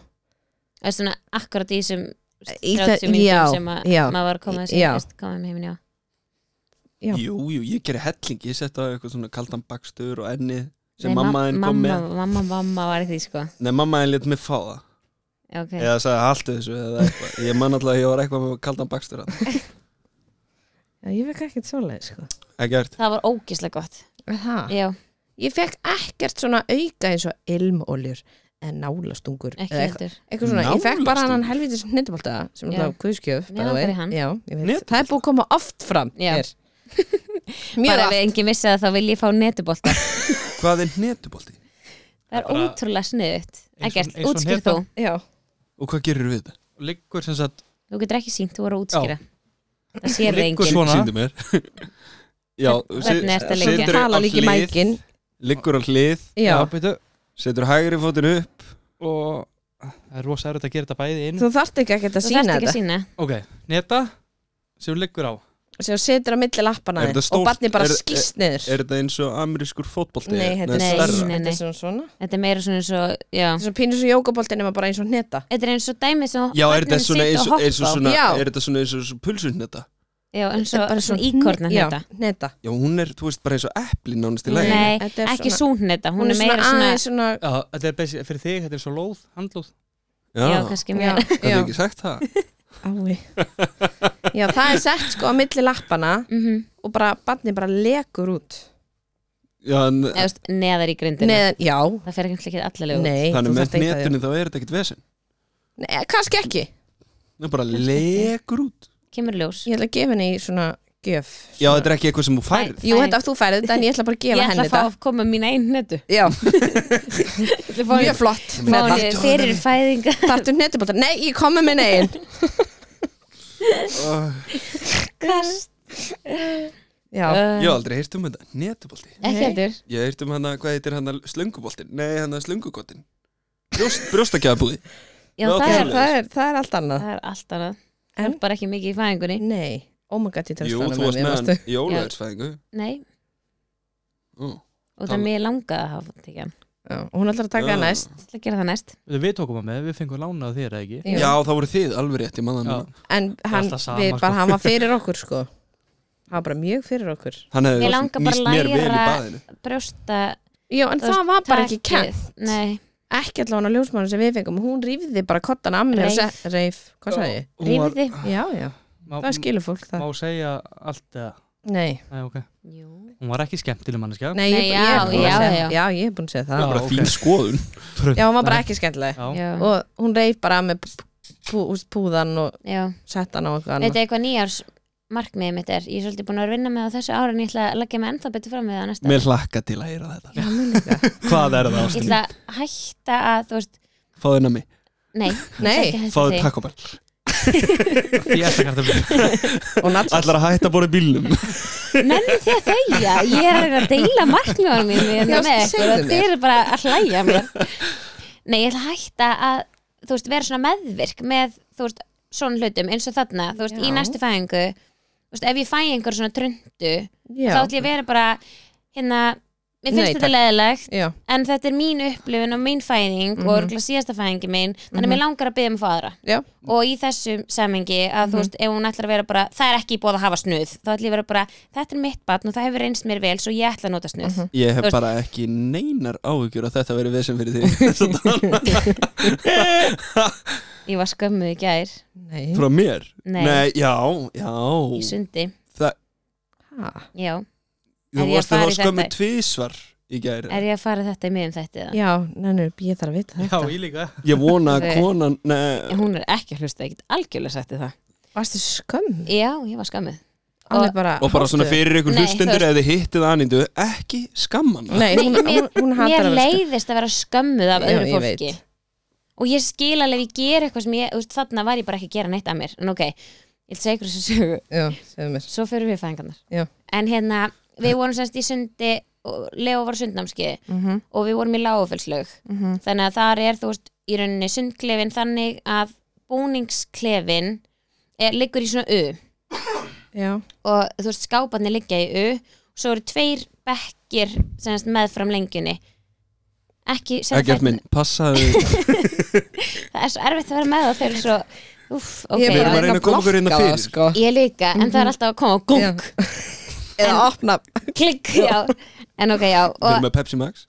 [SPEAKER 1] Það er svona akkurat í þessum
[SPEAKER 2] Í það-
[SPEAKER 1] 30 mínútum
[SPEAKER 2] já,
[SPEAKER 1] sem að
[SPEAKER 2] já,
[SPEAKER 1] maður var að koma að
[SPEAKER 2] já.
[SPEAKER 1] segja koma um heiminn, já
[SPEAKER 2] Já.
[SPEAKER 3] Jú, jú, ég gerði helling, ég setti á eitthvað svona kaldan bakstur og enni sem
[SPEAKER 1] Nei, mam-
[SPEAKER 3] mamma henn kom með
[SPEAKER 1] mamma, mamma, mamma var í því, sko
[SPEAKER 3] Nei, mamma henn létt mig fá það
[SPEAKER 1] Já, ok
[SPEAKER 3] eða sagði haltu þessu eða eitthvað Ég man alltaf að ég var eitthvað með kaldan bakstur þarna.
[SPEAKER 2] já ég fekk ekkert svoleið, sko.
[SPEAKER 3] Ekki hægt
[SPEAKER 1] Það var ógislega gott
[SPEAKER 2] Það?
[SPEAKER 1] Já,
[SPEAKER 2] Ég fekk ekkert svona auka eins og ilmóljur eða nálastungur
[SPEAKER 1] ekki
[SPEAKER 2] eða eitthvað,
[SPEAKER 1] heldur
[SPEAKER 2] eitthvað svona, ég fekk bara
[SPEAKER 3] Nálastungur?
[SPEAKER 2] hann helvitis hnittabólta sem
[SPEAKER 1] Já.
[SPEAKER 2] er það guðskjöf,
[SPEAKER 1] Já,
[SPEAKER 2] the way.
[SPEAKER 1] bara í hann.
[SPEAKER 2] Já, ég veit.
[SPEAKER 3] Hnetubolta?
[SPEAKER 2] það er búið að koma oft fram
[SPEAKER 1] Já. *laughs*
[SPEAKER 2] hér. Mjög
[SPEAKER 1] Bara
[SPEAKER 2] oft.
[SPEAKER 1] ef enginn vissi það þá vil ég fá netubolta
[SPEAKER 3] Hvað er hnetubolti?
[SPEAKER 1] Það er
[SPEAKER 4] Bara-
[SPEAKER 1] ótrúlega sniðut
[SPEAKER 4] og-
[SPEAKER 1] Ekkert,
[SPEAKER 4] eins og
[SPEAKER 1] útskýr þú
[SPEAKER 4] hnetan.
[SPEAKER 2] Já.
[SPEAKER 3] Og hvað gerir við þetta?
[SPEAKER 4] liggur sem sagt
[SPEAKER 1] Þú getur ekki sínt, þú voru að útskýra Það sér það
[SPEAKER 4] Liggur
[SPEAKER 1] enginn
[SPEAKER 4] Svona.
[SPEAKER 3] Sýndu mér *laughs* Já,
[SPEAKER 1] Hvernig ertu að
[SPEAKER 3] sit-
[SPEAKER 1] liggja?
[SPEAKER 3] siturðu á
[SPEAKER 2] tala líka í
[SPEAKER 3] hlið,
[SPEAKER 2] mækin
[SPEAKER 3] Liggur á hlið,
[SPEAKER 2] já.
[SPEAKER 4] byrju,
[SPEAKER 3] setur hægri fótinn upp
[SPEAKER 4] og það er rosa erut að gera þetta bæði inn
[SPEAKER 2] þú þarft ekki ekkert að
[SPEAKER 1] Þú
[SPEAKER 2] sína
[SPEAKER 1] þarft ekki að
[SPEAKER 2] þetta
[SPEAKER 1] sína
[SPEAKER 4] ok, neta sem liggur á
[SPEAKER 2] sem setur á milli lappana
[SPEAKER 3] Er
[SPEAKER 2] þín
[SPEAKER 3] þetta stórt?
[SPEAKER 2] og barni bara
[SPEAKER 3] Er- er-
[SPEAKER 2] skýst niður
[SPEAKER 3] Er þetta eins og amerískur fótbolti?
[SPEAKER 2] nei, þetta er
[SPEAKER 1] Nei,
[SPEAKER 2] stærra.
[SPEAKER 1] nei,
[SPEAKER 2] þetta
[SPEAKER 1] nei.
[SPEAKER 2] er svona svona
[SPEAKER 1] Þetta er meira svona eins og, já
[SPEAKER 2] þetta er svona pínur svo jókabolti nema bara eins og hneta
[SPEAKER 1] Þetta er eins og dæmi sem
[SPEAKER 3] Já, er þetta
[SPEAKER 1] börnin
[SPEAKER 3] svona
[SPEAKER 1] sitja og
[SPEAKER 3] eins og,
[SPEAKER 1] hoppa
[SPEAKER 3] eins og
[SPEAKER 1] á.
[SPEAKER 3] svona,
[SPEAKER 2] Já.
[SPEAKER 3] er þetta svona eins og pulsun þetta?
[SPEAKER 1] Já, eins og
[SPEAKER 2] Þetta er
[SPEAKER 1] eins og svona
[SPEAKER 2] svona
[SPEAKER 1] íkorna
[SPEAKER 2] hne- já,
[SPEAKER 1] hneta
[SPEAKER 2] hneta
[SPEAKER 3] Já, hún er, þú veist, bara eins og eplin nánast í
[SPEAKER 2] Nei,
[SPEAKER 3] lægin.
[SPEAKER 1] Nei,
[SPEAKER 2] þetta er
[SPEAKER 1] ekki
[SPEAKER 2] svona-
[SPEAKER 1] svona hneta Hún er meira svona,
[SPEAKER 2] aðeins svona
[SPEAKER 4] já, þetta er basic, fyrir þig, þetta er svo lóð, handlóð
[SPEAKER 3] Já,
[SPEAKER 1] já,
[SPEAKER 3] kannski.
[SPEAKER 1] kannski
[SPEAKER 2] já,
[SPEAKER 1] meira
[SPEAKER 3] Gæti
[SPEAKER 2] já.
[SPEAKER 3] ekki sagt það?
[SPEAKER 2] Ái. já, það er sett sko á milli lappana
[SPEAKER 1] Mhm.
[SPEAKER 2] og bara barni bara lekur út
[SPEAKER 3] Já, en,
[SPEAKER 1] Eða, þú veist, Neðar í grindinu
[SPEAKER 2] Neðan, já,
[SPEAKER 1] Það fer ekki allir allarlegu
[SPEAKER 2] nei
[SPEAKER 3] þannig
[SPEAKER 2] þú
[SPEAKER 3] með
[SPEAKER 2] þarft ekki að-
[SPEAKER 3] netunni þá er þetta ekkert vesen.
[SPEAKER 2] Nei, eh, kannski ekki,
[SPEAKER 3] Það er bara lekur út.
[SPEAKER 1] Kemur ljós
[SPEAKER 2] ég ætla að gefa henni í svona gjöf
[SPEAKER 3] Já, þetta er ekki eitthvað sem þú færð.
[SPEAKER 2] Jú, þetta þú færið þetta en ég ætla bara að
[SPEAKER 1] Ég
[SPEAKER 2] gefa
[SPEAKER 1] ætla
[SPEAKER 2] henni
[SPEAKER 1] að fá
[SPEAKER 2] þetta
[SPEAKER 1] að koma mín einn hnetu
[SPEAKER 2] Já, mjög
[SPEAKER 1] Mjög
[SPEAKER 2] flott
[SPEAKER 1] Fá henni fyrir fæðinga
[SPEAKER 2] Þartu hnetubólta? Nei, ég kom með minn eigin
[SPEAKER 1] Kast
[SPEAKER 2] Já,
[SPEAKER 3] Ég hef aldrei heyrt um þetta, netubolti.
[SPEAKER 1] Ekki
[SPEAKER 2] Nei.
[SPEAKER 1] heldur
[SPEAKER 3] Ég hef heyrt um hana, hvað heitir hana, slönguboltin? Nei, hana slöngugotin. Brjóst, *laughs* brjóstakjafabúði.
[SPEAKER 1] Já,
[SPEAKER 3] Ná,
[SPEAKER 1] það
[SPEAKER 3] ok.
[SPEAKER 1] er,
[SPEAKER 2] það er, það er allt annað
[SPEAKER 1] það er allt annað
[SPEAKER 2] En?
[SPEAKER 1] Það er bara ekki mikið í fæðingunni
[SPEAKER 2] Nei, ómagat ég
[SPEAKER 3] Jú,
[SPEAKER 2] telst
[SPEAKER 3] þú varst með hann í ólegaðsfæðingu.
[SPEAKER 1] Nei,
[SPEAKER 3] Já,
[SPEAKER 1] og það
[SPEAKER 3] Tala.
[SPEAKER 1] er mér langað að hafa tekið hann
[SPEAKER 2] hann Hún ætlar að taka
[SPEAKER 3] Já.
[SPEAKER 2] hann næst
[SPEAKER 1] Ég ætla að gera það næst
[SPEAKER 4] við tókum að með, við fengum lánað þér eða ekki
[SPEAKER 2] Jú.
[SPEAKER 3] þá voru þið alveg rétt, ég manna hann.
[SPEAKER 4] já,
[SPEAKER 2] En hann,
[SPEAKER 4] alltaf sama,
[SPEAKER 2] við,
[SPEAKER 4] sko.
[SPEAKER 2] bara, hann var fyrir okkur sko Hann var bara mjög fyrir okkur
[SPEAKER 3] Hann
[SPEAKER 1] Mig
[SPEAKER 3] hefði
[SPEAKER 1] langar bara
[SPEAKER 3] nýst mér
[SPEAKER 1] að
[SPEAKER 3] vel í
[SPEAKER 1] læra-
[SPEAKER 3] baðinu.
[SPEAKER 1] Brjósta
[SPEAKER 2] Jú, en
[SPEAKER 1] Þú
[SPEAKER 2] það var bara ekki
[SPEAKER 1] takið.
[SPEAKER 2] kent
[SPEAKER 1] Nei,
[SPEAKER 2] Ekki allavega hann að ljósmánu sem við fengum Hún rýfði bara kottan að mér og
[SPEAKER 1] Reif.
[SPEAKER 2] se- Reif, hvað sagði ég?
[SPEAKER 3] Hún var-
[SPEAKER 1] rífði
[SPEAKER 2] Já, já,
[SPEAKER 4] má,
[SPEAKER 2] það skilur fólk það
[SPEAKER 4] má segja allt eða
[SPEAKER 2] Nei,
[SPEAKER 4] Nei, ok.
[SPEAKER 1] Jú
[SPEAKER 4] hún var ekki skemmtileg manneskja
[SPEAKER 2] nei, ég,
[SPEAKER 1] Nei,
[SPEAKER 2] ég,
[SPEAKER 1] já,
[SPEAKER 2] er búin að
[SPEAKER 1] já,
[SPEAKER 2] segja-
[SPEAKER 1] já.
[SPEAKER 2] já, ég er búin að segja
[SPEAKER 3] Það
[SPEAKER 2] það
[SPEAKER 3] er bara
[SPEAKER 4] Já,
[SPEAKER 3] þín
[SPEAKER 4] ok.
[SPEAKER 3] skoðun.
[SPEAKER 2] Já, hún var bara ekki skemmtileg
[SPEAKER 4] já,
[SPEAKER 1] Já,
[SPEAKER 2] Og hún reif bara með pú, pú, púðan og
[SPEAKER 1] já
[SPEAKER 2] sett hann á eitthvað
[SPEAKER 1] Þetta
[SPEAKER 2] annað
[SPEAKER 1] er eitthvað nýjárs markmiðið mitt er, ég er svolítið búin að vera að vinna með það á þessu ára en ég ætla að leggja mig ennþá betur fram við það næsta
[SPEAKER 3] Mér hlakka til að heyra þetta
[SPEAKER 2] Já, mér líka.
[SPEAKER 3] *laughs* Hvað er það
[SPEAKER 1] ég
[SPEAKER 3] ástin?
[SPEAKER 1] ætla að hætta að, þú veist,
[SPEAKER 3] Fáðu nami,
[SPEAKER 1] nei, ég ætla
[SPEAKER 2] Nei.
[SPEAKER 1] ekki að hætta
[SPEAKER 3] fáðu
[SPEAKER 1] því.
[SPEAKER 3] takkobel
[SPEAKER 4] *laughs* Ég ætla kartöflur
[SPEAKER 2] og natsast
[SPEAKER 3] Ætlar að hætta að bóra bílnum
[SPEAKER 1] *laughs* Nenni því að þegja, ég er að reyna að deila markmjóðanum mínum
[SPEAKER 2] Já,
[SPEAKER 1] hérna með ykkur
[SPEAKER 2] segðu
[SPEAKER 1] og þið
[SPEAKER 2] mér.
[SPEAKER 1] eru bara að hlæja að mér Nei, ég ætla að hætta að þú veist, vera svona meðvirk með þú veist, svona hlutum eins og þarna þú veist, í
[SPEAKER 2] Já.
[SPEAKER 1] næstu fæðingu þú veist, ef ég fæ einhver svona tröndu þá
[SPEAKER 2] já,
[SPEAKER 1] ætla ég að vera bara hérna, mér
[SPEAKER 2] Nei,
[SPEAKER 1] finnst þetta
[SPEAKER 2] takk.
[SPEAKER 1] leðilegt
[SPEAKER 2] já,
[SPEAKER 1] en þetta er mín upplifun og mín fæðing
[SPEAKER 2] Mhm.
[SPEAKER 1] og örugglega síðasta fæðingi mín þannig að mér langar að byggja um að fá aðra
[SPEAKER 2] já,
[SPEAKER 1] og í þessum semingi að þú veist, ef hún ætlar að vera bara, það er ekki í bóð að hafa snuð þá ætlar ég að vera bara, þetta er mitt barn og það hefur reynst mér vel svo ég ætla að nota snuð
[SPEAKER 3] Ég
[SPEAKER 1] Þú
[SPEAKER 3] hef
[SPEAKER 1] veist-
[SPEAKER 3] bara ekki neinar áhugjur að þetta veri vesum *laughs* fyrir því
[SPEAKER 1] ég var skömmuð í gær,
[SPEAKER 2] nei
[SPEAKER 3] Frá mér?
[SPEAKER 1] Hm? Nei.
[SPEAKER 3] já,
[SPEAKER 1] í
[SPEAKER 3] já
[SPEAKER 1] sundi
[SPEAKER 3] Það,
[SPEAKER 2] Ha,
[SPEAKER 1] já,
[SPEAKER 3] þú
[SPEAKER 1] Er ég að
[SPEAKER 3] varst
[SPEAKER 1] fara
[SPEAKER 3] það
[SPEAKER 1] í
[SPEAKER 3] skömmu
[SPEAKER 1] þetta?
[SPEAKER 3] tvísvar í gæri
[SPEAKER 1] er ég að fara þetta í miðum þetta eða?
[SPEAKER 2] já, nennu, ég þarf að vita
[SPEAKER 4] Já,
[SPEAKER 2] þetta
[SPEAKER 4] ég líka
[SPEAKER 3] Ég vona að
[SPEAKER 1] Nei.
[SPEAKER 3] konan Nei,
[SPEAKER 1] hún er ekki að hlusta, ég get algjörlega sagt þér það
[SPEAKER 2] varstu skömm,
[SPEAKER 1] já, ég var skömmuð
[SPEAKER 2] alveg bara
[SPEAKER 3] Og bara svona
[SPEAKER 2] hástuð.
[SPEAKER 3] fyrir ykkur
[SPEAKER 1] Nei, þú
[SPEAKER 3] hlustendur ef þið hittið anindu, ekki skamman
[SPEAKER 2] nei, hún,
[SPEAKER 1] mér,
[SPEAKER 2] hún, hún
[SPEAKER 1] mér
[SPEAKER 2] hattar að vera skömm.
[SPEAKER 1] leiðist að vera skömmuð af
[SPEAKER 2] Já,
[SPEAKER 1] öðru
[SPEAKER 2] ég
[SPEAKER 1] fólki
[SPEAKER 2] veit.
[SPEAKER 1] og ég skil alveg ef ég ger eitthvað sem ég, þú veist, þarna var ég bara ekki að gera neitt að mér en ok, ég ætla að segja ykkur þessu sögu
[SPEAKER 2] já, segðu mér
[SPEAKER 1] svo fyrir við fæðingarnar
[SPEAKER 2] Já.
[SPEAKER 1] en hérna, við vorum semst í sundi og Leo var sundnámskið
[SPEAKER 2] Mhm,
[SPEAKER 1] og við vorum í lágufellslaug
[SPEAKER 2] mhm,
[SPEAKER 1] þannig að þar er, þú veist, í rauninni sundklefin þannig að búningsklefin er, liggur í svona U
[SPEAKER 2] já,
[SPEAKER 1] og þú veist, skáparnir liggja í U svo eru tveir bekkir semst meðfram lengjunni ekki, sem
[SPEAKER 3] Ekkert minn, passaðu
[SPEAKER 1] *laughs* það er svo erfitt að vera með það þegar svo Úff, ok,
[SPEAKER 2] Ég er
[SPEAKER 3] Við
[SPEAKER 2] bara
[SPEAKER 3] erum
[SPEAKER 2] Mhm.
[SPEAKER 3] að reyna að koma okkur hérna
[SPEAKER 2] blokka það,
[SPEAKER 3] fyrir.
[SPEAKER 2] sko.
[SPEAKER 1] ég líka, en það er alltaf að koma og gung,
[SPEAKER 2] eða opna
[SPEAKER 1] klikk, já en ok, já,
[SPEAKER 3] Við
[SPEAKER 1] og
[SPEAKER 3] erum með Pepsi Max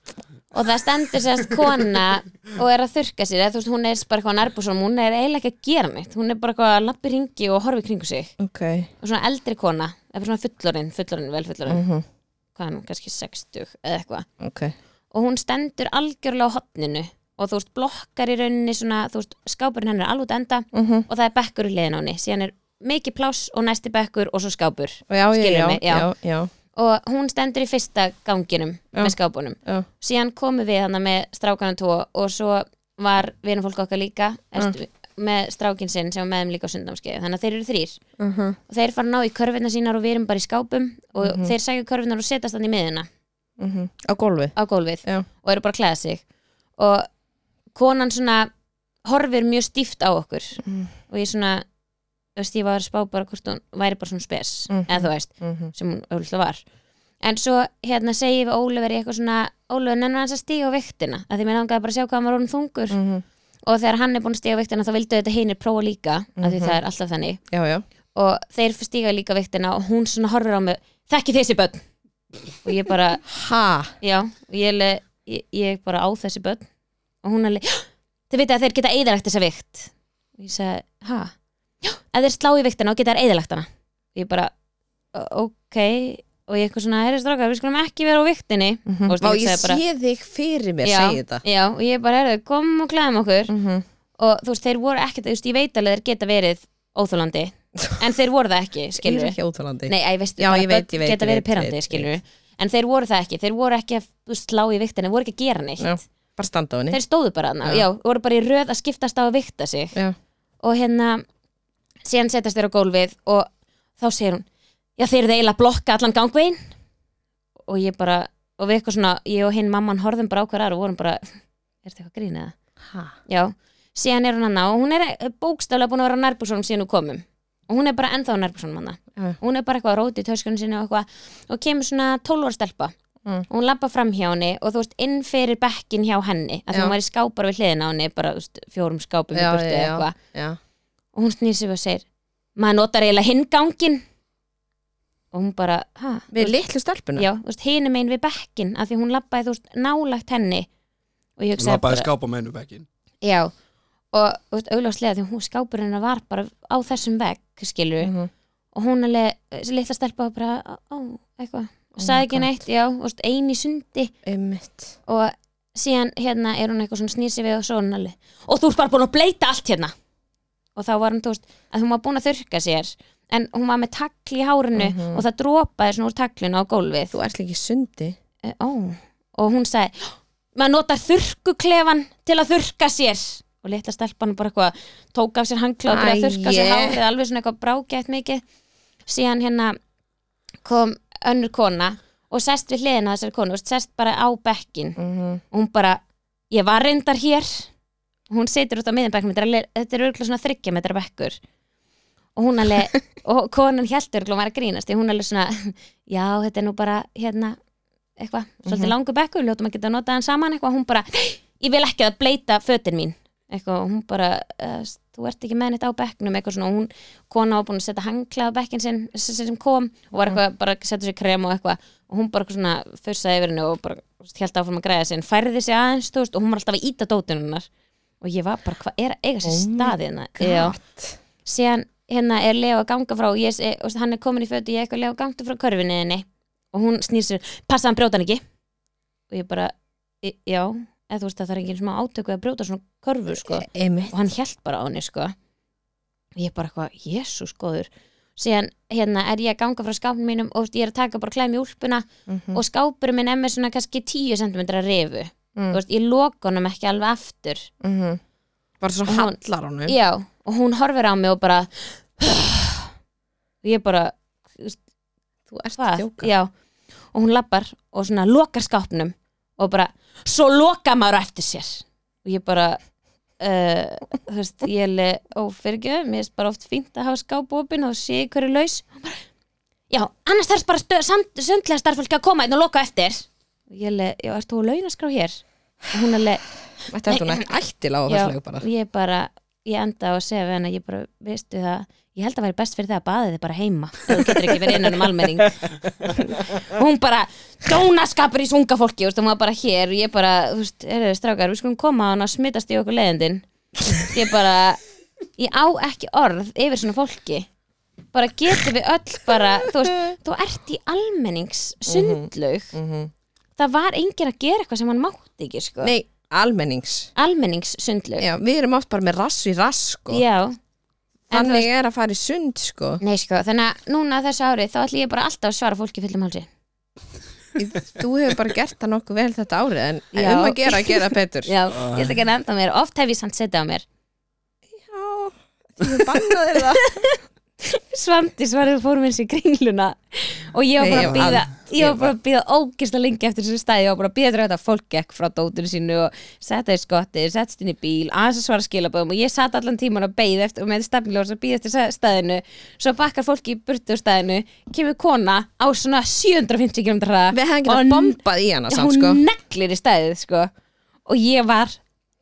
[SPEAKER 1] og það stendur sérst kona og er að þurka sér, eða þú veist, hún er bara eitthvað nærbúsum, hún er eiginlega ekki að gera neitt hún er bara eitthvað að lappi ringi og horfi kringu sig
[SPEAKER 2] ok,
[SPEAKER 1] og svona eldri kona, eða svona fullorinn fullorinn, vel fullorinn,
[SPEAKER 2] mhm,
[SPEAKER 1] hvað er hún, kannski 60 eða eitthvað,
[SPEAKER 2] ok
[SPEAKER 1] og hún stendur algjörlega á hotninu og þú veist, blokkar í rauninni svona, þú veist, skápurinn hennar er alveg út enda
[SPEAKER 2] mhm,
[SPEAKER 1] og það er bekkur í leiðin á henni, síðan er mikið pláss og næsti bekkur og svo skápur
[SPEAKER 2] já, já,
[SPEAKER 1] Skilur
[SPEAKER 2] já,
[SPEAKER 1] mig, já.
[SPEAKER 2] já, já
[SPEAKER 1] og hún stendur í fyrsta ganginum
[SPEAKER 2] Já.
[SPEAKER 1] með skápunum
[SPEAKER 2] já,
[SPEAKER 1] síðan komum við hann með strákana tvo og svo var vinafólk okkar líka erst, með strákin sinn sem var með þeim líka á sundnámskeið þannig að þeir eru þrýr
[SPEAKER 2] mhm,
[SPEAKER 1] og þeir fara að ná í körfurnar sínar og við erum bara í skápum og þeir sækja körfurnar og setjast hann í miðina
[SPEAKER 2] mhm á gólfið,
[SPEAKER 1] á gólfið
[SPEAKER 2] Já.
[SPEAKER 1] og eru bara að klæða sig og konan svona horfir mjög stíft á okkur
[SPEAKER 2] Mhm.
[SPEAKER 1] og ég svona þú veist, ég var að spá bara hvort hún væri bara svona spes
[SPEAKER 2] Mhm.
[SPEAKER 1] eða þú veist,
[SPEAKER 2] mhm,
[SPEAKER 1] sem hún auðvitað var en svo hérna segi við Ólöfur í eitthvað svona, Ólöfur nennan hans að stíga á viktina að því mér langaði bara að sjá hvað hann var orðin þungur
[SPEAKER 2] mhm
[SPEAKER 1] og þegar hann er búin að stíga á viktina þá vildu þetta hinir prófa líka að því það er alltaf þannig
[SPEAKER 2] já, já,
[SPEAKER 1] og þeir stíga líka viktina og hún svona horfir á mig þekki þessi börn og ég bara,
[SPEAKER 2] ha
[SPEAKER 1] já og ég, le, ég, ég bara á þessi börn og hún alveg, "Já, þið vita að þeir geta eðalagt þessa vikt og ég segi, ha? Já, ef þeir slá í viktina og geta þær eðalagt hana ég bara, "Ö, ok og ég eitthvað svona, herri strákar, við skulum ekki vera á viktinni
[SPEAKER 2] Mhm.
[SPEAKER 1] Og
[SPEAKER 2] Vá,
[SPEAKER 1] ég
[SPEAKER 2] ég
[SPEAKER 1] sagði bara-
[SPEAKER 2] sé þig fyrir mér
[SPEAKER 1] já,
[SPEAKER 2] segja þetta
[SPEAKER 1] já, og ég bara, herri, kom og klæðum okkur
[SPEAKER 2] Mhm.
[SPEAKER 1] og þú veist, þeir voru ekkert, þú veist, ég veit alveg þeir geta verið
[SPEAKER 2] *laughs*
[SPEAKER 1] óþólandi en þeir voru það ekki,
[SPEAKER 2] Ég er
[SPEAKER 1] skilur
[SPEAKER 2] ekki ótalandi
[SPEAKER 1] Nei, ég veist,
[SPEAKER 2] Já,
[SPEAKER 1] bara
[SPEAKER 2] ég veit,
[SPEAKER 1] börn
[SPEAKER 2] ég veit,
[SPEAKER 1] geta
[SPEAKER 2] ég
[SPEAKER 1] verið
[SPEAKER 2] veit,
[SPEAKER 1] pyrrandi,
[SPEAKER 2] veit,
[SPEAKER 1] skilur en þeir voru það ekki, þeir voru ekki að þú veist, slá í viktina, þeir voru ekki að gera neitt
[SPEAKER 2] Já, bara standa á henni
[SPEAKER 1] þeir stóðu bara hana,
[SPEAKER 2] Já.
[SPEAKER 1] já, voru bara í röð að skiptast á að vikta sig
[SPEAKER 2] Já.
[SPEAKER 1] og hérna, síðan setjast þeir á gólfið og þá segir hún já, þeir eru eiginlega að blokka allan gangvegin og ég bara, og við eitthvað svona ég og hinn mamman horfðum bara á hver aðra og vorum bara, er þetta eitthvað grín eða?
[SPEAKER 2] Ha.
[SPEAKER 1] Já, síðan er hún hann á og hún er bókstaflega búin að vera á nærbúksónum síðan við komum og hún er bara ennþá á nærbúksónum hann
[SPEAKER 2] Já.
[SPEAKER 1] hún er bara eitthvað að róti í töskunum sinni og, eitthvað, og kemur svona 12 ára stelpa
[SPEAKER 2] Mm.
[SPEAKER 1] og hún labba fram hjá henni og þú veist inn fyrir bekkin hjá henni að
[SPEAKER 2] Já.
[SPEAKER 1] hún var í skápar við hliðina á henni bara þú veist, fjórum skápum í
[SPEAKER 2] Já,
[SPEAKER 1] burtu
[SPEAKER 2] já,
[SPEAKER 1] eða
[SPEAKER 2] já.
[SPEAKER 1] eitthvað
[SPEAKER 2] Já.
[SPEAKER 1] og hún snýr sig við og segir maður notar eiginlega hingangin og hún bara, hæ?
[SPEAKER 2] Við litlu stelpuna
[SPEAKER 1] Já, þú veist, hinum einn við bekkin af því hún labbaði, þú veist, nálægt henni og ég hugsaði
[SPEAKER 3] Lappaði skápa með hennu bekkin
[SPEAKER 1] Já, og þú veist, augljóslega því hún skápur hennar var bara á þessum vegg skilur
[SPEAKER 2] Mhm.
[SPEAKER 1] og hún alveg, þessi litla stelpa var bara á, á, eitthvað,
[SPEAKER 2] Oh
[SPEAKER 1] og sagði
[SPEAKER 2] my
[SPEAKER 1] ekki
[SPEAKER 2] God.
[SPEAKER 1] neitt já, þú veist, ein í sundi
[SPEAKER 2] Einmitt.
[SPEAKER 1] og síðan hérna er hún eitthvað svona snýr sig við og svo er hún alveg og þú ert bara búin að bleita allt hérna og þá var hún, þú veist, að hún var búin að þurrka sér en hún var með tagl í hárinu
[SPEAKER 2] Mhm.
[SPEAKER 1] og það dropaði svona úr taglinu á gólfið
[SPEAKER 2] Þú ert líka í sundi
[SPEAKER 1] Eh, ó, og hún sagði maður notar þurrkuklefan til að þurrka sér og litla stelpan bara eitthvað tók af sér hangla og byrjaði að þurrka sér
[SPEAKER 2] Æi.
[SPEAKER 1] hárið alveg svona eitthvað brágætt mikið síðan hérna kom önnur kona og sest við hliðina á þessari konu, þú veist, sest bara á bekkin
[SPEAKER 2] Mhm.
[SPEAKER 1] og hún bara, ég var reyndar hér hún situr út á miðinbekkum þetta er alveg- þetta er örgulega svona þryggja metra bekkur og hún alveg og konan hjæltur örgulega var að grínast því hún alveg svona, já þetta er nú bara hérna, eitthvað, svolítið
[SPEAKER 2] Mhm.
[SPEAKER 1] langur bekkur við ljótum að geta að nota hann saman eitthvað hún bara, ég vil ekki að bleita fötin mín eitthvað, og hún bara, "Eh, þú ert ekki með neitt á bekknum eitthvað svona, og hún kona var búin að setja hangla á bekkin sinn sem, sem kom og var eitthvað, bara að setja sér krem og eitthvað og hún bara eitthvað svona fussaði yfir henni og bara held áfram að græða sinn, færði sig aðeins þú veist, og hún var alltaf að íta dótinu hennar og ég var bara, hvað er að eiga sér
[SPEAKER 2] Oh my
[SPEAKER 1] staðina síðan hérna er Leo að ganga frá og, ég, se- og hann er komin í fötu, ég er eitthvað Leo gangtu frá körfinni henni og hún snýr sér, passa hann brjóta hann ekki og ég bara, "Í- já eða þú veist að það er enginn smá átöku að brjóta svona körfu sko
[SPEAKER 2] Einmitt
[SPEAKER 1] og hann hjælt bara á henni sko og ég bara eitthvað, jésús góður síðan hérna er ég að ganga frá skápnum mínum og þú veist, ég er að taka bara klæmi úlpuna
[SPEAKER 2] Mhm.
[SPEAKER 1] og skápurinn minn er með svona kannski 10 cm rifu
[SPEAKER 2] Mm.
[SPEAKER 1] þú veist, ég loka honum ekki alveg aftur
[SPEAKER 2] Mhm. Bara svo
[SPEAKER 1] Og hún-
[SPEAKER 2] hallar honum
[SPEAKER 1] já, og hún horfir á mig og bara *sighs* og ég bara þú veist,
[SPEAKER 2] Þú ert að
[SPEAKER 1] hvað,
[SPEAKER 2] djóka
[SPEAKER 1] já og hún lappar og svona lokar skápnum og bara, svo loka maður á eftir sér og ég bara uh, þú veist, ég le ófyrgjöf, mér er bara oft fínt að hafa skápopin og sé ég hverju laus og bara, já, annars þarf bara stö- sand- sundlega starffólki að koma einn og loka á eftir og ég le, já, ert þú að launaskrá hér og hún að le,
[SPEAKER 2] Þetta er svona ættil á
[SPEAKER 1] Já,
[SPEAKER 2] þessu bara
[SPEAKER 1] ég bara ég enda á að segja við henni að ég bara veistu það, ég held að væri best fyrir það að baða þið bara heima ef þú getur ekki verið innan um
[SPEAKER 2] *laughs*
[SPEAKER 1] almenning Og hún bara dónaskapur í sunga fólki, þú veist, hún var bara hér og ég bara, þú veist, eru þið strákar við skulum koma á hann að smittast í okkur leiðindin ég bara, ég á ekki orð yfir svona fólki bara getum við öll bara þú veist, þú ert í almennings
[SPEAKER 2] Mhm,
[SPEAKER 1] sundlaug, það var enginn að gera eitthvað sem hann mátti ekki, sko
[SPEAKER 2] Nei, almennings
[SPEAKER 1] almennings sundlaug
[SPEAKER 2] Já, við erum oft bara með rass í rass sko
[SPEAKER 1] Já En þú
[SPEAKER 2] Þannig er að fara í sund sko
[SPEAKER 1] Nei sko, þannig að núna þessu ári þá ætlum ég bara alltaf að svara fólki fullum hálsi
[SPEAKER 2] Þú hefur bara gert það nokkuð vel þetta árið en
[SPEAKER 1] Já.
[SPEAKER 2] um að gera, gera betur
[SPEAKER 1] Já, ég ætla ekki að enda mér, oft hef ég samt setið á mér
[SPEAKER 2] Já, þú bannaði það
[SPEAKER 1] Svandi svaraði fórum eins í kringluna og ég var
[SPEAKER 2] Nei, ég var
[SPEAKER 1] bara að býða ég var
[SPEAKER 2] ég
[SPEAKER 1] bara að býða ógisla lengi eftir þessu stæði og bara að býða eftir þetta að fólk gekk frá dótinu sínu og setta í skotti, settst inn í bíl aðeins að svara skilabóðum og ég satt allan tíman að beið eftir og með stefnilegur að býða eftir stæðinu svo bakkar fólki í burtu á stæðinu kemur kona á svona 750 km hraða
[SPEAKER 2] Við hefum
[SPEAKER 1] og
[SPEAKER 2] getað
[SPEAKER 1] hún-
[SPEAKER 2] bombað í hana
[SPEAKER 1] Já,
[SPEAKER 2] samt
[SPEAKER 1] hún
[SPEAKER 2] sko
[SPEAKER 1] neglir í stæðið sko og ég var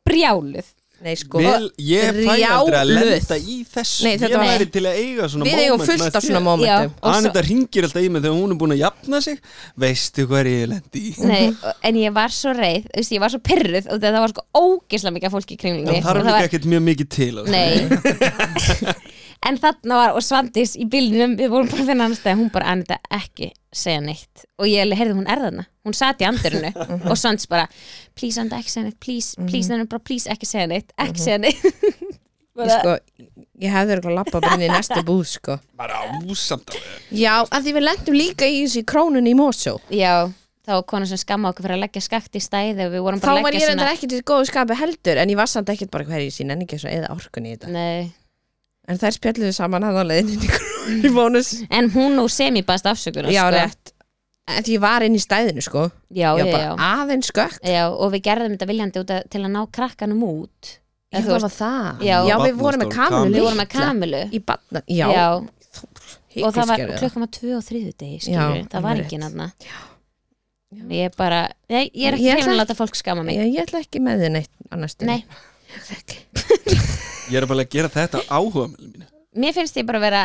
[SPEAKER 1] brjáluð
[SPEAKER 2] Nei sko
[SPEAKER 3] Vel, ég fæ aldrei að
[SPEAKER 2] Brjáluð.
[SPEAKER 3] lenda í þessu
[SPEAKER 2] Nei, þetta
[SPEAKER 3] Ég
[SPEAKER 2] var-
[SPEAKER 3] væri til að eiga svona
[SPEAKER 2] Við eigum
[SPEAKER 3] moment
[SPEAKER 2] fullt
[SPEAKER 3] með
[SPEAKER 2] af svona
[SPEAKER 3] þér.
[SPEAKER 2] momentum
[SPEAKER 1] Og svo-
[SPEAKER 3] Anita ringir alltaf í mig þegar hún er búin að jafna sig Veistu hvað er ég lendi í?
[SPEAKER 1] Nei,
[SPEAKER 2] Mhm.
[SPEAKER 1] og- en ég var svo reið þú veist, ég var svo pyrruð og það var sko ógislega mikið af fólki í kringlinni
[SPEAKER 3] Það þarf
[SPEAKER 1] Og það
[SPEAKER 3] líka
[SPEAKER 1] var-
[SPEAKER 3] ekkert mjög mikið til á þessu.
[SPEAKER 1] Nei
[SPEAKER 2] *laughs*
[SPEAKER 1] En þarna var, og Svandís í bílinum við vorum bara að finna annars stæð, hún bara annað ekki segja neitt og ég alveg, heyrðu hún er þarna hún sat í andurinu
[SPEAKER 2] Mhm.
[SPEAKER 1] og Svandís bara please annað ekki segja neitt, please, please mm bara please ekki segja neitt, ekki
[SPEAKER 2] Mhm.
[SPEAKER 1] segja neitt *laughs*
[SPEAKER 2] Ég, sko, ég hefði eitthvað lappa bara inn í næstu búð sko.
[SPEAKER 3] Bara ásamt alveg
[SPEAKER 2] Já, að því við lendum líka í þessu í krónunni í Mosó
[SPEAKER 1] Já, þá var konan sem skamma okkur fyrir að leggja skakt í stæði og við
[SPEAKER 2] Þá
[SPEAKER 1] vorum bara að
[SPEAKER 2] var ég
[SPEAKER 1] leggja
[SPEAKER 2] reyndar ekkert í góðu skapi heldur en ég var samt ekkert bara hverju sín en ekki svo eða orkunni í þetta
[SPEAKER 1] Nei
[SPEAKER 2] En þær spjalluðu saman hann á leiðinni inn í *laughs* krónunni í Mosó
[SPEAKER 1] En hún nú semi-bast afsökunar
[SPEAKER 2] Já,
[SPEAKER 1] sko.
[SPEAKER 2] rétt En því ég var inn í stæðinu sko
[SPEAKER 1] já,
[SPEAKER 2] Ég
[SPEAKER 1] já,
[SPEAKER 2] var
[SPEAKER 1] já,
[SPEAKER 2] bara aðeins skökk
[SPEAKER 1] já Og við gerðum þetta viljandi út að, til að ná krakkanum út
[SPEAKER 2] Já,
[SPEAKER 1] Eða, þú
[SPEAKER 2] það
[SPEAKER 1] veist,
[SPEAKER 2] var það
[SPEAKER 1] Já.
[SPEAKER 2] við vorum með
[SPEAKER 3] Barnastól,
[SPEAKER 2] kamilu
[SPEAKER 3] Kamilu.
[SPEAKER 1] Við vorum með Kamilu
[SPEAKER 2] Í batna, já,
[SPEAKER 1] Og það var
[SPEAKER 2] hyggiskerið.
[SPEAKER 1] klukkan var tvö og þriðu degi
[SPEAKER 2] Já,
[SPEAKER 1] skilurðu. Það var
[SPEAKER 2] alveg
[SPEAKER 1] enginn
[SPEAKER 2] rétt.
[SPEAKER 1] aðna
[SPEAKER 2] Já.
[SPEAKER 1] Ég er bara, nei, ég er ekki
[SPEAKER 2] Ég ætla
[SPEAKER 1] hefnir að
[SPEAKER 2] ekki-
[SPEAKER 1] láta fólk skama mig
[SPEAKER 2] Já, ég ætla ekki með þið neitt annars
[SPEAKER 1] Nei,
[SPEAKER 3] Ég er bara að gera þetta áhuga með mínu
[SPEAKER 1] mér finnst ég bara vera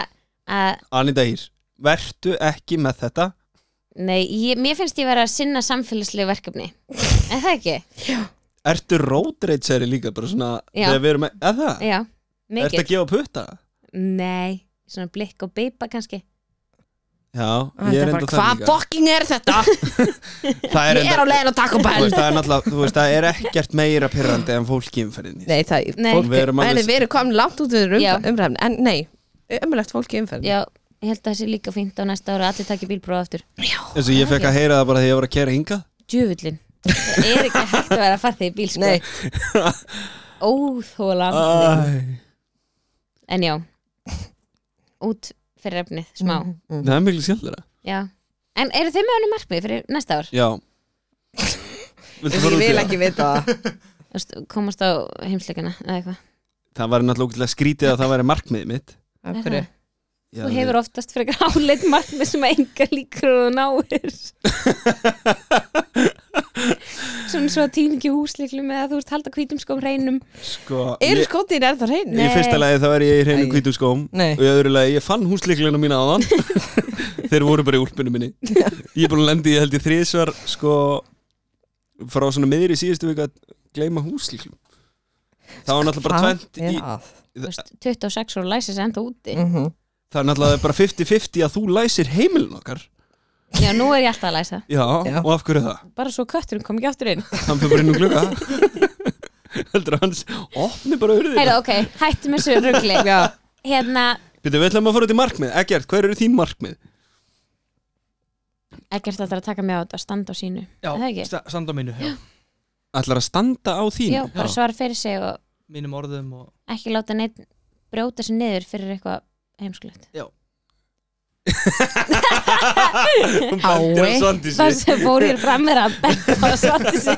[SPEAKER 1] að
[SPEAKER 3] Anita Ír, vertu ekki með þetta
[SPEAKER 1] Nei, ég, mér finnst ég vera að sinna samfélagslegu verkefni Er það ekki?
[SPEAKER 3] Ertu rótreitseri líka bara svona
[SPEAKER 1] Já.
[SPEAKER 3] Þegar við erum með, eða?
[SPEAKER 1] Já,
[SPEAKER 3] Ertu
[SPEAKER 1] mikið
[SPEAKER 3] að gefa putta?
[SPEAKER 1] Nei, svona blikk og beipa kannski
[SPEAKER 3] Já,
[SPEAKER 2] Og þetta
[SPEAKER 3] ég er
[SPEAKER 2] er
[SPEAKER 3] enda
[SPEAKER 2] bara,
[SPEAKER 3] það
[SPEAKER 2] hvað
[SPEAKER 3] líka
[SPEAKER 2] fucking er þetta?
[SPEAKER 3] Það *laughs* er
[SPEAKER 2] Ég er á
[SPEAKER 3] enda,
[SPEAKER 2] leiðin að taka
[SPEAKER 3] þú
[SPEAKER 2] bæl
[SPEAKER 3] veist, það er náttúrulega Þú veist, það er ekkert meira pyrrandi en um fólk í umferðinni
[SPEAKER 2] Nei, það,
[SPEAKER 1] Nei.
[SPEAKER 2] fólk,
[SPEAKER 3] Við erum alveg-
[SPEAKER 2] en við erum komin langt út við
[SPEAKER 1] Já.
[SPEAKER 2] umræfni, en nei umræft fólk í umferðin
[SPEAKER 1] Já, ég held að það sé líka fínt á næsta ára Allir takki bílbróð aftur
[SPEAKER 3] Eins og ég fekk að heyra það bara þegar ég var að kera hingað
[SPEAKER 1] Djöfullin Það er ekki hægt að vera að fara þig í bíl sko.
[SPEAKER 2] Nei.
[SPEAKER 1] *laughs* Óþólandi
[SPEAKER 3] Ah. Æ,
[SPEAKER 1] En já Út fyrir efnið, smá
[SPEAKER 2] Mhm.
[SPEAKER 3] Það er miklu skemmtilega
[SPEAKER 1] Já En eru þið með önum markmið fyrir næsta ár?
[SPEAKER 3] Já Viltu fara út í það?
[SPEAKER 2] vita það
[SPEAKER 1] Þú veist, Komast á heimsleikana eða eitthvað
[SPEAKER 3] Það var náttúrulega ógeðslega skrítið að það væri markmiðið mitt
[SPEAKER 2] Af
[SPEAKER 1] Er
[SPEAKER 2] hverju?
[SPEAKER 1] það? Þú hefur oftast frekar áleitt markmið sem að enga líkur og náir Svona svo að týna ekki húsleiklum eða þú veist halda hvítum skóm reinum
[SPEAKER 3] Sko,
[SPEAKER 2] *laughs* Eru
[SPEAKER 3] ég,
[SPEAKER 2] skótið er það hreinu?
[SPEAKER 1] Nei.
[SPEAKER 3] í fyrsta lagi þá er ég í hreinu
[SPEAKER 2] Æ.
[SPEAKER 3] hvítum skóm
[SPEAKER 2] Nei.
[SPEAKER 3] og í öðru lagi ég fann húsleiklina mína
[SPEAKER 2] *laughs*
[SPEAKER 3] aðan þeir voru bara í úlpunum minni ég er búin að lendi, ég held ég þriðsvar sko, frá svona miðri síðustu vika að gleyma húsleiklum það var náttúrulega bara tvent í,
[SPEAKER 1] Þú veist, 26 og læsir sem enda úti
[SPEAKER 2] Mm. Mhm.
[SPEAKER 3] það er náttúrulega bara 50-50 að þú læsir heimilin okkar
[SPEAKER 1] Já, nú er ég alltaf að læsa
[SPEAKER 3] já,
[SPEAKER 2] Já.
[SPEAKER 3] og af hverju það?
[SPEAKER 1] Bara svo kötturinn kom ekki áttur inn
[SPEAKER 3] hann fyrir bara inn um
[SPEAKER 2] *laughs*
[SPEAKER 3] glugga heldur að hans opni bara urðið
[SPEAKER 1] Heyrðu, ok, hættum
[SPEAKER 2] *laughs*
[SPEAKER 1] þessu rugli Hérna,
[SPEAKER 3] Býtum, við ætlum að fara út í markmið, Eggert, hver eru þín markmið?
[SPEAKER 1] ekkert alltaf að taka mig á þetta standa á sínu
[SPEAKER 4] Já,
[SPEAKER 1] Er það ekki?
[SPEAKER 4] sta- standa á mínu, já.
[SPEAKER 3] Ætlar að standa á þín?
[SPEAKER 1] Já,
[SPEAKER 3] *laughs*
[SPEAKER 1] bara svara fyrir sig og
[SPEAKER 4] mínum orðum og
[SPEAKER 1] ekki láta neitt brjóta sig niður fyrir eitthvað heimskulegt
[SPEAKER 3] Hún bendir á
[SPEAKER 2] Hái.
[SPEAKER 3] Svandísi.
[SPEAKER 1] Það sem fór hér fram er að benda á svandi *laughs* sig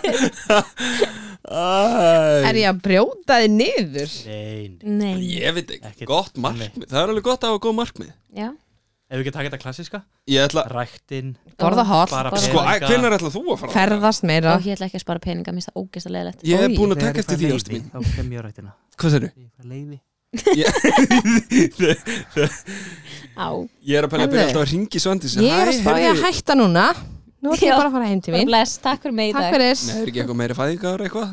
[SPEAKER 3] Æ.
[SPEAKER 2] Er ég að brjóta þið niður?
[SPEAKER 4] Nein
[SPEAKER 1] Nei,
[SPEAKER 3] Ég veit ekki,
[SPEAKER 4] Ekkert.
[SPEAKER 3] gott markmið Það er alveg gott að hafa góð markmið
[SPEAKER 1] já
[SPEAKER 4] Ef við ekki taka þetta klassiska
[SPEAKER 3] Ég ætla,
[SPEAKER 4] Ræktin
[SPEAKER 2] Borða hort,
[SPEAKER 4] Bara
[SPEAKER 1] Bara-
[SPEAKER 3] sko,
[SPEAKER 4] peninga.
[SPEAKER 3] hvernig ætla þú að fara?
[SPEAKER 2] ferðast meira
[SPEAKER 1] Og ég ætla ekki að spara peninga, mér finnst það ógeðslega leðilegt
[SPEAKER 3] Ég er
[SPEAKER 2] Oj,
[SPEAKER 3] búin að
[SPEAKER 4] Þegar
[SPEAKER 3] taka
[SPEAKER 4] ég fæ
[SPEAKER 3] eftir því,
[SPEAKER 4] leyfi,
[SPEAKER 3] ástu mín
[SPEAKER 4] Þá kem ég á ræktina
[SPEAKER 3] Hvað serðu?
[SPEAKER 4] Þegar Ég fær leiði
[SPEAKER 1] Á,
[SPEAKER 3] *laughs* Ég er að pæla að
[SPEAKER 2] Herðu.
[SPEAKER 3] byrja alltaf að ringi Svandís
[SPEAKER 2] Ég er að spája að hætta núna Nú ætlum
[SPEAKER 1] Já.
[SPEAKER 2] ég bara að fara heim til
[SPEAKER 1] bara
[SPEAKER 2] mín
[SPEAKER 1] bless, takk fyrir mig í
[SPEAKER 2] Takk
[SPEAKER 1] dag
[SPEAKER 2] fyrir
[SPEAKER 3] Nei, er ekki eitthvað meiri fæðingar eitthvað?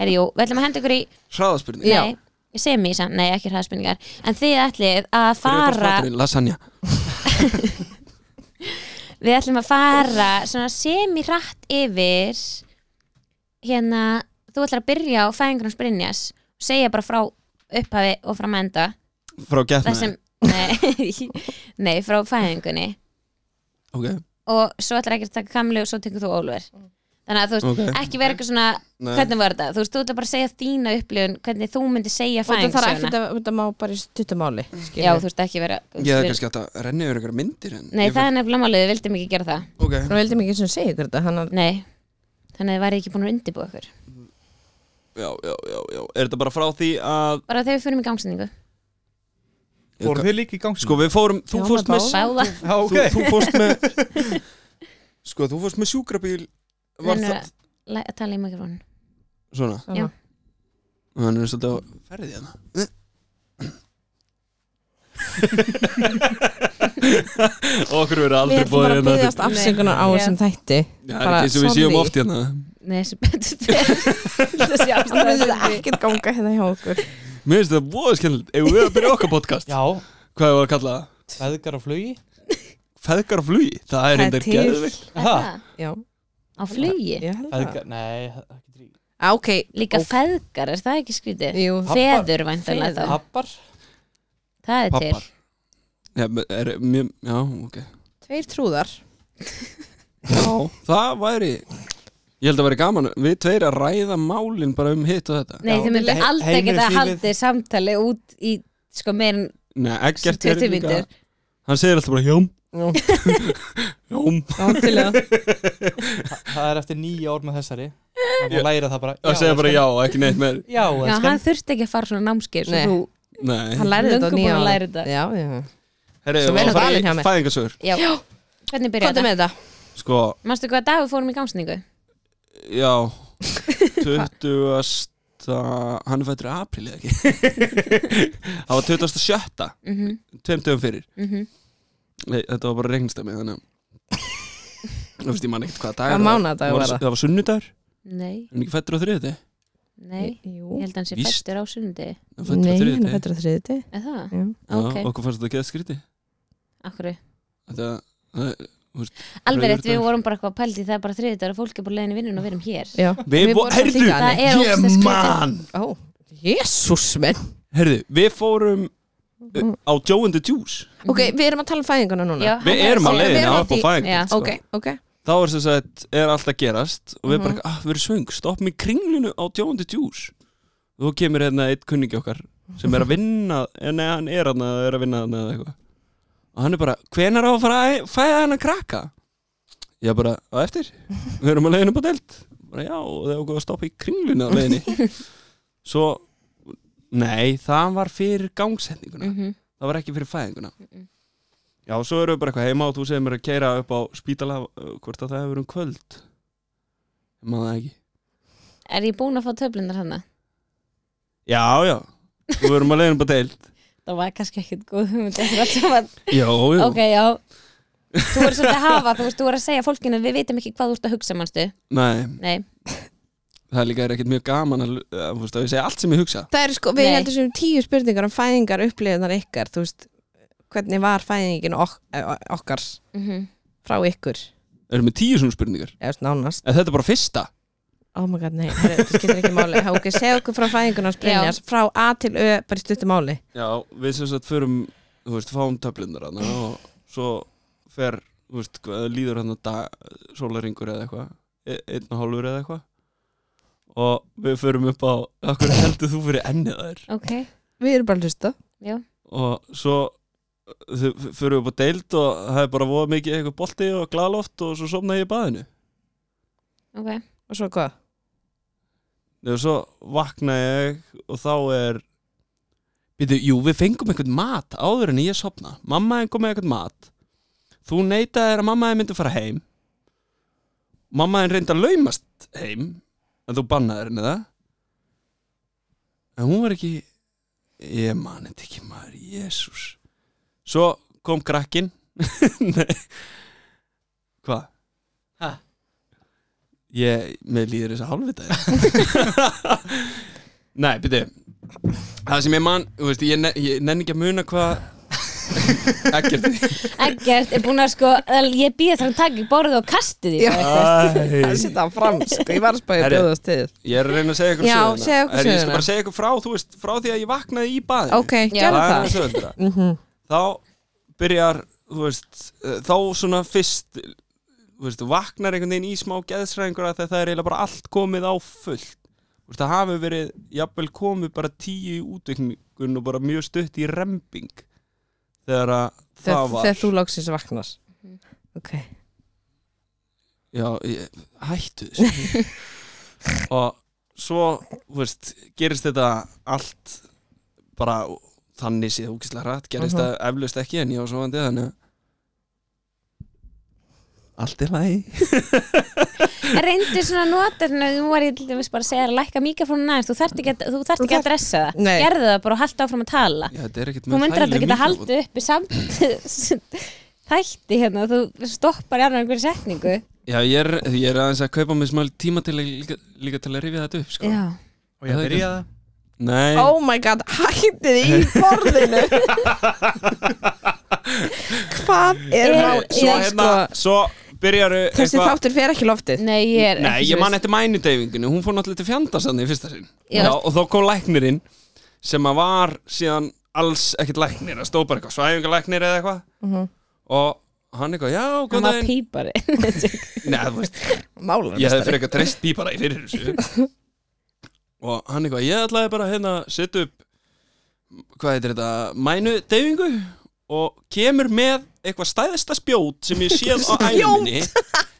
[SPEAKER 1] Herri, jú, við ætlum að henda ykkur í
[SPEAKER 3] Hraðaspurning
[SPEAKER 2] Já.
[SPEAKER 1] Nei, ég segi mig í samt, nei, ekki hraðspurningar En þið ætlið að
[SPEAKER 3] Fyrir
[SPEAKER 1] fara
[SPEAKER 3] hraðaspurning, lasagna
[SPEAKER 1] Við ætlum að fara svona semi-rætt yfir hérna, þú ætlar að byrja á fæðingur hans Brynjas segja bara frá upphafi og fram að enda
[SPEAKER 3] Frá
[SPEAKER 1] það
[SPEAKER 3] getna
[SPEAKER 1] sem, nei, *laughs* nei, frá fæðingunni
[SPEAKER 3] Ok,
[SPEAKER 1] og svo ætlar ekki að taka kamlu og svo tekur þú Ólver þannig að þú veist,
[SPEAKER 3] Ok.
[SPEAKER 1] ekki vera eitthvað svona
[SPEAKER 3] Nei.
[SPEAKER 1] hvernig var þetta, þú veist, þú ætlar bara að segja þína upplifun hvernig þú myndir segja
[SPEAKER 2] Og það þarf ekkert
[SPEAKER 1] fæðingsöguna
[SPEAKER 2] að þetta má bara í stuttumáli
[SPEAKER 1] já, þú veist ekki vera
[SPEAKER 3] ég hefði kannski átt að renna yfir einhverja myndir en
[SPEAKER 1] nei,
[SPEAKER 3] ég
[SPEAKER 1] það er nefnilega málið, við vildum ekki gera það
[SPEAKER 3] Ok,
[SPEAKER 2] Nú veldum ekki sem segja ykkur þetta Þannig að
[SPEAKER 1] nei, þannig að þið værið ekki búin að undirbúa ykkur
[SPEAKER 3] já, já, já, já Er þetta bara frá því að
[SPEAKER 1] bara þegar við fyrir mig gangsendingu
[SPEAKER 4] Fórum þið líka í gang
[SPEAKER 3] Sko, við fórum, þú
[SPEAKER 2] Já,
[SPEAKER 3] fórst
[SPEAKER 2] með
[SPEAKER 3] með
[SPEAKER 1] báða
[SPEAKER 4] Já, ok
[SPEAKER 3] þú, þú fórst með Sko, þú fórst með sjúkrabíl Var
[SPEAKER 1] Reynir
[SPEAKER 3] það
[SPEAKER 1] að læ- að tala í mikrofónu
[SPEAKER 3] svona?
[SPEAKER 1] Já.
[SPEAKER 3] Hann er svolítið á ferðið *laughs* hérna Okkur verður
[SPEAKER 2] Við
[SPEAKER 3] aldrei
[SPEAKER 2] ætlum
[SPEAKER 3] bóðið
[SPEAKER 2] bara að
[SPEAKER 3] hérna
[SPEAKER 2] byggðast
[SPEAKER 3] aftur.
[SPEAKER 2] afsökunar á
[SPEAKER 1] Nei.
[SPEAKER 2] þessum þætti
[SPEAKER 3] Já, Það er
[SPEAKER 2] bara
[SPEAKER 3] ekki eins og við séum
[SPEAKER 2] sorry.
[SPEAKER 3] oft hérna
[SPEAKER 1] Nei, sem betur fer Þessi
[SPEAKER 2] Það
[SPEAKER 1] ástæða
[SPEAKER 2] myndi
[SPEAKER 1] sem
[SPEAKER 2] þetta
[SPEAKER 1] við-
[SPEAKER 2] ekkert ganga hérna hjá okkur
[SPEAKER 3] Mér finnst þetta voða skemmtilegt Ef við að byrja okkar podcast
[SPEAKER 4] Já,
[SPEAKER 3] Hvað hefur að kalla það?
[SPEAKER 4] feðgar á flugi
[SPEAKER 3] Feðgar á flugi Það er
[SPEAKER 2] Það er
[SPEAKER 3] reyndar
[SPEAKER 2] til.
[SPEAKER 3] geðvik
[SPEAKER 1] Er
[SPEAKER 4] Ha?
[SPEAKER 1] það?
[SPEAKER 2] Já,
[SPEAKER 1] Á flugi?
[SPEAKER 2] ég held það
[SPEAKER 4] Feðgar, nei það- það getur í-
[SPEAKER 2] Á, Ok,
[SPEAKER 1] Líka feðgar, er það ekki skrítið?
[SPEAKER 2] Jú,
[SPEAKER 4] Pabbar.
[SPEAKER 1] Feður væntanlega þá
[SPEAKER 4] Pappar
[SPEAKER 1] Það er til
[SPEAKER 3] Pappar Já, er, mjö, já ok
[SPEAKER 2] tveir trúðar
[SPEAKER 3] Já, það væri Ég held að væri gaman Við tveir að ræða málin bara um hitt og þetta
[SPEAKER 1] Nei,
[SPEAKER 4] Já.
[SPEAKER 1] þið myndu
[SPEAKER 4] He-
[SPEAKER 1] aldrei geta
[SPEAKER 4] heimilislífið.
[SPEAKER 1] haldið samtali út í sko meir en
[SPEAKER 3] Nei, Eggert er
[SPEAKER 1] 20
[SPEAKER 3] líka
[SPEAKER 1] myndir
[SPEAKER 3] Hann segir alltaf bara hjóm
[SPEAKER 2] *laughs*
[SPEAKER 3] Hjóm
[SPEAKER 4] Þa- Það er eftir nýja ár með þessari Það var læra það bara
[SPEAKER 3] Það segir bara
[SPEAKER 4] elskan.
[SPEAKER 3] já, ekki neitt meir
[SPEAKER 4] Já,
[SPEAKER 1] Já,
[SPEAKER 4] elskan.
[SPEAKER 1] hann þurfti ekki að fara svona námskeið
[SPEAKER 2] Nei.
[SPEAKER 1] svo þú
[SPEAKER 3] Nei
[SPEAKER 2] Hann lærði þetta á
[SPEAKER 1] Löngu
[SPEAKER 2] nýja
[SPEAKER 1] búin að
[SPEAKER 2] ári.
[SPEAKER 1] læra þetta.
[SPEAKER 2] Já, já
[SPEAKER 3] Herri,
[SPEAKER 2] Svo
[SPEAKER 3] við
[SPEAKER 2] vel
[SPEAKER 3] varum að
[SPEAKER 2] valin hjá
[SPEAKER 3] fara í
[SPEAKER 2] mér.
[SPEAKER 3] fæðingasögur
[SPEAKER 1] Já, hvernig
[SPEAKER 2] Hvað
[SPEAKER 1] byrjaði
[SPEAKER 2] er
[SPEAKER 1] þetta?
[SPEAKER 2] með þetta?
[SPEAKER 3] Sko,
[SPEAKER 1] Manstu hvað dag við fórum í gangsendingu?
[SPEAKER 3] já 20. Hann er fættur í apríl eða ekki Það var 27.
[SPEAKER 1] Mhm,
[SPEAKER 3] Tveim dögum fyrir
[SPEAKER 1] mhm.
[SPEAKER 3] Nei, þetta var bara regnstæmi þannig að Þú veist, ég man ekkert hvað dagar
[SPEAKER 2] Hvaða mánaðardagur var það?
[SPEAKER 3] Það var sunnudagur,
[SPEAKER 1] Nei,
[SPEAKER 3] en ekki fættur á þriðið
[SPEAKER 1] nei Ég
[SPEAKER 2] Jú
[SPEAKER 1] held að hann sé
[SPEAKER 3] Víst.
[SPEAKER 1] fættur á sundi
[SPEAKER 2] Nei, hann er fættur á þriðið
[SPEAKER 1] Er það?
[SPEAKER 2] Já.
[SPEAKER 3] Já,
[SPEAKER 1] Ok.
[SPEAKER 3] okkur fannst þetta að geða skríti
[SPEAKER 1] Akkur
[SPEAKER 3] þetta það er-
[SPEAKER 1] Alveg rétt, við
[SPEAKER 3] Rauður dagur.
[SPEAKER 1] vorum bara eitthvað pældi það er bara þriðudagur og fólk er bara leiðin í vinnun og við erum hér
[SPEAKER 2] Já,
[SPEAKER 3] Við,
[SPEAKER 2] vorum
[SPEAKER 3] við herðu,
[SPEAKER 2] líka
[SPEAKER 1] Það er
[SPEAKER 3] ég
[SPEAKER 1] ógeðslega skrítið.
[SPEAKER 3] man
[SPEAKER 2] Ó, jésús menn
[SPEAKER 3] Herðu, við fórum uh, á Joe and the Juice
[SPEAKER 2] Ok, við erum að tala um fæðinguna núna
[SPEAKER 1] Já, hann
[SPEAKER 3] Við
[SPEAKER 1] er að
[SPEAKER 3] erum á
[SPEAKER 1] segja-
[SPEAKER 2] við
[SPEAKER 3] leiðin
[SPEAKER 2] erum
[SPEAKER 3] á
[SPEAKER 2] á
[SPEAKER 3] upp á
[SPEAKER 2] því-
[SPEAKER 1] já.
[SPEAKER 3] fæðingar sko.
[SPEAKER 2] Ok, ok
[SPEAKER 3] Þá er sem sagt, er allt að gerast og við bara, ah, við erum svöng, stoppum í kringlinu á Joe and the Juice og þú kemur hérna einn kunningi okkar sem er að vinna, eh, nei, hann er hann er að vinna hann eða eitthvað og hann er bara, hvenær á að fara að fæða hann að krakka? Já, bara, á eftir við erum að leiðinu på delt bara, já, og það er okkur að stoppa í kringlinu á leiðinni svo, nei, það var fyrir gangsetninguna
[SPEAKER 1] Mhm.
[SPEAKER 3] það var ekki fyrir fæðinguna já, svo erum við bara eitthvað heima og þú segir mér að keira upp á spítala uh, hvort að það hefur um kvöld ég maður það ekki
[SPEAKER 1] Er ég búin að fá hérna? töflindar hana?
[SPEAKER 3] já, já, þú erum að leiðin bara deilt
[SPEAKER 1] Það var kannski ekkert góð hugmynd eftir allt saman.
[SPEAKER 3] já, já,
[SPEAKER 1] Ok, já Þú er svolítið að hafa, þú veist, þú er að segja fólkinu við vitum ekki hvað þú ert að hugsa, manstu
[SPEAKER 3] nei,
[SPEAKER 1] Nei,
[SPEAKER 3] það er líka er ekkert mjög gaman að, að, að, að ég segja allt sem ég hugsa
[SPEAKER 2] Það er sko, við
[SPEAKER 1] Nei.
[SPEAKER 2] heldum sem tíu spurningar um fæðingar upplifunar ykkar, þú veist hvernig var fæðingin ok eh, okkar
[SPEAKER 1] mm
[SPEAKER 2] frá ykkur
[SPEAKER 3] erum við tíu svona spurningar
[SPEAKER 2] eða svona nánast,
[SPEAKER 3] en þetta er bara fyrsta
[SPEAKER 2] oh my god, nei, herri, þetta skiptir ekki *laughs* máli Há, ok, segja okkur frá fæðingunars Brynjar frá A til Ö, bara í stuttu máli
[SPEAKER 3] já, við sem sagt förum þú veist, fáum töflindar hann og svo fer, þú veist, hvað, líður hann að sólaringur eða eitthvað e- einn og hálfur eða eitthvað og við förum upp á okkur heldur þú fyrir ennið þær
[SPEAKER 1] ok
[SPEAKER 2] Við erum bara að hlusta
[SPEAKER 3] og svo þau fyrir upp á deild og það er bara voða mikið eitthvað bolti og glaloft og svo somna ég í baðinu
[SPEAKER 1] Ok,
[SPEAKER 2] Og svo hvað?
[SPEAKER 3] og svo vakna ég og þá er Býtu, jú, við fengum einhvern mat áður en ég sopna mamma einn kom með einhvern mat þú neitaðir að mamma einn myndi fara heim mamma einn reyndi að laumast heim en þú bannaðir henni það en hún var ekki ég man þetta ekki maður, jésús svo kom krakkin *laughs* nei hvað? hæ? ég, mér líður þess að hálfvita nei, býtu það sem ég man, þú veist, ég, ne ég nenni ekki að muna hvað ekkert
[SPEAKER 1] Eggert er búin að sko ég býð þar að taka í borðið og kasti því
[SPEAKER 2] Já. Það
[SPEAKER 3] Æ.
[SPEAKER 2] setja hann fram, sko, ég var að spæja
[SPEAKER 3] Herri.
[SPEAKER 2] bjóðast til
[SPEAKER 3] ég er að reyna að segja ykkur
[SPEAKER 2] Já,
[SPEAKER 3] söguna.
[SPEAKER 2] segðu okkur
[SPEAKER 3] Herri, ég
[SPEAKER 2] söguna.
[SPEAKER 3] skal bara segja ykkur frá, þú veist, frá því að ég vaknaði í baðinu
[SPEAKER 2] Ok,
[SPEAKER 1] Já.
[SPEAKER 2] gerðu
[SPEAKER 3] það er
[SPEAKER 2] það
[SPEAKER 3] aðeins auðveldara.
[SPEAKER 2] mm
[SPEAKER 3] þá byrjar, þú veist eh, þá svona fyrst eh, þú veist, þú vaknar einhvern veginn í smá geðsræðingur að það er eiginlega bara allt komið á fullt Þú veist, það hafi verið jafnvel komið bara tíu í útvikningun og bara mjög stutt í remping þegar að það
[SPEAKER 2] Þegar
[SPEAKER 3] var
[SPEAKER 2] þegar þú lóksins vaknar Ok,
[SPEAKER 3] Já, ég, hættu þessu *laughs* Og svo, þú veist, gerist þetta allt bara þannig séð úkislega rætt gerist
[SPEAKER 2] Mhm.
[SPEAKER 3] það eflaust ekki en ég var svo vandið þannig að Allt er lægi
[SPEAKER 1] En reyndir svona notarna, þú var ég til dæmis bara að segja þér að lækka mikrofónu aðeins, þú þarft ekki að, þú þarft ekki að dressa það
[SPEAKER 2] Nei.
[SPEAKER 1] Gerðu það bara og halda áfram að tala
[SPEAKER 3] Já, þetta er ekkert
[SPEAKER 1] Þú
[SPEAKER 3] með
[SPEAKER 1] myndir aldrei
[SPEAKER 3] þægileg
[SPEAKER 1] geta
[SPEAKER 3] mikrofón.
[SPEAKER 1] haldið uppi samt *laughs* þætti hérna, þú stoppar í annar einhverju setningu
[SPEAKER 3] Já, ég er, ég er aðeins að kaupa mér smá tíma til að líka, líka til að rifja þetta upp, sko
[SPEAKER 1] Já
[SPEAKER 4] og ég
[SPEAKER 3] Það er
[SPEAKER 4] byrja það
[SPEAKER 3] Nei,
[SPEAKER 2] oh my god, hættið í
[SPEAKER 3] *laughs*
[SPEAKER 2] borðinu Hvað er
[SPEAKER 1] Er-
[SPEAKER 2] rá
[SPEAKER 3] svo
[SPEAKER 2] ég,
[SPEAKER 3] hérna, svo byrjaru
[SPEAKER 2] Þessi þáttur fer ekki í loftið
[SPEAKER 1] Nei, ég er
[SPEAKER 3] Nei,
[SPEAKER 1] ekki
[SPEAKER 3] ég man
[SPEAKER 1] viss.
[SPEAKER 3] eftir mænudeyfinginu, hún fór náttúrulega til fjandarsann í fyrsta sinn
[SPEAKER 1] Já.
[SPEAKER 3] Já, Og þá kom læknirinn sem að var síðan alls ekkert læknir að stóð bara eitthvað svæfingalæknir eða eitthvað
[SPEAKER 2] Mhm.
[SPEAKER 3] Og hann eitthvað, já,
[SPEAKER 1] Hann
[SPEAKER 3] góðan
[SPEAKER 1] var
[SPEAKER 3] daginn
[SPEAKER 1] pípari
[SPEAKER 3] Nei, þú veist,
[SPEAKER 2] Málar
[SPEAKER 3] ég hefði fyrir eitthvað treyst pípara í fyrir
[SPEAKER 1] *laughs*
[SPEAKER 3] þessu Og hann eitthvað, ég ætlaði bara hérna að setja upp, hvað heitir þetta, mænudeyfingu Og kemur með eitthvað stæðista spjót sem ég séð á æminni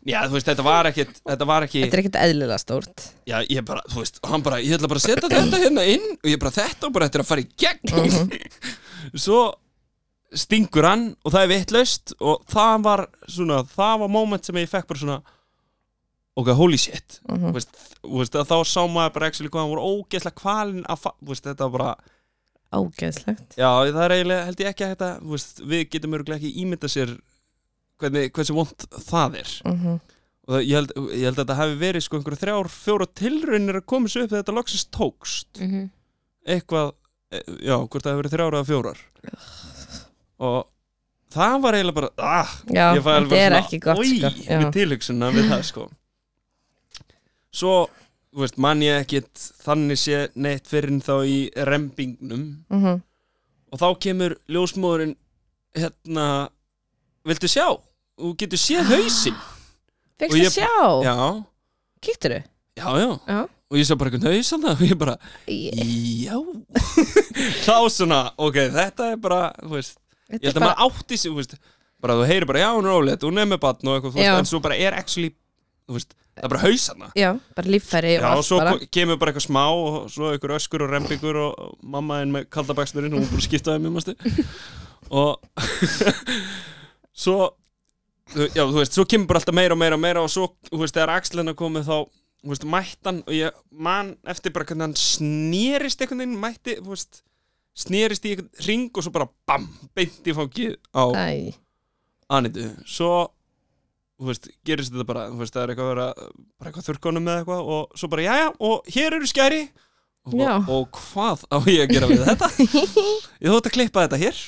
[SPEAKER 3] Já, þú veist, þetta var ekkert, þetta var ekki
[SPEAKER 2] Þetta er ekkert eðlilega stórt
[SPEAKER 3] Já, ég bara, þú veist, og hann bara, ég ætla bara að setja þetta hérna inn og ég bara þetta og bara þetta er að fara í gegn Svo stingur hann og það er vittlaust og það var svona, það var moment sem ég fekk bara svona ok, holy shit þú veist, þú veist, að þá sá maður bara ekki hvað hann voru ógeðslega kvalinn að, fa- þú veist, þetta var bara
[SPEAKER 2] Ágæðslegt
[SPEAKER 3] Já, það er eiginlega, held ég ekki að þetta þú veist, við getum örgulega ekki ímynda sér hvernig, hversu vond það er og það, ég, held, ég held að þetta hafi verið sko einhverja þrjár, fjóra tilraunir að koma sér upp þegar þetta loksist tókst
[SPEAKER 1] Mhm.
[SPEAKER 3] eitthvað, e, já, hvort það hafi verið þrjár eða fjórar og það var eiginlega bara ah,
[SPEAKER 2] já,
[SPEAKER 3] ég
[SPEAKER 2] þetta
[SPEAKER 3] var alveg
[SPEAKER 2] er
[SPEAKER 3] svona,
[SPEAKER 2] ekki gott
[SPEAKER 3] oj,
[SPEAKER 2] sko. Já.
[SPEAKER 3] með tilhugsunna við það sko svo, þú veist, man ég ekkit þannig sé neitt fyrir en þá í rembingnum
[SPEAKER 2] Mhm.
[SPEAKER 3] og þá kemur ljósmóðurinn hérna, viltu sjá? og þú getur séð hausinn
[SPEAKER 2] Fékkst
[SPEAKER 3] Og
[SPEAKER 2] að
[SPEAKER 3] ég-
[SPEAKER 2] sjá,
[SPEAKER 3] já,
[SPEAKER 2] kíktur þau?
[SPEAKER 3] já, já
[SPEAKER 2] Já.
[SPEAKER 3] og ég sá bara einhvern haus þarna og ég bara, já *laughs* þá svona, ok, þetta er bara þú veist, ég held að maður átti sig þú veist, bara þú heyrir bara, já, hún er ólétt hún er með batn og eitthvað, þú
[SPEAKER 2] Já.
[SPEAKER 3] veist, en svo bara er actually, þú veist, það er bara hausana
[SPEAKER 2] Já, bara líffæri og
[SPEAKER 3] Já, og
[SPEAKER 2] allt
[SPEAKER 3] svo
[SPEAKER 2] bara
[SPEAKER 3] ko- kemur bara eitthvað smá og svo einhver öskur og rembingur og og mamma einn með kaldabaksturinn og hún búin að skipta þeim, ég
[SPEAKER 2] *laughs*
[SPEAKER 3] mástu og *laughs* svo þú- já, þú veist, svo kemur bara alltaf meira og meira og meira og svo, þú veist, þegar Axlina komið þá þú veist, mættan og ég man eftir bara hvernig hann snýrist einhvern veginn, mætti, þú veist snýrist í einhvern ring og svo bara bam, beint í fangið á
[SPEAKER 2] Æ,
[SPEAKER 3] Anitu, svo þú veist, gerist þetta bara, þú veist, það er eitthvað að vera bara eitthvað þurrkonum með eitthvað og svo bara, jæja, og hér eru skæri og,
[SPEAKER 2] Já.
[SPEAKER 3] og, hvað á ég að gera við þetta? ég þótt að klippa þetta hér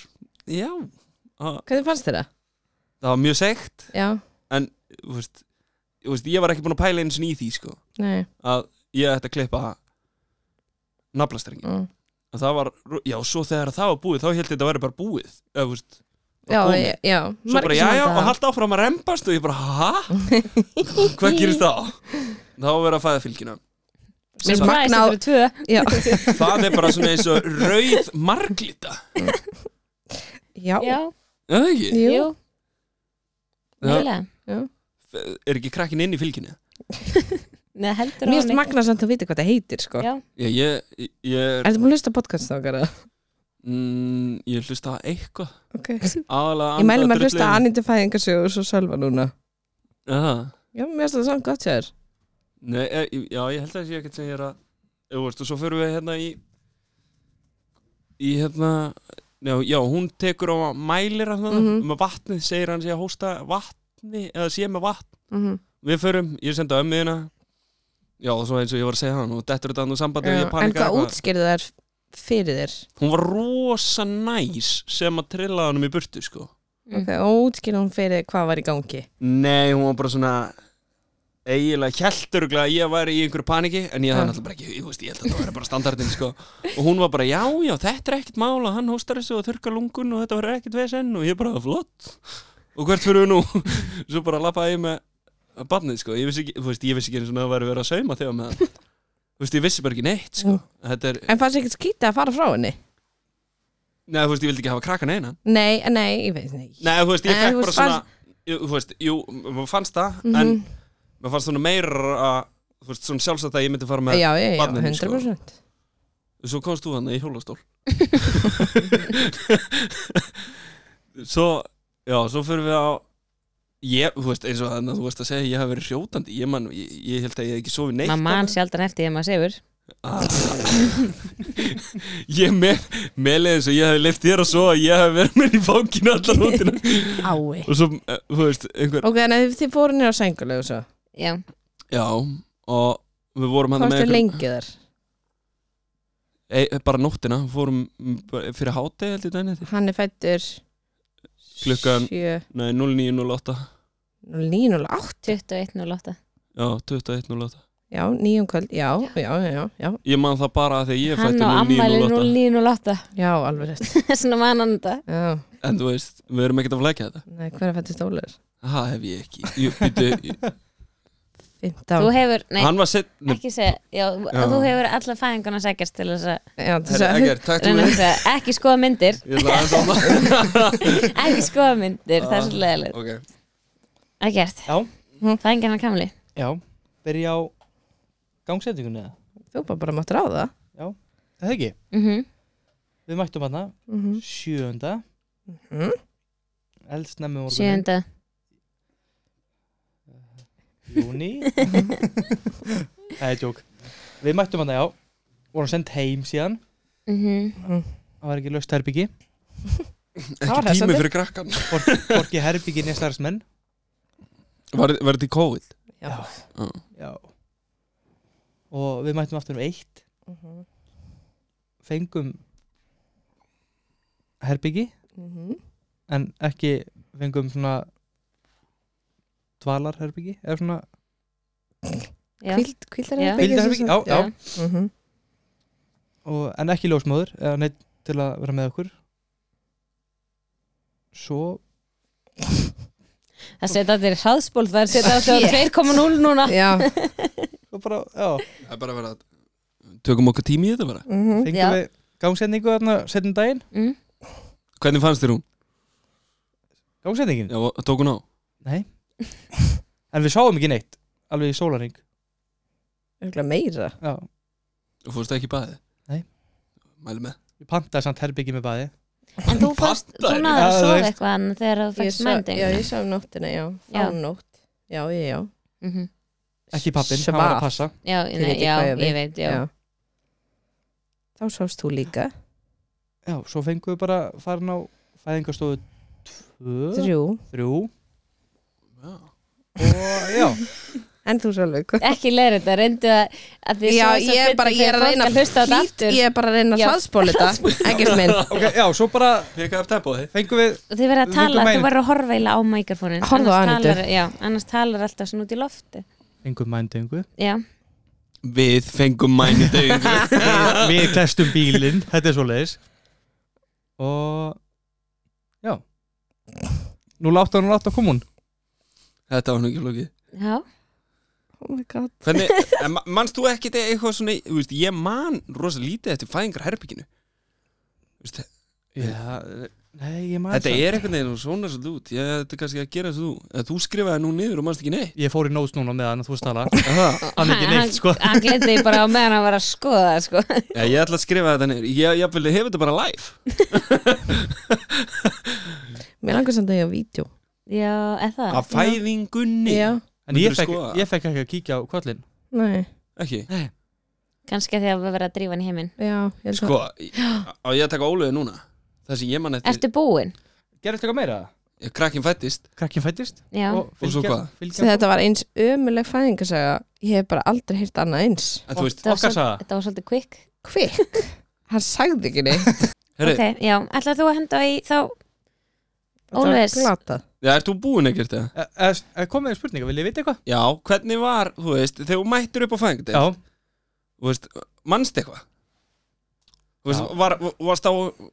[SPEAKER 3] Já, að,
[SPEAKER 2] hvernig fannst þér það?
[SPEAKER 3] það var mjög segt
[SPEAKER 2] Já,
[SPEAKER 3] þú veist, þú veist, ég var ekki búin að pæla eins og í því, sko,
[SPEAKER 2] nei
[SPEAKER 3] að ég ætti að klippa naflastrengi,
[SPEAKER 2] mm.
[SPEAKER 3] að það var já, svo þegar það var búið, þá held ég þetta að vera bara búið eða, þú veist,
[SPEAKER 2] Já,
[SPEAKER 3] komið.
[SPEAKER 2] ég- já,
[SPEAKER 3] svo bara já, já, og haldt áfram að rempast og ég bara,
[SPEAKER 2] *laughs*
[SPEAKER 3] hæ? hvað gerist þá? þá er verið að fæða fylgina
[SPEAKER 1] Mér
[SPEAKER 2] Sem
[SPEAKER 1] bræðist
[SPEAKER 2] magnað-
[SPEAKER 1] þetta fyrir tvö
[SPEAKER 2] *laughs* Já,
[SPEAKER 3] það er bara svona eins og rauð marglita
[SPEAKER 2] já,
[SPEAKER 1] Já,
[SPEAKER 3] Já, það ekki?
[SPEAKER 2] jú
[SPEAKER 1] jú,
[SPEAKER 3] Já,
[SPEAKER 1] neilega
[SPEAKER 3] er ekki krakkin inn í fylginu?
[SPEAKER 1] Nei, heldur
[SPEAKER 2] Mér
[SPEAKER 1] á
[SPEAKER 2] finnst
[SPEAKER 1] henni.
[SPEAKER 2] magna samt að vita hvað það heitir sko
[SPEAKER 1] Já.
[SPEAKER 3] Já, ég, ég, ég,
[SPEAKER 2] Ertu búin að hlusta á podcast þákar?
[SPEAKER 3] mm, ég hlusta á eitthvað
[SPEAKER 2] Okay.
[SPEAKER 3] aðalega
[SPEAKER 2] Ég mæli maður að hlusta Annindu fæðingarsögu og svo Sölva núna
[SPEAKER 3] Aha.
[SPEAKER 2] Já, mér finnst það samt gott sér
[SPEAKER 3] Nei, e, já, ég held að það sé ekkert sem ég er að Þú veist, og svo förum við hérna í í hérna já, já hún tekur á mælir hann mm
[SPEAKER 2] Mhm.
[SPEAKER 3] með vatnið, segir hann sé að hósta vatni, eða sé með vatn
[SPEAKER 2] mm -hmm.
[SPEAKER 3] við förum, ég sendi ömmiðina já, og svo eins og ég var að segja hann og dettur þetta nú sambandi og ég
[SPEAKER 2] En
[SPEAKER 3] panika
[SPEAKER 2] hvað útskýrðu þær fyrir þér?
[SPEAKER 3] hún var rosa næs sem að trilla hann um í burtu, sko
[SPEAKER 1] Mm.
[SPEAKER 2] Ok, og útskýrðu hún fyrir þér hvað var í gangi
[SPEAKER 3] nei, hún var bara svona eiginlega hjælturuglega að ég væri í einhverju paniki en ég það
[SPEAKER 2] Já.
[SPEAKER 3] náttúrulega bara ekki, ég, veist, ég held að það væri bara standardin sko. og hún var bara, já, já, þetta er ekkert mál og hann hóstar þessu og þurkar lungun og þetta verður ekkert vesen og ég bara, flott og hvert fyrir við nú *laughs* svo bara lappaði ég með barnið, sko. ég vissi ekki, þú veist, ég vissi ekki eins og það væri verið að sauma þegar með það Þú veist, ég vissi bara ekki neitt sko. þetta er,
[SPEAKER 2] En fannst ekkert skýta að fara frá henni?
[SPEAKER 3] neða, þú veist, ég vildi ekki hafa krakkan einan
[SPEAKER 2] Nei, eh, nei, ég veit nei
[SPEAKER 3] Nei, þú veist, ég
[SPEAKER 2] En
[SPEAKER 3] fekk
[SPEAKER 2] þú Mhm.
[SPEAKER 3] bara
[SPEAKER 2] veist,
[SPEAKER 3] svona ég- Þú veist, jú, mér fannst það En mér fannst svona meira að Þú veist, svona sjálfsagt að ég myndi fara með
[SPEAKER 2] Já, já, já,
[SPEAKER 3] barninu,
[SPEAKER 2] 100%
[SPEAKER 3] sko. Svo komst þú hann í
[SPEAKER 2] *laughs*
[SPEAKER 3] hjólastól Svo, já, svo fyrir við á Ég, þú veist, eins og þannig að þú veist að segja Ég hef verið hrjótandi Ég, man, ég, ég held að ég hef ekki sofið neitt Ah.
[SPEAKER 1] Maður mann sjaldan eftir þegar maður sefur
[SPEAKER 3] *laughs* Ég með, með leiðis og ég hef leift þér að sofa Ég hef verið með í fanginu allar nótina
[SPEAKER 2] *laughs* Ái
[SPEAKER 3] Og svo, eh, þú veist, einhver
[SPEAKER 2] Ok, en þið- þið fóru nýra á sengulegu svo
[SPEAKER 1] Já,
[SPEAKER 3] Já, og við vorum hann
[SPEAKER 2] Hvað
[SPEAKER 3] með
[SPEAKER 2] varstu
[SPEAKER 3] einhverjum-
[SPEAKER 2] lengi þar?
[SPEAKER 3] Ei, bara nóttina, við vorum mm, bara fyrir háti held ég dæni eftir
[SPEAKER 2] Hann er fættur
[SPEAKER 3] Klukkan-
[SPEAKER 2] 7
[SPEAKER 3] Nei, 09.08
[SPEAKER 2] 9.08
[SPEAKER 1] 21.08
[SPEAKER 3] Já, 21.08
[SPEAKER 2] Já, nýjum kvöld, já, já, já, já, já,
[SPEAKER 3] Ég man það bara að því að ég er
[SPEAKER 1] Hann á ammæli
[SPEAKER 3] fættur 09.08
[SPEAKER 1] 09.08
[SPEAKER 2] já, alveg rétt.
[SPEAKER 1] *laughs* Svona mann hann þetta
[SPEAKER 2] Já,
[SPEAKER 3] En þú veist, við erum ekkert að flækja þetta
[SPEAKER 2] nei, hver er fættist Ólafur?
[SPEAKER 3] Það hef ég ekki ég, býtu,
[SPEAKER 2] 15,
[SPEAKER 1] Þú hefur, nei,
[SPEAKER 3] Hann var sett Nei,
[SPEAKER 1] ekki segja Já, þú hefur alla fæðinguna sækjast til þess að
[SPEAKER 2] já,
[SPEAKER 3] herri,
[SPEAKER 2] þess að,
[SPEAKER 3] Eggert, takk
[SPEAKER 1] reyna
[SPEAKER 3] fyrir
[SPEAKER 1] þess að ekki skoða
[SPEAKER 3] *laughs*
[SPEAKER 1] myndir
[SPEAKER 3] Ég ætla aðeins
[SPEAKER 1] *laughs*
[SPEAKER 3] að það
[SPEAKER 1] Ekki skoða myndir, það er svo leðilegt
[SPEAKER 3] Ok,
[SPEAKER 1] Ekkert, Hm,
[SPEAKER 4] Já,
[SPEAKER 1] fæðingana kamli
[SPEAKER 4] já, byrja á gangsetningunni eða?
[SPEAKER 2] þú bara bara máttur á það.
[SPEAKER 4] Er Það ekki,
[SPEAKER 1] Mhm,
[SPEAKER 4] við mættum hana
[SPEAKER 2] Mhm.
[SPEAKER 4] sjöunda
[SPEAKER 2] Mhm.
[SPEAKER 4] eldsnemmi morgun
[SPEAKER 1] Sjöunda *laughs*
[SPEAKER 4] júni Það er tjók Við mættum hana, já, vorum sendt heim síðan
[SPEAKER 1] Mhm,
[SPEAKER 4] það var ekki löst herbyggi
[SPEAKER 3] ekki
[SPEAKER 2] var hressandi.
[SPEAKER 3] tími fyrir krakkan
[SPEAKER 4] hvorki herbyggi nýja starfsmenn
[SPEAKER 3] Var, var þetta í COVID?
[SPEAKER 2] Já.
[SPEAKER 3] Já.
[SPEAKER 4] já. og við mættum aftur um eitt
[SPEAKER 2] Mhm.
[SPEAKER 4] fengum herbyggi
[SPEAKER 2] Mhm.
[SPEAKER 4] en ekki fengum svona dvalarherbyggi eða svona
[SPEAKER 1] já,
[SPEAKER 2] Hvíld,
[SPEAKER 1] Já.
[SPEAKER 2] Hvíldarherbyggi
[SPEAKER 4] Hvíldarherbyggi, já, já.
[SPEAKER 1] Já. *laughs*
[SPEAKER 2] Mhm.
[SPEAKER 4] og, en ekki ljósmóður eða neitt til að vera með okkur svo
[SPEAKER 1] það setja allir hraðspól það er setja allir á 2,0 núna
[SPEAKER 2] Já,
[SPEAKER 4] svo bara, já,
[SPEAKER 3] *laughs* Það er bara að vera að tökum okkur tími í þetta bara
[SPEAKER 2] mhm.
[SPEAKER 4] fengum
[SPEAKER 1] Já.
[SPEAKER 4] við gangsetningu þarna setjum daginn,
[SPEAKER 1] mm.
[SPEAKER 3] Hvernig fannst þér hún?
[SPEAKER 4] gangsetningin
[SPEAKER 3] Já, og tók hún á?
[SPEAKER 4] nei, en við sáum ekki neitt alveg í sólaring
[SPEAKER 2] Örugglega meira
[SPEAKER 4] já,
[SPEAKER 3] Þú fórst ekki í baðið?
[SPEAKER 4] Nei.
[SPEAKER 3] Mæli með
[SPEAKER 4] við pantaði samt herbyggi með baði
[SPEAKER 1] en þú fannst, þú
[SPEAKER 3] Pastaði.
[SPEAKER 1] náður að
[SPEAKER 4] Já, þú
[SPEAKER 1] sofa
[SPEAKER 4] veist.
[SPEAKER 1] eitthvað en þegar þú
[SPEAKER 2] Ég
[SPEAKER 1] fannst
[SPEAKER 2] sá-
[SPEAKER 1] mænding
[SPEAKER 2] Já, ég sá um nóttina, já,
[SPEAKER 1] Já.
[SPEAKER 2] á nótt Já, ég, já
[SPEAKER 1] Mhm.
[SPEAKER 4] ekki pappin, hann var
[SPEAKER 2] Svaf.
[SPEAKER 4] að passa
[SPEAKER 1] já,
[SPEAKER 2] Þið
[SPEAKER 1] nei,
[SPEAKER 2] vitið
[SPEAKER 1] já,
[SPEAKER 2] hvað ég
[SPEAKER 1] ég veit já.
[SPEAKER 2] Já. Þá sást þú líka
[SPEAKER 4] já, svo fengum við bara farin á fæðingarstofu 2,
[SPEAKER 2] Þrjú
[SPEAKER 4] 3
[SPEAKER 3] Já.
[SPEAKER 4] og já,
[SPEAKER 2] En þú sjálfur hvað?
[SPEAKER 1] ekki leir þetta, reyndu að, að þið
[SPEAKER 2] Já,
[SPEAKER 1] svo sem
[SPEAKER 2] ég er
[SPEAKER 1] betur
[SPEAKER 2] bara, ég er
[SPEAKER 1] þegar
[SPEAKER 2] að
[SPEAKER 1] fólk
[SPEAKER 2] reyna
[SPEAKER 1] hlusta á þetta aftur.
[SPEAKER 2] Ég er bara að reyna að
[SPEAKER 1] Já.
[SPEAKER 2] hraðspóla
[SPEAKER 1] *laughs*
[SPEAKER 2] þetta Ekkert minn
[SPEAKER 4] ok, já, svo bara
[SPEAKER 3] Pekka upp tempoði
[SPEAKER 4] fengum við
[SPEAKER 1] og þið verða að
[SPEAKER 4] Við
[SPEAKER 1] tala,
[SPEAKER 4] fengum
[SPEAKER 1] þú
[SPEAKER 4] mæn-
[SPEAKER 1] verður að horfa eiginlega á mikrofónin
[SPEAKER 2] Horfðu á Anítu.
[SPEAKER 1] talar, já, annars talar alltaf svona út í lofti
[SPEAKER 4] fengum mændingu
[SPEAKER 1] já,
[SPEAKER 3] Við fengum mæni döingu
[SPEAKER 1] *laughs*
[SPEAKER 3] *laughs*
[SPEAKER 4] við klestum bílinn, þetta er svo leiðis og já nú látt hann látt að koma hún
[SPEAKER 3] Þetta var nú ekki flókið
[SPEAKER 1] já,
[SPEAKER 2] Oh my god
[SPEAKER 3] Hvernig, en ma- manst þú ekkit eitthvað svona Þú veist, ég man rosa lítið eftir fæðingar herbygginu veist,
[SPEAKER 4] já, nei, ég maður
[SPEAKER 3] Þetta er einhvern veginn og svona svolítið út ég, Þetta er kannski að gera svo þú Eða Þú skrifaði nú niður og manst ekki neitt
[SPEAKER 4] ég fór í nós núna með hann að þú *laughs* stala
[SPEAKER 3] Aha.
[SPEAKER 4] hann ekki neitt, sko
[SPEAKER 1] hann glindi bara á meðan hann var að skoða það, sko.
[SPEAKER 3] Já, Ég ætla að skrifa þetta niður Ég, ég vil hefa þetta bara live
[SPEAKER 2] Mér langar samt að ég á vídeo
[SPEAKER 1] já, eða það
[SPEAKER 3] Af fæðingunni
[SPEAKER 2] Já,
[SPEAKER 4] en ég
[SPEAKER 3] Myndirðu
[SPEAKER 4] fekk,
[SPEAKER 3] skoða?
[SPEAKER 4] ég fekk ekki að kíkja á kvöllin
[SPEAKER 2] nei,
[SPEAKER 3] Ekki
[SPEAKER 1] kannski að því að við verðum að drífa hann í heiminn
[SPEAKER 2] já ég held
[SPEAKER 1] *gasps*
[SPEAKER 3] Sko, á ég að taka ólega núna Það sem ég man eftir
[SPEAKER 1] ertu búinn?
[SPEAKER 4] gerðist eitthvað meira?
[SPEAKER 3] Krakkin fættist
[SPEAKER 4] krakkin fættist
[SPEAKER 1] já,
[SPEAKER 3] Og svo hvað?
[SPEAKER 2] að- Svo Þetta var eins ömuleg fæðingasaga Ég hef bara aldrei heyrt annað eins
[SPEAKER 3] En þú veist,
[SPEAKER 1] þetta var,
[SPEAKER 4] okkar
[SPEAKER 1] svol-
[SPEAKER 4] saga.
[SPEAKER 1] þetta var svolítið quick
[SPEAKER 2] Kvikk Hann sagði ekki neitt
[SPEAKER 3] herri,
[SPEAKER 1] ok, já, ætlaðu þú að henda í þá Always.
[SPEAKER 2] Glata
[SPEAKER 3] já, ert þú búin ekkert eða?
[SPEAKER 4] E- e- e- komið með spurninga, vil ég vita eitthvað?
[SPEAKER 3] Já, hvernig var, þú veist, þegar þú mættir upp á fæðingunni
[SPEAKER 4] já,
[SPEAKER 3] Þú veist, mannst eitthvað Þú veist,
[SPEAKER 4] Já.
[SPEAKER 3] var, varst á,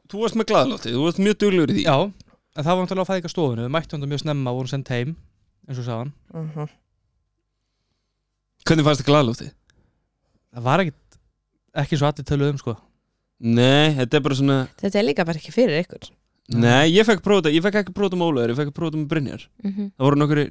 [SPEAKER 3] þú varst með glæðlótti Þú varst mjög duglur í því
[SPEAKER 4] já en það var náttúrulega að fæða eitthvað stofinu við mættum þetta mjög snemma og vorum sendt heim eins og sagðan
[SPEAKER 2] Mhm.
[SPEAKER 3] Hvernig fannst þið glæðlótti?
[SPEAKER 4] það var ekkit ekki svo allir töluðum sko
[SPEAKER 3] Nei, þetta er bara svona
[SPEAKER 2] Þetta er líka bara ekki fyrir ykkur
[SPEAKER 3] Nei, ég fekk prófa þetta, ég fekk ekki prófa þetta með Ólaður Ég fekk að prófa þetta með Brynjar
[SPEAKER 1] mm
[SPEAKER 3] Það voru nokkur,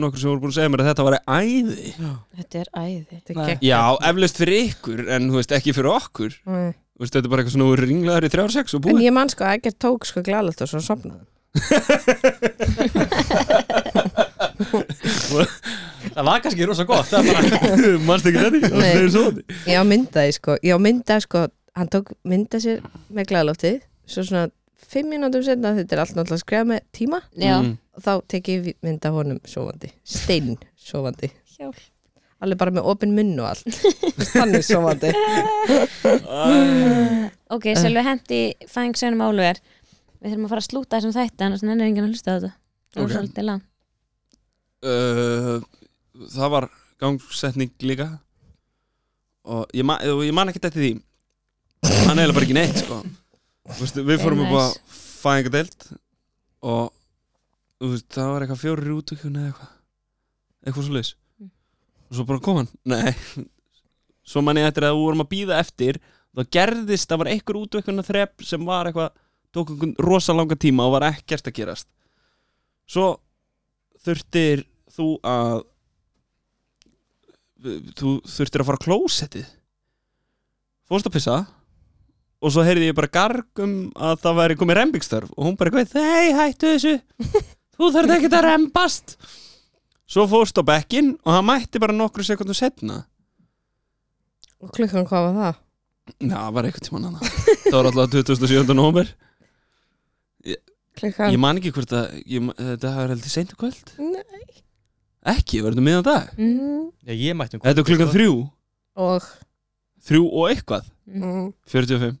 [SPEAKER 3] nokkur sem voru búin að segja mér að þetta var æði
[SPEAKER 2] Þetta er æði Þetta
[SPEAKER 4] Nei.
[SPEAKER 2] er
[SPEAKER 3] Já, eflaust fyrir ykkur, en þú veist, ekki fyrir okkur
[SPEAKER 2] gegn
[SPEAKER 3] Þú veist, þetta er bara eitthvað svona ringlaður í 36 og
[SPEAKER 2] En
[SPEAKER 3] búið
[SPEAKER 2] ég man sko að ekkert tók sko glalegt og svo sopnaði
[SPEAKER 4] það var kannski rosa gott það var bara
[SPEAKER 3] *laughs* Manst ekki þetta?
[SPEAKER 2] Það Nei. er
[SPEAKER 3] svo
[SPEAKER 2] Ég á myndaði sko, ég á myndaði sko Hann tók myndaði sér með glalóttið Svo svona fimm mínútum setna Þetta er allt náttúrulega skræða með tíma
[SPEAKER 1] já,
[SPEAKER 3] Mm.
[SPEAKER 2] og Þá tek ég mynda honum sofandi Stein sofandi
[SPEAKER 1] Hjálp.
[SPEAKER 2] Alveg bara með opin munn og allt Þannig *laughs* sofandi
[SPEAKER 1] ok,
[SPEAKER 3] Eh.
[SPEAKER 1] Sölvi hendi fæðingsönum Óluver við þurfum að fara að slúta þessum þætti annars nennir enginn að hlusta á þetta það var
[SPEAKER 3] Ok.
[SPEAKER 1] svolítið langt
[SPEAKER 3] uh, það var gangsetning líka og ég, man, og ég man ekki þetta því hann er eiginlega bara ekki neitt sko. Þú veist, við fórum
[SPEAKER 1] Very
[SPEAKER 3] upp á
[SPEAKER 1] nice.
[SPEAKER 3] fæðingadeild og þú veist, það var eitthvað fjórir útökjun eða eitthvað eitthvað svo leis
[SPEAKER 1] Mm.
[SPEAKER 3] og svo bara kom hann nei, svo man ég eftir að við vorum að býða eftir þá gerðist, það var einhver útökjun þrepp sem var eitthvað, tók einhvern rosa langa tíma og var ekkert að gerast svo þurftir þú að þú þurftir að fara á klósettið fórst að pissa og svo heyrði ég bara garg um að það væri komið rembingstörf og hún bara eitthvað, nei hættu þessu þú þarf ekki að rembast svo fórst á bekkinn og hann mætti bara nokkru sekundum setna
[SPEAKER 2] Og klukkan hvað var það?
[SPEAKER 3] Já, það var eitthvað tíma annað það var alltaf 2007. nómer
[SPEAKER 2] Klukkan
[SPEAKER 3] ég man ekki hvort að ég, man- þetta er heldur seintu kvöld
[SPEAKER 2] Nei.
[SPEAKER 3] ekki, verður miðan dag
[SPEAKER 2] Mhm.
[SPEAKER 1] mm.
[SPEAKER 4] já, ég mætti um
[SPEAKER 3] þetta er klukkan þrjú,
[SPEAKER 2] og Mhm.
[SPEAKER 3] þrjú og eitthvað
[SPEAKER 2] mm,
[SPEAKER 3] 45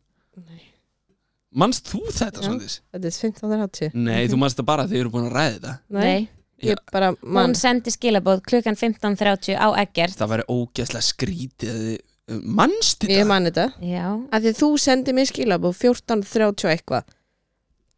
[SPEAKER 3] Manst þú þetta,
[SPEAKER 2] Já.
[SPEAKER 3] Svandís?
[SPEAKER 2] Þetta er 15.30
[SPEAKER 3] Nei, þú manst það bara þegar þið eru búin að ræða þetta
[SPEAKER 1] Nei.
[SPEAKER 2] ég bara
[SPEAKER 1] Hún
[SPEAKER 2] mann
[SPEAKER 1] sendi skilabóð klukkan 15.30 á Eggert
[SPEAKER 3] Það væri ógeðslega skrítið að þið- eh, Manst
[SPEAKER 2] Ég
[SPEAKER 3] þetta?
[SPEAKER 2] man þetta
[SPEAKER 1] Já,
[SPEAKER 2] að því þú sendir mér skilabú 14.30 og eitthvað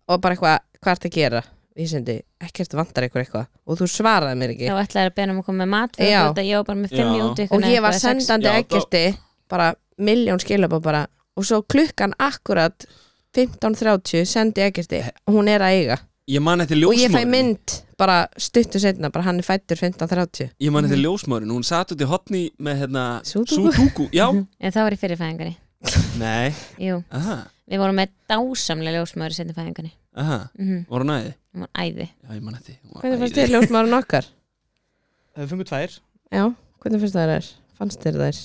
[SPEAKER 2] og bara eitthvað, hvað ert að gera ég sendi, ekkert vantar ykkur eitthvað og þú svaraði mér ekki
[SPEAKER 1] þá ætlaði að beina um að koma með mat fyrir
[SPEAKER 2] Já.
[SPEAKER 1] þetta, ég var bara með fimm í
[SPEAKER 3] Já.
[SPEAKER 1] útvikuna
[SPEAKER 2] og ég var
[SPEAKER 1] eitthvað, sex.
[SPEAKER 2] sendandi
[SPEAKER 3] Já, þá-
[SPEAKER 2] ekkerti bara miljón skilabú bara og svo klukkan akkurat 15.30 sendi ekkerti og hún er að eiga
[SPEAKER 3] Ég man eftir
[SPEAKER 2] og ég fæ
[SPEAKER 3] ljósmóðurinn
[SPEAKER 2] mynd bara stuttu setna bara hann er fættur 15.30
[SPEAKER 3] Ég man eftir
[SPEAKER 2] Mm.
[SPEAKER 3] ljósmóðurinn Hún satt út í hotni með hérna
[SPEAKER 2] Sudoku.
[SPEAKER 3] Súdúku Já
[SPEAKER 2] *laughs*
[SPEAKER 1] En það var í fyrirfæðingunni
[SPEAKER 3] Nei
[SPEAKER 1] Jú,
[SPEAKER 3] Aha,
[SPEAKER 1] við vorum með dásamlega ljósmaður í setjafæðingunni
[SPEAKER 3] aha
[SPEAKER 1] mm -hmm.
[SPEAKER 3] Voru næði
[SPEAKER 1] Hún var æði
[SPEAKER 3] Já, ég man eftir Hún var
[SPEAKER 2] hvernig fannst
[SPEAKER 3] æði.
[SPEAKER 2] þér ljósmaðurinn okkar?
[SPEAKER 4] Við fengum tvær,
[SPEAKER 2] já, hvernig fannst þér þær? fannst þér þær?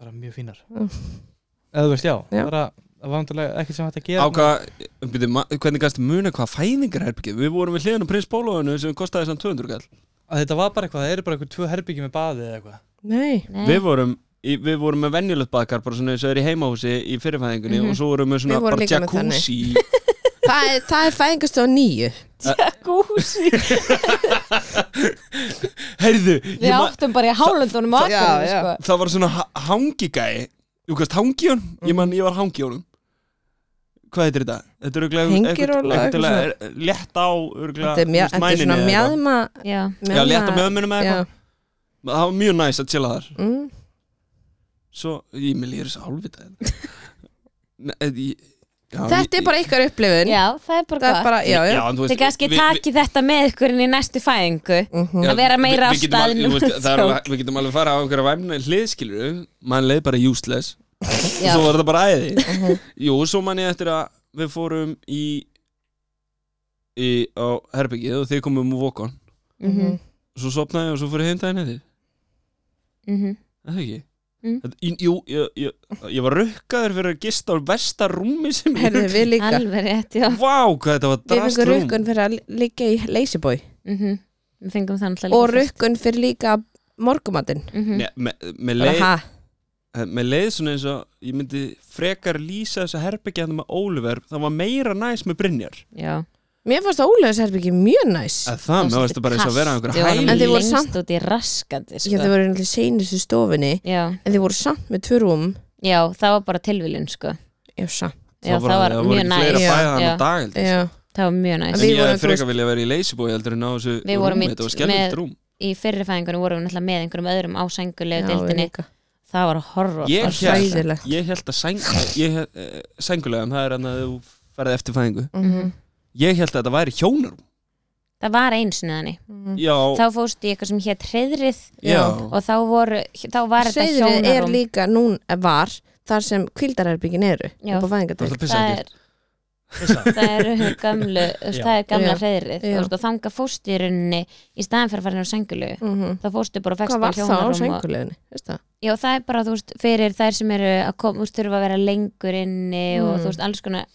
[SPEAKER 4] bara mjög fínar
[SPEAKER 2] Mm.
[SPEAKER 4] Eða þú veist, já,
[SPEAKER 2] Já.
[SPEAKER 4] bara það var vantarlega ekkert sem hægt að gera
[SPEAKER 3] Á hvað byrju, ma- Hvernig gæst muna hvað fæðingarherbyggið Við vorum við hliðan á prins Bólóinu sem kostaði samt 200 kall
[SPEAKER 4] að Þetta var bara eitthvað, það eru bara eitthvað tvö herbyggi með baði eða eitthvað
[SPEAKER 2] nei,
[SPEAKER 3] Við vorum í- Við vorum með venjulegt baðkar bara svona eins og er í heimahúsi í fyrirfæðingunni
[SPEAKER 1] Mhm.
[SPEAKER 3] og svo vorum við svona
[SPEAKER 2] Við vorum
[SPEAKER 3] bara
[SPEAKER 2] líka með
[SPEAKER 3] jacuzzi í-
[SPEAKER 2] það er, það er fæðingast á nýju
[SPEAKER 1] Gúsi,
[SPEAKER 3] *laughs* Heyrðu, ég man-
[SPEAKER 1] áttum bara í hálöndunum
[SPEAKER 2] og Akureyri, Já, já. sko.
[SPEAKER 3] það var svona ha- hangigæi Þú veist, hangijón? Ég man, ég var hangijón Hvað heitir þetta? Þetta er örugglega
[SPEAKER 2] Hengiról og
[SPEAKER 3] eitthvað- eitthvað
[SPEAKER 2] eitthvað
[SPEAKER 3] til að er- létta á örugglega,
[SPEAKER 2] þetta er, mjö,
[SPEAKER 3] þú veist,
[SPEAKER 2] þetta er
[SPEAKER 3] mæninni
[SPEAKER 2] svona
[SPEAKER 3] eða eitthvað.
[SPEAKER 2] mjadma
[SPEAKER 1] Já,
[SPEAKER 3] Já, létta mjöðmunum eða
[SPEAKER 2] já,
[SPEAKER 3] eitthvað Það var mjög næs að chilla þar
[SPEAKER 2] mm.
[SPEAKER 3] Svo, ég með lýra þessu álvita
[SPEAKER 2] *laughs* þetta er bara ykkar upplifun
[SPEAKER 1] já, það er bara
[SPEAKER 2] þetta er
[SPEAKER 1] gott
[SPEAKER 2] bara, já, já,
[SPEAKER 1] Þið kannski taki þetta með ykkur inn í næstu fæðingu
[SPEAKER 2] Mhm.
[SPEAKER 1] að vera meira á staðnum. *laughs*
[SPEAKER 3] Við getum alveg fara á einhverja væmna hliðskilur mann leið bara useless og
[SPEAKER 1] Já, Mhm.
[SPEAKER 3] svo var þetta bara æði Jú, svo man ég eftir að við fórum í, í á herbyggið og þið komum úr vokon
[SPEAKER 1] mhm,
[SPEAKER 3] svo sopnaði ég og svo fór ég heim daginn eftir
[SPEAKER 1] mhm.
[SPEAKER 3] Það er ekki
[SPEAKER 1] Mm.
[SPEAKER 3] Þetta- í- Jú, ég, ég, ég var rukkaður fyrir að gista á versta rúmi sem ég
[SPEAKER 2] herðu við líka
[SPEAKER 1] alveg rétt, já
[SPEAKER 3] Vá, hvað þetta var
[SPEAKER 2] við fengum
[SPEAKER 3] drastrúm
[SPEAKER 2] rukkun fyrir að li- liggja í leysibói
[SPEAKER 1] Mhm. Við fengum það náttúrulega
[SPEAKER 2] og
[SPEAKER 1] líka fyrst.
[SPEAKER 2] rukkun fyrir líka morgumatinn
[SPEAKER 1] Mhm.
[SPEAKER 3] Mér me, me
[SPEAKER 2] bara
[SPEAKER 3] leið,
[SPEAKER 2] ha,
[SPEAKER 3] me Eh, leið svona eins og ég myndi frekar lýsa þessu herbyggið hann með Óliver, það var meira næs með Brynjar
[SPEAKER 1] Já,
[SPEAKER 2] mér fannst ólegaðsherbyggi mjög næs
[SPEAKER 3] að Það, mér varst það bara eins og að vera á
[SPEAKER 1] Við
[SPEAKER 3] einhverja
[SPEAKER 1] vorum
[SPEAKER 3] hæli
[SPEAKER 2] En þið voru
[SPEAKER 1] lengst
[SPEAKER 2] samt-
[SPEAKER 1] út í raskandi
[SPEAKER 2] já, þið
[SPEAKER 1] sko.
[SPEAKER 2] voru einhverjum seinustu stofunni
[SPEAKER 1] Já,
[SPEAKER 2] en þið voru samt með tvö rúm
[SPEAKER 1] já, það var bara tilviljun sko.
[SPEAKER 2] já, samt
[SPEAKER 1] Já, það var mjög
[SPEAKER 3] Það voru
[SPEAKER 1] næst
[SPEAKER 3] ekki fleira bæða
[SPEAKER 1] Já,
[SPEAKER 3] hann á dag heldur.
[SPEAKER 2] já,
[SPEAKER 1] Það var mjög næst
[SPEAKER 3] En
[SPEAKER 2] Við
[SPEAKER 3] ég
[SPEAKER 2] vorum,
[SPEAKER 3] hefði
[SPEAKER 2] þú
[SPEAKER 3] frekar viljað vera í leysibói heldur en á þessu
[SPEAKER 1] Við vorum
[SPEAKER 3] rúmi,
[SPEAKER 1] í-
[SPEAKER 3] þetta var skemmtilegt
[SPEAKER 1] með-
[SPEAKER 3] rúm
[SPEAKER 1] í fyrirfæðingunum vorum við náttúrulega með einhverjum öðrum á sængulegu
[SPEAKER 2] já, við
[SPEAKER 1] dildinni
[SPEAKER 2] líka
[SPEAKER 1] það var horror það
[SPEAKER 3] Ég
[SPEAKER 1] var
[SPEAKER 3] hélt-
[SPEAKER 1] hræðilegt.
[SPEAKER 2] hræðilegt
[SPEAKER 3] Ég held að sæng, ég, held- eh, sængulegan, það er hann að þú ferði eftir fæðingu
[SPEAKER 2] Mhm.
[SPEAKER 3] Ég held að þetta væri hjónarúm
[SPEAKER 1] það var einsinni þannig
[SPEAKER 2] Mhm.
[SPEAKER 3] Já,
[SPEAKER 1] þá fórstu í eitthvað sem hétt hreðrið
[SPEAKER 3] já,
[SPEAKER 1] og þá, voru, þá var þetta
[SPEAKER 2] hreiðrið er
[SPEAKER 1] hjónarum
[SPEAKER 2] líka nún var þar sem kvildarherbyggin eru
[SPEAKER 1] Já.
[SPEAKER 2] upp á
[SPEAKER 3] þú ætla
[SPEAKER 2] fæðingadeild
[SPEAKER 3] að pissa
[SPEAKER 1] það
[SPEAKER 3] ekki
[SPEAKER 1] er *laughs* það eru gamlu þú veist,
[SPEAKER 3] Já.
[SPEAKER 1] það er gamla
[SPEAKER 2] Já.
[SPEAKER 1] hreðrið
[SPEAKER 2] Já.
[SPEAKER 1] og sko, þanga fórstu í rauninni í staðin fyrir að fara inn á sængulegu
[SPEAKER 2] Mhm.
[SPEAKER 1] þá fórstu bara og
[SPEAKER 2] hvað
[SPEAKER 1] fegst
[SPEAKER 2] var
[SPEAKER 1] á
[SPEAKER 2] það á
[SPEAKER 1] hjónarum og,
[SPEAKER 2] sængulegunni, veist það
[SPEAKER 1] já, það er bara þú veist, fyrir þær sem eru að koma, þú veist, þurfa að vera lengur inni og
[SPEAKER 2] Mm.
[SPEAKER 1] þú veist, alls konar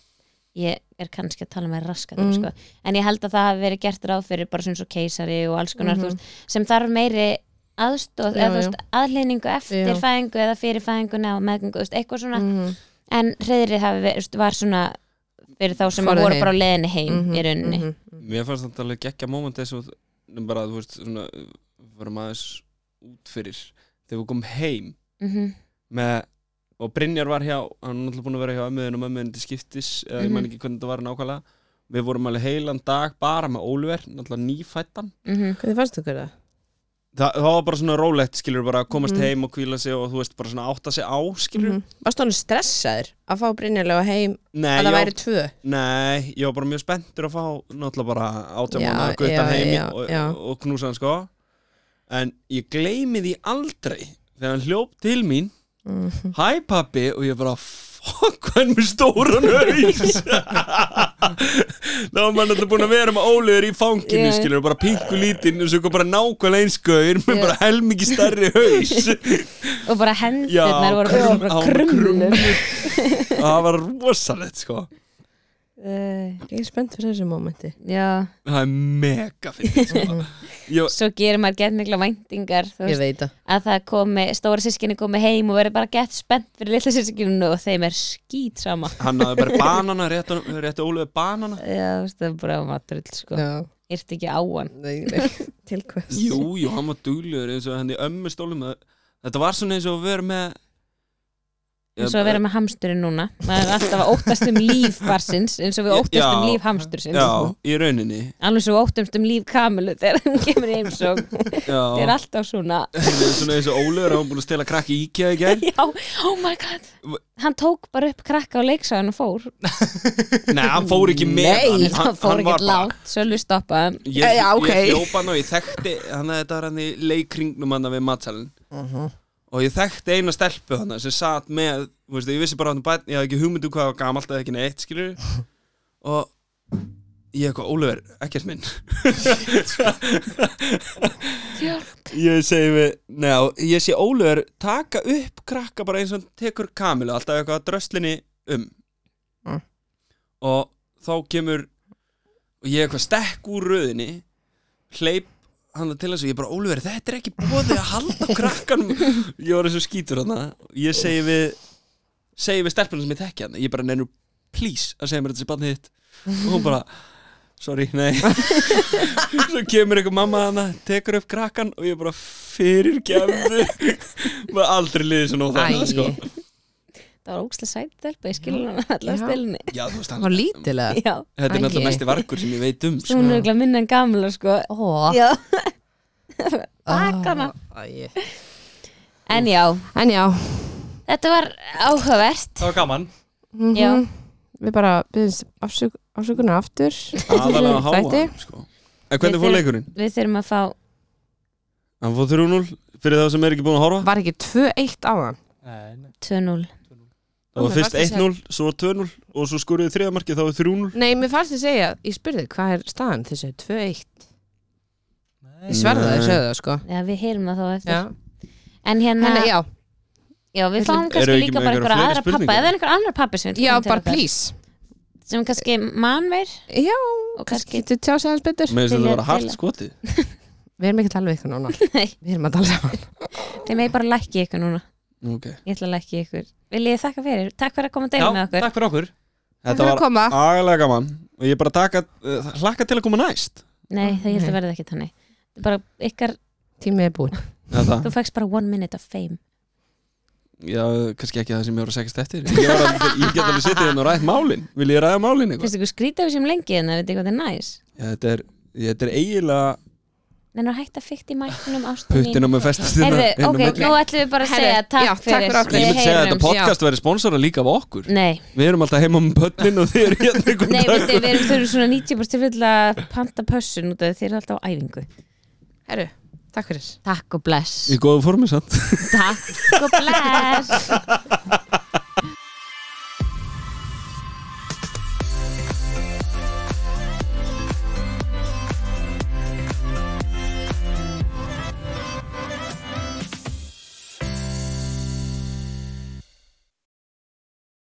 [SPEAKER 1] ég er kannski að tala með raskat
[SPEAKER 2] Mm.
[SPEAKER 1] sko. en ég held að það hafi verið gert ráð fyrir bara svona svo keisari og alls konar
[SPEAKER 2] Mhm.
[SPEAKER 1] þú veist, sem þarf meiri
[SPEAKER 2] Já,
[SPEAKER 1] aðstóð eða þú veist, aðlýningu eftir
[SPEAKER 2] Já.
[SPEAKER 1] fæðingu eða fyrir fæðinguna og meðgöngu, þú veist, eitthvað svona
[SPEAKER 2] Mhm.
[SPEAKER 1] en hreðrið hafi verið, þú veist, var svona fyrir þá sem
[SPEAKER 2] Farið
[SPEAKER 1] voru
[SPEAKER 2] heim.
[SPEAKER 1] bara á leðinni heim
[SPEAKER 2] Mhm,
[SPEAKER 1] í rauninni
[SPEAKER 2] mhm.
[SPEAKER 3] Mér fannst þetta alveg geggja moment þess að bara, þú veist, svona varum aðeins út fyrir þegar við komum heim
[SPEAKER 1] mm
[SPEAKER 2] mhm.
[SPEAKER 3] með og Brynjar var hjá, hann er náttúrulega búin að vera hjá ömmuðin og mömmuðin til skiptis, eða
[SPEAKER 1] Mhm.
[SPEAKER 3] ég man ekki hvernig þetta var nákvæmlega Við vorum alveg heilan dag bara með Óliver, náttúrulega nýfættan
[SPEAKER 1] Mhm,
[SPEAKER 2] Hvernig fannst þú hverða?
[SPEAKER 3] Þa, það var bara svona rólegt, skilur, bara að komast
[SPEAKER 2] Mhm.
[SPEAKER 3] heim og kvíla sig og þú veist, bara svona átta sig á, skilur.
[SPEAKER 2] Mm. Varst hann stressaður að fá Brynjarlega heim
[SPEAKER 3] Nei,
[SPEAKER 2] að
[SPEAKER 3] ég,
[SPEAKER 2] það
[SPEAKER 3] væri...
[SPEAKER 2] væri tvö?
[SPEAKER 3] nei, ég var bara mjög spenntur að fá náttúrulega bara átjá
[SPEAKER 2] Já,
[SPEAKER 3] mánu að
[SPEAKER 2] já,
[SPEAKER 3] gutta heim
[SPEAKER 2] já,
[SPEAKER 3] og,
[SPEAKER 2] já.
[SPEAKER 3] og knúsa hann, sko. En ég gleymi því aldrei þegar hann hljóp til mín,
[SPEAKER 2] Mm.
[SPEAKER 3] hæ pappi, og ég bara, fuck, hann er með stóran
[SPEAKER 2] *laughs*
[SPEAKER 3] haus. *laughs* Þá var maður náttúrulega búin að vera með ólegur í fanginu,
[SPEAKER 1] Já.
[SPEAKER 3] skilur, bara pingu lítinn og svo kom bara nákvæmlega einskauður með
[SPEAKER 2] Já.
[SPEAKER 3] bara helmingi stærri haus.
[SPEAKER 2] *laughs*
[SPEAKER 1] og bara hendurnar voru bara,
[SPEAKER 3] krum-
[SPEAKER 1] bara
[SPEAKER 3] hann var
[SPEAKER 1] krummur
[SPEAKER 3] krummur. það var rosalegt sko
[SPEAKER 2] uh, ég er spennt fyrir þessu mómenti
[SPEAKER 1] já,
[SPEAKER 3] það er mega fyrir ég,
[SPEAKER 1] svo gerir maður gett mikla væntingar þú
[SPEAKER 2] ég veit
[SPEAKER 1] veist,
[SPEAKER 2] það
[SPEAKER 1] að það komi, stóra sískinni komi heim og verður bara gett spennt fyrir litla sískinni og þeim er skýt sama
[SPEAKER 3] hann hafði bara banana rétt, rétt ólega banana
[SPEAKER 1] já, þú veist, það er bara matrull sko.
[SPEAKER 2] Já,
[SPEAKER 1] yrt ekki á hann
[SPEAKER 2] nei, nei. til hvers
[SPEAKER 3] jú, jú, hann var duglegur eins og henni ömmu stólum þetta var svona eins og að vera með
[SPEAKER 1] eins og að vera með hamsturinn núna maður er alltaf að óttast um líf barsins eins og við
[SPEAKER 3] Já.
[SPEAKER 1] óttast um líf hamstursins
[SPEAKER 3] já, í rauninni
[SPEAKER 1] alveg svo við óttumst um líf kamilu þegar hann kemur í heimsók *laughs* það er
[SPEAKER 3] já,
[SPEAKER 1] alltaf svona
[SPEAKER 3] þetta er svona eins og ólegur hann var búin að stela krakki í IKEA í gær
[SPEAKER 1] *laughs* já, oh my god hann tók bara upp krakka á leiksagan og fór
[SPEAKER 3] nei, hann fór ekki með
[SPEAKER 2] Nei,
[SPEAKER 3] hann,
[SPEAKER 1] hann fór
[SPEAKER 3] var
[SPEAKER 1] ekkert
[SPEAKER 3] bara-
[SPEAKER 1] látt, Sölvi stoppaði hann.
[SPEAKER 3] Ég,
[SPEAKER 2] Eh, já, ok.
[SPEAKER 3] ég hljópa hann og ég þekkti hann að þetta var hann í leikringnum hann við matsalinn Mhm. og ég þekkti eina stelpu hann sem satt með, þú veist, ég vissi bara hann bæn, ég hafði ekki hugmyndu hvað það var gamalt eða ekki neitt skilur *laughs* og ég eitthvað, Ólfur, ekkert minn *laughs* ég segi við neða, ég sé Ólfur taka upp krakka bara eins og hann tekur kamilu alltaf eitthvað að dröslinni um
[SPEAKER 2] Mm.
[SPEAKER 3] og þá kemur og ég eitthvað stekk úr röðinni hleyp hann til þessu, ég bara, Ólfur, þetta er ekki bóðið að halda á krakkanum ég var eins og skítur hann ég segi við segi við stelpunum sem ég þekki hann ég bara, neinu, please, að segja mér þetta sem barnið þitt og hún bara, sorry, nei *laughs* svo kemur eitthvað mamma hann tekur upp krakkan og ég bara fyrir gefðu maður aldrei liðið svona á
[SPEAKER 2] Æ.
[SPEAKER 3] þarna, sko
[SPEAKER 1] það var ógstlega sætt delpa, ég skilur hann allar
[SPEAKER 2] Já.
[SPEAKER 1] stilni
[SPEAKER 3] já, þú veist,
[SPEAKER 2] Það
[SPEAKER 3] hann,
[SPEAKER 2] var lítilega
[SPEAKER 1] já,
[SPEAKER 3] þetta er
[SPEAKER 2] Æi.
[SPEAKER 3] náttúrulega mesti vargur sem ég veit um
[SPEAKER 1] *laughs*
[SPEAKER 3] sko.
[SPEAKER 1] hún er ekki minna en gamla sko
[SPEAKER 2] Ó,
[SPEAKER 1] já,
[SPEAKER 2] á,
[SPEAKER 1] bakkana
[SPEAKER 2] æi.
[SPEAKER 1] en já,
[SPEAKER 2] En já
[SPEAKER 1] þetta var áhugavert
[SPEAKER 4] Það var gaman
[SPEAKER 2] mm
[SPEAKER 1] Já.
[SPEAKER 2] Við bara byggðum afsök, afsökunar aftur
[SPEAKER 3] aðalega að háa
[SPEAKER 2] Þætti.
[SPEAKER 3] hann, sko en hvernig fór
[SPEAKER 1] Við-
[SPEAKER 3] leikurinn?
[SPEAKER 1] við þurfum að fá
[SPEAKER 3] Hann fór 3-0 fyrir þá sem er ekki búin að horfa
[SPEAKER 2] Var ekki 2-1 á þann?
[SPEAKER 4] Nei, nei.
[SPEAKER 1] 2-0
[SPEAKER 3] Það var
[SPEAKER 2] Ómar,
[SPEAKER 3] fyrst
[SPEAKER 2] varstu að
[SPEAKER 3] 1-0, svo 2-0 og svo skoruðu þriðamarkið, þá var 3-0
[SPEAKER 2] Nei, mér fannst þið segja, ég spurði hvað er staðan þessi 2-1
[SPEAKER 4] Nei.
[SPEAKER 2] Ég sverða það,
[SPEAKER 3] Nei.
[SPEAKER 2] ég segja það sko
[SPEAKER 1] já, við heyrum það þá eftir
[SPEAKER 2] Já,
[SPEAKER 1] en hérna,
[SPEAKER 2] Henni,
[SPEAKER 1] já,
[SPEAKER 2] já.
[SPEAKER 1] við fáum
[SPEAKER 3] Eru
[SPEAKER 1] kannski
[SPEAKER 3] ekki
[SPEAKER 1] líka
[SPEAKER 3] með
[SPEAKER 1] bara
[SPEAKER 3] einhverjar
[SPEAKER 1] einhverja aðra pappa
[SPEAKER 3] fleiri spurningar?
[SPEAKER 1] eða einhver annar pappi sem vill
[SPEAKER 2] já
[SPEAKER 1] koma til
[SPEAKER 2] bara
[SPEAKER 1] okkar.
[SPEAKER 2] please
[SPEAKER 1] sem kannski mannver
[SPEAKER 2] Já, kannski
[SPEAKER 1] og kannski
[SPEAKER 2] getur tjá sig aðeins betur
[SPEAKER 3] Mér finnst þetta
[SPEAKER 1] Vilja
[SPEAKER 3] að vera hart
[SPEAKER 1] deila.
[SPEAKER 3] skotið
[SPEAKER 2] Við erum ekki að tala við ykkur núna Við erum að tala saman
[SPEAKER 1] þeim er bara að lækki ykkur núna
[SPEAKER 3] okay.
[SPEAKER 1] ég ætla að lækki ykkur vil ég þakka fyrir, takk fyrir að koma að deila með okkur
[SPEAKER 4] takk fyrir okkur
[SPEAKER 2] Takk fyrir
[SPEAKER 3] Þetta
[SPEAKER 2] að koma
[SPEAKER 3] var agalega gaman og ég bara taka, uh, hlakka til að koma næst
[SPEAKER 1] nei, það ég held
[SPEAKER 2] Nei.
[SPEAKER 1] að verða ekki þannig Þetta er bara ykkar,
[SPEAKER 2] Tímið er búin
[SPEAKER 3] Þetta,
[SPEAKER 1] þú fækst bara one minute of fame
[SPEAKER 3] já, kannski ekki það sem ég voru að segja eftir Ég, var að, ég get alveg setið hérna og rætt málin Vil ég ræða málin eitthvað?
[SPEAKER 1] finnst ykkur skrítið við sem lengi en það veit ekki hvað þetta er næs
[SPEAKER 3] Já, Þetta er, þetta er eiginlega
[SPEAKER 1] en að hætta fykt í mæknum ástin mín
[SPEAKER 3] puttina með festast hérna
[SPEAKER 1] Heyrðu,
[SPEAKER 3] inn á
[SPEAKER 1] ok,
[SPEAKER 3] milli.
[SPEAKER 1] nú ætlum við bara að
[SPEAKER 2] Heyrðu,
[SPEAKER 1] segja
[SPEAKER 2] já,
[SPEAKER 1] takk
[SPEAKER 2] takk
[SPEAKER 1] fyrir
[SPEAKER 2] fyrir okkur.
[SPEAKER 3] Ég
[SPEAKER 1] Við
[SPEAKER 3] myndi segja að
[SPEAKER 1] heyrumst,
[SPEAKER 3] þetta podcast væri sponsora líka af okkur
[SPEAKER 1] já. Nei,
[SPEAKER 3] Við erum alltaf heima með pöllin og þið eru hérna einhvern *laughs*
[SPEAKER 1] nei,
[SPEAKER 3] dag.
[SPEAKER 1] veitu, við erum þurfum svona 90% full að panta pössun út af því þeir eru alltaf á æfingu
[SPEAKER 2] Herru, takk fyrir
[SPEAKER 1] Takk og bless
[SPEAKER 3] Í góðu formi samt
[SPEAKER 1] Takk og bless